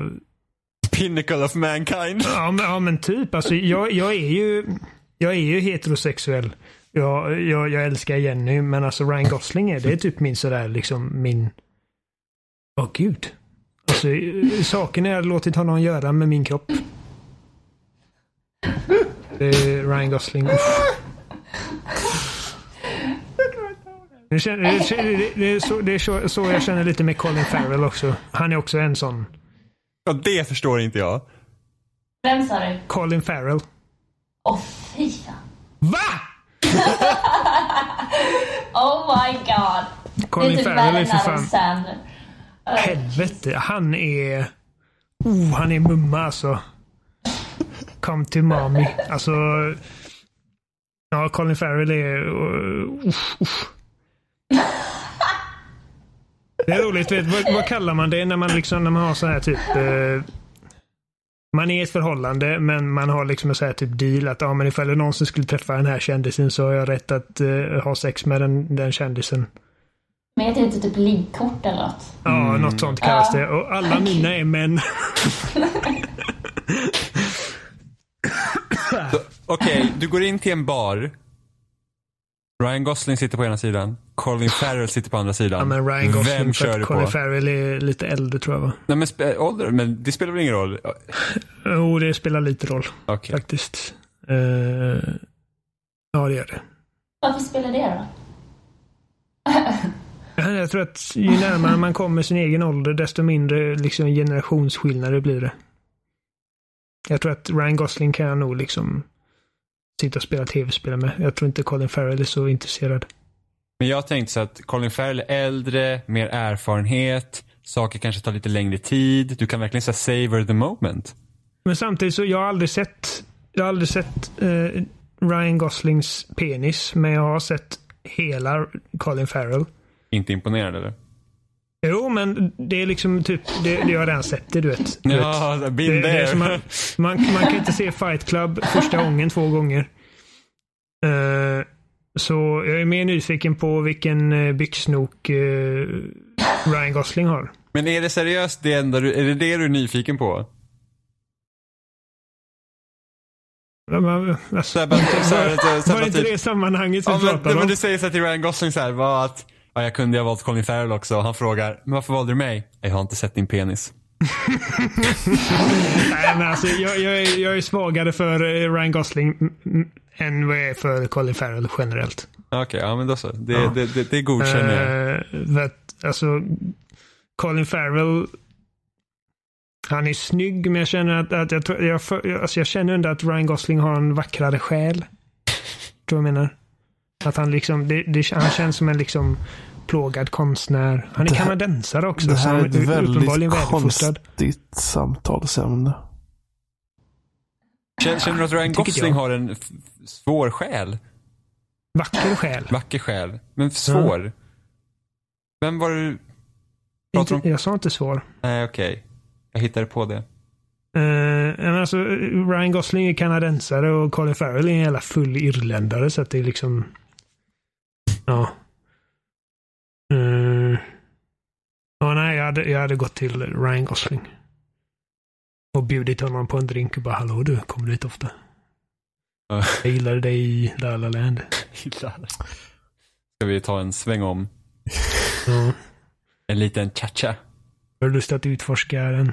[SPEAKER 2] Pinnacle of mankind. [LAUGHS]
[SPEAKER 4] ja men, ja, men typ, alltså jag, jag är ju, jag är ju heterosexuell. Jag, jag, jag älskar Jenny, men alltså Ryan Gosling är, det är typ min sådär liksom min, åh gud. Alltså eh, sakerna jag har låtit honom göra med min kropp. Det är Ryan Gosling. Uff. Nu känner- Det känner- det- det är, så, det är så, så jag känner lite med Colin Farrell också. Han är också en sån.
[SPEAKER 2] Ja, det förstår inte jag.
[SPEAKER 3] Vem sa du?
[SPEAKER 4] Colin Farrell.
[SPEAKER 3] Åh fy fan.
[SPEAKER 4] VA?
[SPEAKER 3] Oh my god. det är
[SPEAKER 4] Colin
[SPEAKER 3] typ
[SPEAKER 4] Farrell
[SPEAKER 3] värre
[SPEAKER 4] är
[SPEAKER 3] än
[SPEAKER 4] för
[SPEAKER 3] Adam
[SPEAKER 4] fan...
[SPEAKER 3] Sandler.
[SPEAKER 4] Helvete, han är... Oh, han är mumma alltså. Come to mommy. Alltså... Ja, Colin Farrell är... Uh, uff, uff. Det är roligt, vet, vad, vad kallar man det när man liksom när man har så här typ... eh, man är i ett förhållande men man har liksom en så här typ deal att ja, men ifall jag någonsin skulle träffa den här kändisen så har jag rätt att eh, ha sex med den, den kändisen.
[SPEAKER 3] Men heter det inte typ liggkort eller något?
[SPEAKER 4] Ja, något sånt kallas det. Och
[SPEAKER 2] Ah,
[SPEAKER 4] alla mina är män.
[SPEAKER 2] Okej, du går in till en bar. Ryan Gosling sitter på ena sidan. Colin Farrell sitter på andra sidan.
[SPEAKER 4] Ja, men Ryan Gosling
[SPEAKER 2] Vem
[SPEAKER 4] för
[SPEAKER 2] kör
[SPEAKER 4] att
[SPEAKER 2] du
[SPEAKER 4] Colin
[SPEAKER 2] på?
[SPEAKER 4] Farrell är lite äldre tror jag va?
[SPEAKER 2] Nej, men spe- ålder, men det spelar väl ingen roll? Ja,
[SPEAKER 4] Jo, det spelar lite roll
[SPEAKER 2] Okej.
[SPEAKER 4] faktiskt. Eh, ja, det gör det.
[SPEAKER 3] Varför spelar det då?
[SPEAKER 4] Ja, Jag tror att ju närmare man kommer sin egen ålder desto mindre liksom, generationsskillnader blir det. Jag tror att Ryan Gosling kan jag nog liksom sitta och spela tv-spel med. Jag tror inte Colin Farrell är så intresserad.
[SPEAKER 2] Men jag tänkte så att Colin Farrell är äldre, mer erfarenhet, saker kanske tar lite längre tid. Du kan verkligen så här, savor the moment.
[SPEAKER 4] Men samtidigt så jag har aldrig sett, jag har aldrig sett eh, Ryan Goslings penis. Men jag har sett hela Colin Farrell.
[SPEAKER 2] Inte imponerad eller?
[SPEAKER 4] Jo, men det är liksom typ, det, det har jag redan sett det du vet. Du vet.
[SPEAKER 2] Ja,
[SPEAKER 4] Det,
[SPEAKER 2] been
[SPEAKER 4] det är
[SPEAKER 2] there.
[SPEAKER 4] som man, man, man kan inte se Fight Club första gången två gånger. Eh, så jag är mer nyfiken på vilken uh, byxnok eh, Ryan Gosling har.
[SPEAKER 2] [LAUGHS] Men är det seriöst det enda du, är det det du är nyfiken på? Så här, bara, så här, så här, så här,
[SPEAKER 4] alltså, var det
[SPEAKER 2] bara
[SPEAKER 4] inte
[SPEAKER 2] typ-
[SPEAKER 4] det sammanhanget vi
[SPEAKER 2] Ja, men,
[SPEAKER 4] pratade
[SPEAKER 2] men
[SPEAKER 4] om?
[SPEAKER 2] du säger så här till Ryan Gosling så här, vad att ja, jag kunde ju ha valt Colin Farrell också och han frågar, men varför valde du mig? Jag har inte sett din penis.
[SPEAKER 4] Nej, men alltså, jag, jag, är, jag är svagare för eh, Ryan Gosling mm, mm, än vad jag är för Colin Farrell generellt.
[SPEAKER 2] Okej, ja men då så. Det, det, det, det godkänner jag.
[SPEAKER 4] Eh, för att, alltså, Colin Farrell, han är snygg men jag känner att, att jag, tror- jag, för- jag, alltså, jag känner ändå att Ryan Gosling har en vackrare själ. [LAUGHS] Tror jag menar. Att han liksom, det, det, han känns som en liksom plågad konstnär. Han är
[SPEAKER 1] Det här-
[SPEAKER 4] kanadensare också.
[SPEAKER 1] Det
[SPEAKER 4] så
[SPEAKER 1] här
[SPEAKER 4] han
[SPEAKER 1] är ett väldigt
[SPEAKER 4] uppenbarligen väluppfostrad.
[SPEAKER 1] konstigt samtalsämne.
[SPEAKER 2] Känner, känner du att Ryan
[SPEAKER 4] Tycker
[SPEAKER 2] Gosling
[SPEAKER 4] jag.
[SPEAKER 2] har en f- svår själ?
[SPEAKER 4] Vacker själ.
[SPEAKER 2] Vacker själ, men svår? Vem var du? Pratar
[SPEAKER 4] Inte,
[SPEAKER 2] om-
[SPEAKER 4] jag sa inte svår.
[SPEAKER 2] Nej, okej. Jag hittade på det.
[SPEAKER 4] Eh, men alltså, Ryan Gosling är kanadensare och Colin Farrell är en jävla full irländare så att det är liksom... Ja. Eh, ja, nej, jag hade, jag hade gått till Ryan Gosling. Och bjudit honom på en drink och bara hallå du, kommer du hit ofta?
[SPEAKER 2] Ja.
[SPEAKER 4] Jag gillade dig i La La Land. [LAUGHS]
[SPEAKER 2] Ska vi ta en sväng om?
[SPEAKER 4] Ja.
[SPEAKER 2] En liten cha-cha?
[SPEAKER 4] Har du lust att utforska den,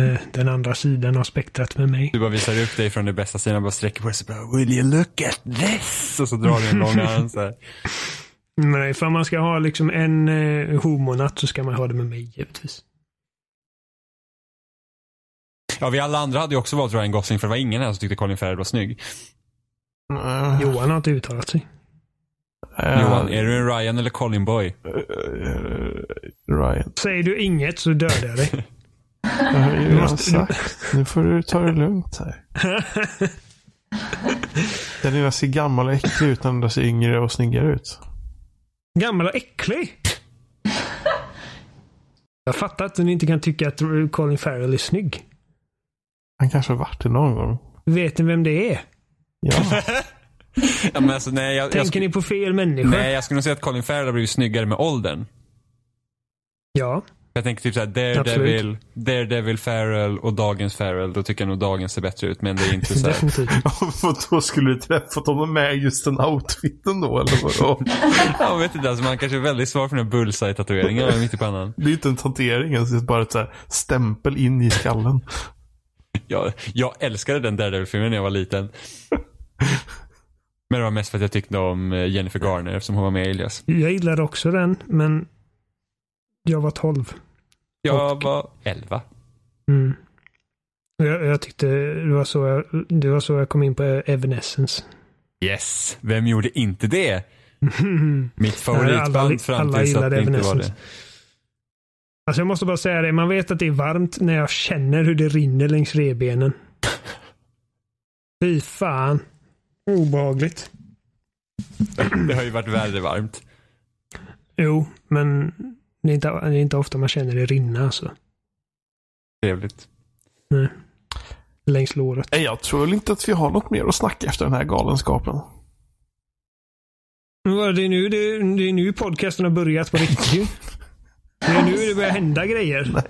[SPEAKER 4] eh, den andra sidan av spektrat med mig?
[SPEAKER 2] Du bara visar upp dig från det bästa sidan, bara sträcker på dig så bara Will you look at this? Och så drar du en lång arm så här.
[SPEAKER 4] Nej, ifall man ska ha liksom en eh, homonatt så ska man ha det med mig givetvis.
[SPEAKER 2] Ja, vi alla andra hade ju också valt Ryan Gosling för det var ingen här som tyckte Colin Farrell var snygg.
[SPEAKER 1] Eh,
[SPEAKER 4] Johan har inte uttalat sig.
[SPEAKER 1] eh,
[SPEAKER 2] Johan, är du en Ryan eller Colin Boy?
[SPEAKER 1] eh, Ryan.
[SPEAKER 4] Säger du inget så dödar jag dig.
[SPEAKER 1] Jag har ju redan
[SPEAKER 4] måste-
[SPEAKER 1] sagt. Nu får du ta det lugnt [LAUGHS] här. Den ena ser gammal och äcklig ut, den andra ser yngre och snyggare ut.
[SPEAKER 4] Gammal och äcklig! Jag fattar att ni inte kan tycka att Colin Farrell är snygg.
[SPEAKER 1] Han kanske har varit det någon gång.
[SPEAKER 4] Vet ni vem det är?
[SPEAKER 1] [LAUGHS] Ja,
[SPEAKER 2] Ja, men alltså, nej, jag, jag, sk-
[SPEAKER 4] Tänker ni på fel människa?
[SPEAKER 2] nej, jag skulle nog säga att Colin Farrell har blivit snyggare med åldern.
[SPEAKER 4] Ja.
[SPEAKER 2] Jag tänker typ såhär Daredevil, Daredevil Farrell och dagens Farrell. Då tycker jag nog dagens ser bättre ut, men det är
[SPEAKER 4] [LAUGHS]
[SPEAKER 2] inte såhär.
[SPEAKER 4] Definitivt.
[SPEAKER 1] och då skulle du träffat honom med just den outfiten då, eller vadå?
[SPEAKER 2] Jag vet inte, alltså, man kanske är väldigt svag för den här bullseye-tatueringen mitt i pannan.
[SPEAKER 1] Det är inte en tatuering ens, det är bara ett så här stämpel in i skallen.
[SPEAKER 2] Jag, jag älskade den Daredevil-filmen när jag var liten. Men det var mest för att jag tyckte om eh, Jennifer Garner som hon var med i Elias.
[SPEAKER 4] Jag gillade också den, men jag var 12.
[SPEAKER 2] Jag var 11.
[SPEAKER 4] Mm. Och Jag, jag tyckte det var, så jag, det var så jag kom in på Evanescence. [LAUGHS]
[SPEAKER 2] Yes, vem gjorde inte det? Mitt
[SPEAKER 4] Nej, alla-
[SPEAKER 2] favoritband fram
[SPEAKER 4] alla
[SPEAKER 2] tills att
[SPEAKER 4] gillade
[SPEAKER 2] det inte var
[SPEAKER 4] Evanescence.
[SPEAKER 2] det.
[SPEAKER 4] Alltså jag måste bara säga det, man vet att det är varmt när jag känner hur det rinner
[SPEAKER 2] [LAUGHS]
[SPEAKER 4] längs revbenen. Fy fan. Obehagligt.
[SPEAKER 2] Det [CLEARS THROAT] har ju varit värre varmt.
[SPEAKER 4] Jo, men det är inte, det är inte ofta man känner det rinna alltså.
[SPEAKER 2] Trevligt.
[SPEAKER 4] Längs låret.
[SPEAKER 1] Nej, Jag tror väl inte att vi har något mer att snacka efter den här galenskapen.
[SPEAKER 4] Men vad, det, är nu, det, är, det är nu podcasten har börjat på riktigt
[SPEAKER 2] [LAUGHS]
[SPEAKER 4] ju. Det är nu det börjar hända grejer.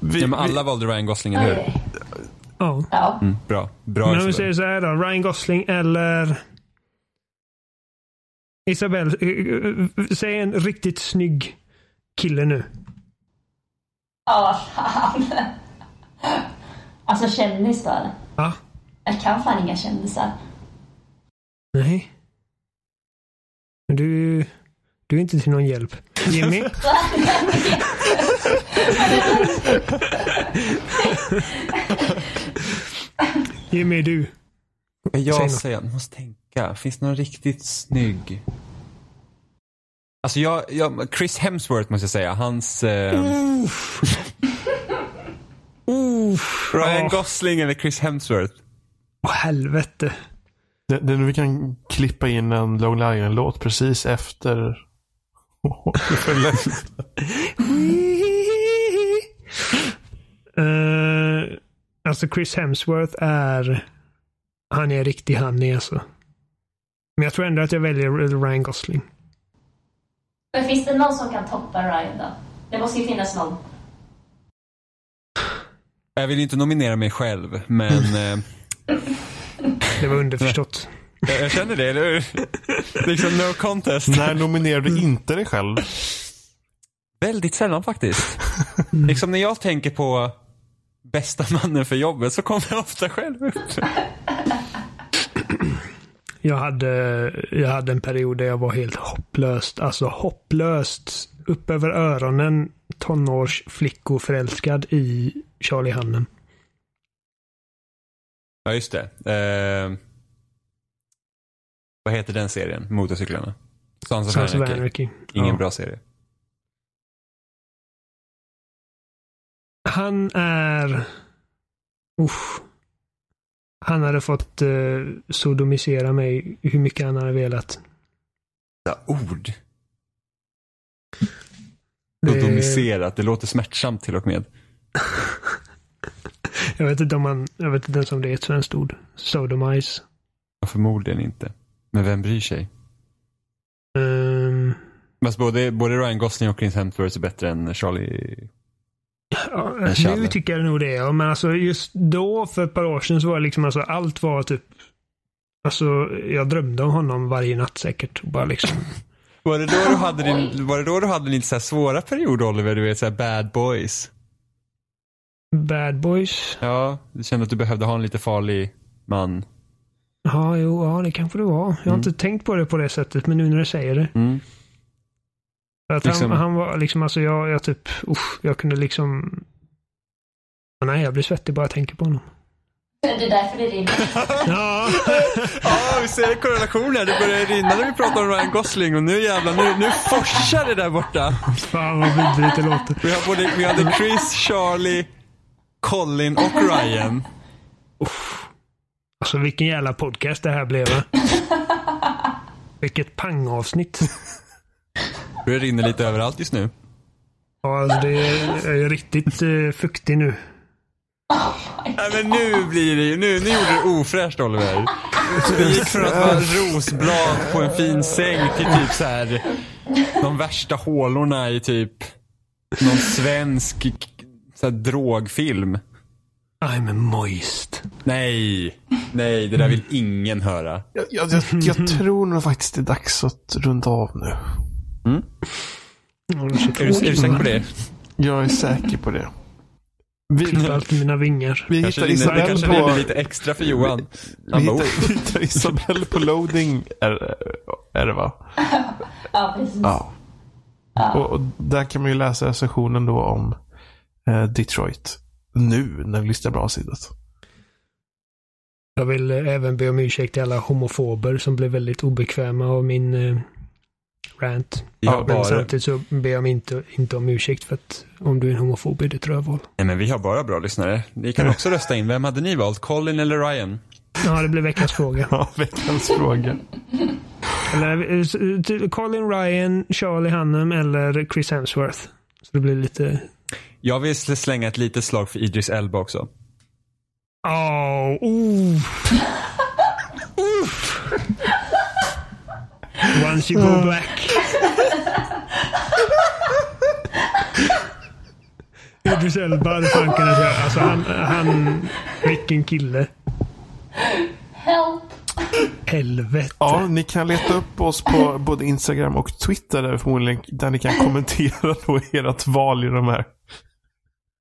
[SPEAKER 1] Vi,
[SPEAKER 2] Ja, men alla valde Ryan Gosling, eller hur?
[SPEAKER 3] Okej.
[SPEAKER 4] Ja.
[SPEAKER 3] Ja.
[SPEAKER 2] Mm, bra. Bra
[SPEAKER 4] Men om vi
[SPEAKER 2] Isabel.
[SPEAKER 4] säger så här då. Ryan Gosling eller Isabel. eh, eh, Säg en riktigt snygg kille nu.
[SPEAKER 3] Ja, fan. [LAUGHS] Alltså kändis då.
[SPEAKER 4] Ja.
[SPEAKER 3] Jag kan fan inga kändisar.
[SPEAKER 4] Nej. Men du, du är inte till någon hjälp. Jimmy? [LAUGHS] Jimmy, du. Säg
[SPEAKER 2] Jag
[SPEAKER 4] något.
[SPEAKER 2] säger, jag måste tänka. Finns det någon riktigt snygg? Alltså jag, jag, Chris Hemsworth måste jag säga. Hans... Eh,
[SPEAKER 4] Uff,
[SPEAKER 2] Ryan
[SPEAKER 4] ja.
[SPEAKER 2] Gosling eller Chris Hemsworth?
[SPEAKER 4] Åh, helvete.
[SPEAKER 1] Det, det, vi kan klippa in en Long Lion-låt precis efter. [LAUGHS]
[SPEAKER 4] Eh, alltså Chris Hemsworth är... Han är riktig han är alltså. Men jag tror ändå att jag väljer Ryan Gosling.
[SPEAKER 3] Men finns det någon som kan toppa Ryan då? Det måste ju finnas någon.
[SPEAKER 2] Jag vill ju inte nominera mig själv, men... Eh,
[SPEAKER 4] Det var underförstått.
[SPEAKER 2] Jag, jag känner det, eller hur? Liksom no contest.
[SPEAKER 1] När nominerar du inte dig själv?
[SPEAKER 2] Väldigt sällan faktiskt. Liksom när jag tänker på bästa mannen för jobbet så kommer jag ofta själv upp.
[SPEAKER 4] Jag hade, jag hade en period där jag var helt hopplöst, alltså hopplöst upp över öronen tonårsflickoförälskad i Charlie Hannem.
[SPEAKER 2] Ja, just det. Eh, vad heter den serien? Motorcyklarna? Sons of
[SPEAKER 4] Sons of
[SPEAKER 2] Anarchy.
[SPEAKER 4] Anarchy.
[SPEAKER 2] Ingen
[SPEAKER 4] Ja.
[SPEAKER 2] bra serie.
[SPEAKER 4] Han är... Usch. Han hade fått eh, sodomisera mig hur mycket han hade velat.
[SPEAKER 2] Ord.
[SPEAKER 4] Det-
[SPEAKER 2] Sodomiserat. Det låter smärtsamt till och med.
[SPEAKER 4] Jag vet inte om han, jag vet inte ens om det är ett svenskt ord. Sodomize.
[SPEAKER 2] Ja, Förmodligen inte. Men vem bryr sig?
[SPEAKER 4] Ehm,
[SPEAKER 2] Fast både, både Ryan Gosling och Chris Hemsworth är bättre än Charlie.
[SPEAKER 4] ja,
[SPEAKER 2] En tjalle.
[SPEAKER 4] nu tycker jag nog det. ja. Men alltså just då för ett par år sedan så var det liksom alltså allt var typ Alltså jag drömde om honom varje natt säkert. Och Bara liksom.
[SPEAKER 2] Var det då du hade din, var det då du hade din lite så här svåra period Oliver? Du vet såhär bad boys.
[SPEAKER 4] Bad boys.
[SPEAKER 2] Ja, du kände att du behövde ha en lite farlig man.
[SPEAKER 4] Ja, jo, ja det kanske det var. Jag har inte tänkt på det på det sättet men nu när du säger det.
[SPEAKER 2] Mm.
[SPEAKER 4] För att
[SPEAKER 2] Liksom-
[SPEAKER 4] han, han var liksom, alltså jag, jag typ, usch, jag kunde liksom... Ja, Nej, jag blir svettig bara jag tänker på honom.
[SPEAKER 3] Det är därför det rinner.
[SPEAKER 4] Ja,
[SPEAKER 2] Ja, vi ser korrelationer. Det börjar rinna när vi pratar om Ryan Gosling och nu jävlar, nu, nu forsar det där borta.
[SPEAKER 4] fan vad vidrigt det låter.
[SPEAKER 2] Vi, har både, vi hade Chris, Charlie, Colin och Ryan.
[SPEAKER 4] Alltså vilken jävla podcast det här blev. va? Vilket pangavsnitt.
[SPEAKER 2] Det rinner lite överallt just nu.
[SPEAKER 4] Ja, alltså det är, jag är riktigt eh, fuktig nu.
[SPEAKER 2] Nej men nu blir det ju, nu, nu gjorde det ofräscht Oliver. Det gick från att vara rosblad på en fin säng till typ så här de värsta hålorna i typ någon svensk k- så här, drogfilm.
[SPEAKER 4] I'm moist.
[SPEAKER 2] Nej, nej det där vill ingen höra.
[SPEAKER 1] Jag, jag, jag,
[SPEAKER 2] [LAUGHS]
[SPEAKER 1] jag tror nog faktiskt det är dags att runda av nu.
[SPEAKER 4] Ja, det ser
[SPEAKER 2] Är du, är du säker på det?
[SPEAKER 1] Jag är säker på det. Vi,
[SPEAKER 4] Klipper allt i mina vingar.
[SPEAKER 1] vi
[SPEAKER 2] Kanske
[SPEAKER 1] hittar
[SPEAKER 2] rinner, det
[SPEAKER 1] Isabel
[SPEAKER 2] kanske rinner
[SPEAKER 1] på...
[SPEAKER 2] lite extra för Johan.
[SPEAKER 1] Vi
[SPEAKER 2] Han bara, oh,
[SPEAKER 1] hittar, [LAUGHS] vi hittar Isabel på loading. Är, är det va?
[SPEAKER 3] Ja, precis.
[SPEAKER 1] Ja. Och, och där kan man ju läsa sessionen då om eh, Detroit. Nu när vi lyssnar på avsnittet. [LAUGHS]
[SPEAKER 4] Jag vill eh, även be om ursäkt till alla homofober som blev väldigt obekväma av min eh, rant.
[SPEAKER 2] vi har
[SPEAKER 4] Men
[SPEAKER 2] bara,
[SPEAKER 4] samtidigt så ber jag mig inte, inte om ursäkt för att om du är en homofob är det ett rövhål.
[SPEAKER 2] nej men vi har bara bra lyssnare. Ni kan också rösta in, vem hade ni valt? Colin eller Ryan?
[SPEAKER 4] Ja, det blev
[SPEAKER 1] [LAUGHS]
[SPEAKER 4] veckans fråga.
[SPEAKER 1] Ja, veckans fråga.
[SPEAKER 4] Eller, eh, s- eh, till Colin Ryan, Charlie Hannem eller Chris Hemsworth. Så det blir lite...
[SPEAKER 2] Jag vill slänga ett litet slag för Idris Elba också.
[SPEAKER 4] Åh, oh. Once you go back. Idris Elba hade fan kunnat göra. Alltså han, han... Vilken kille.
[SPEAKER 3] Help!
[SPEAKER 4] Helvete.
[SPEAKER 1] Ja, ni kan leta upp oss
[SPEAKER 4] [LAUGHS]
[SPEAKER 1] på både Instagram och Twitter där, vi förmodligen, där ni kan kommentera då ert val i de här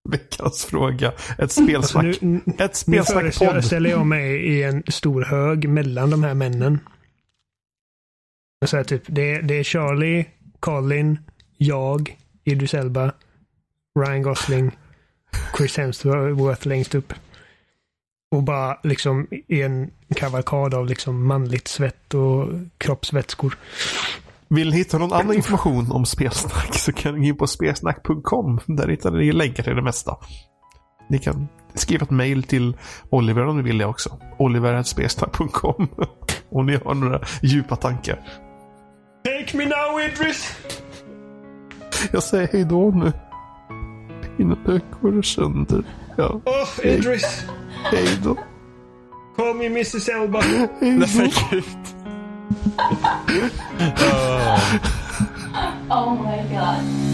[SPEAKER 1] veckans fråga. Ett spelsnack.
[SPEAKER 4] Mm. Alltså, Nu- nu-
[SPEAKER 1] Ett
[SPEAKER 4] Nu
[SPEAKER 1] spelsnackpodd.
[SPEAKER 4] föreställer jag mig i en stor hög mellan de här männen. Och Så här, typ, det, det är Charlie, Colin, jag, Idris Elba, Ryan Gosling, Chris Hemsworth längst upp. Och bara liksom i en kavalkad av liksom manligt svett och kroppsvätskor.
[SPEAKER 1] Vill ni hitta någon annan information om spelsnack så kan ni gå in på spelsnack.com. Där hittar ni länkar till det mesta. Ni kan skriva ett mejl till Oliver om ni vill det också. Oliver.spelsnack.com. [LAUGHS] Om ni har några djupa tankar.
[SPEAKER 4] Take me now Idris!
[SPEAKER 1] Jag säger hej då nu. Pinnen går sönder. Ja,
[SPEAKER 4] Oh, Idris!
[SPEAKER 1] hej då.
[SPEAKER 4] Call me Mrs Elba!
[SPEAKER 1] Mm.
[SPEAKER 2] [LAUGHS] Nej men gud.
[SPEAKER 3] Oh my god.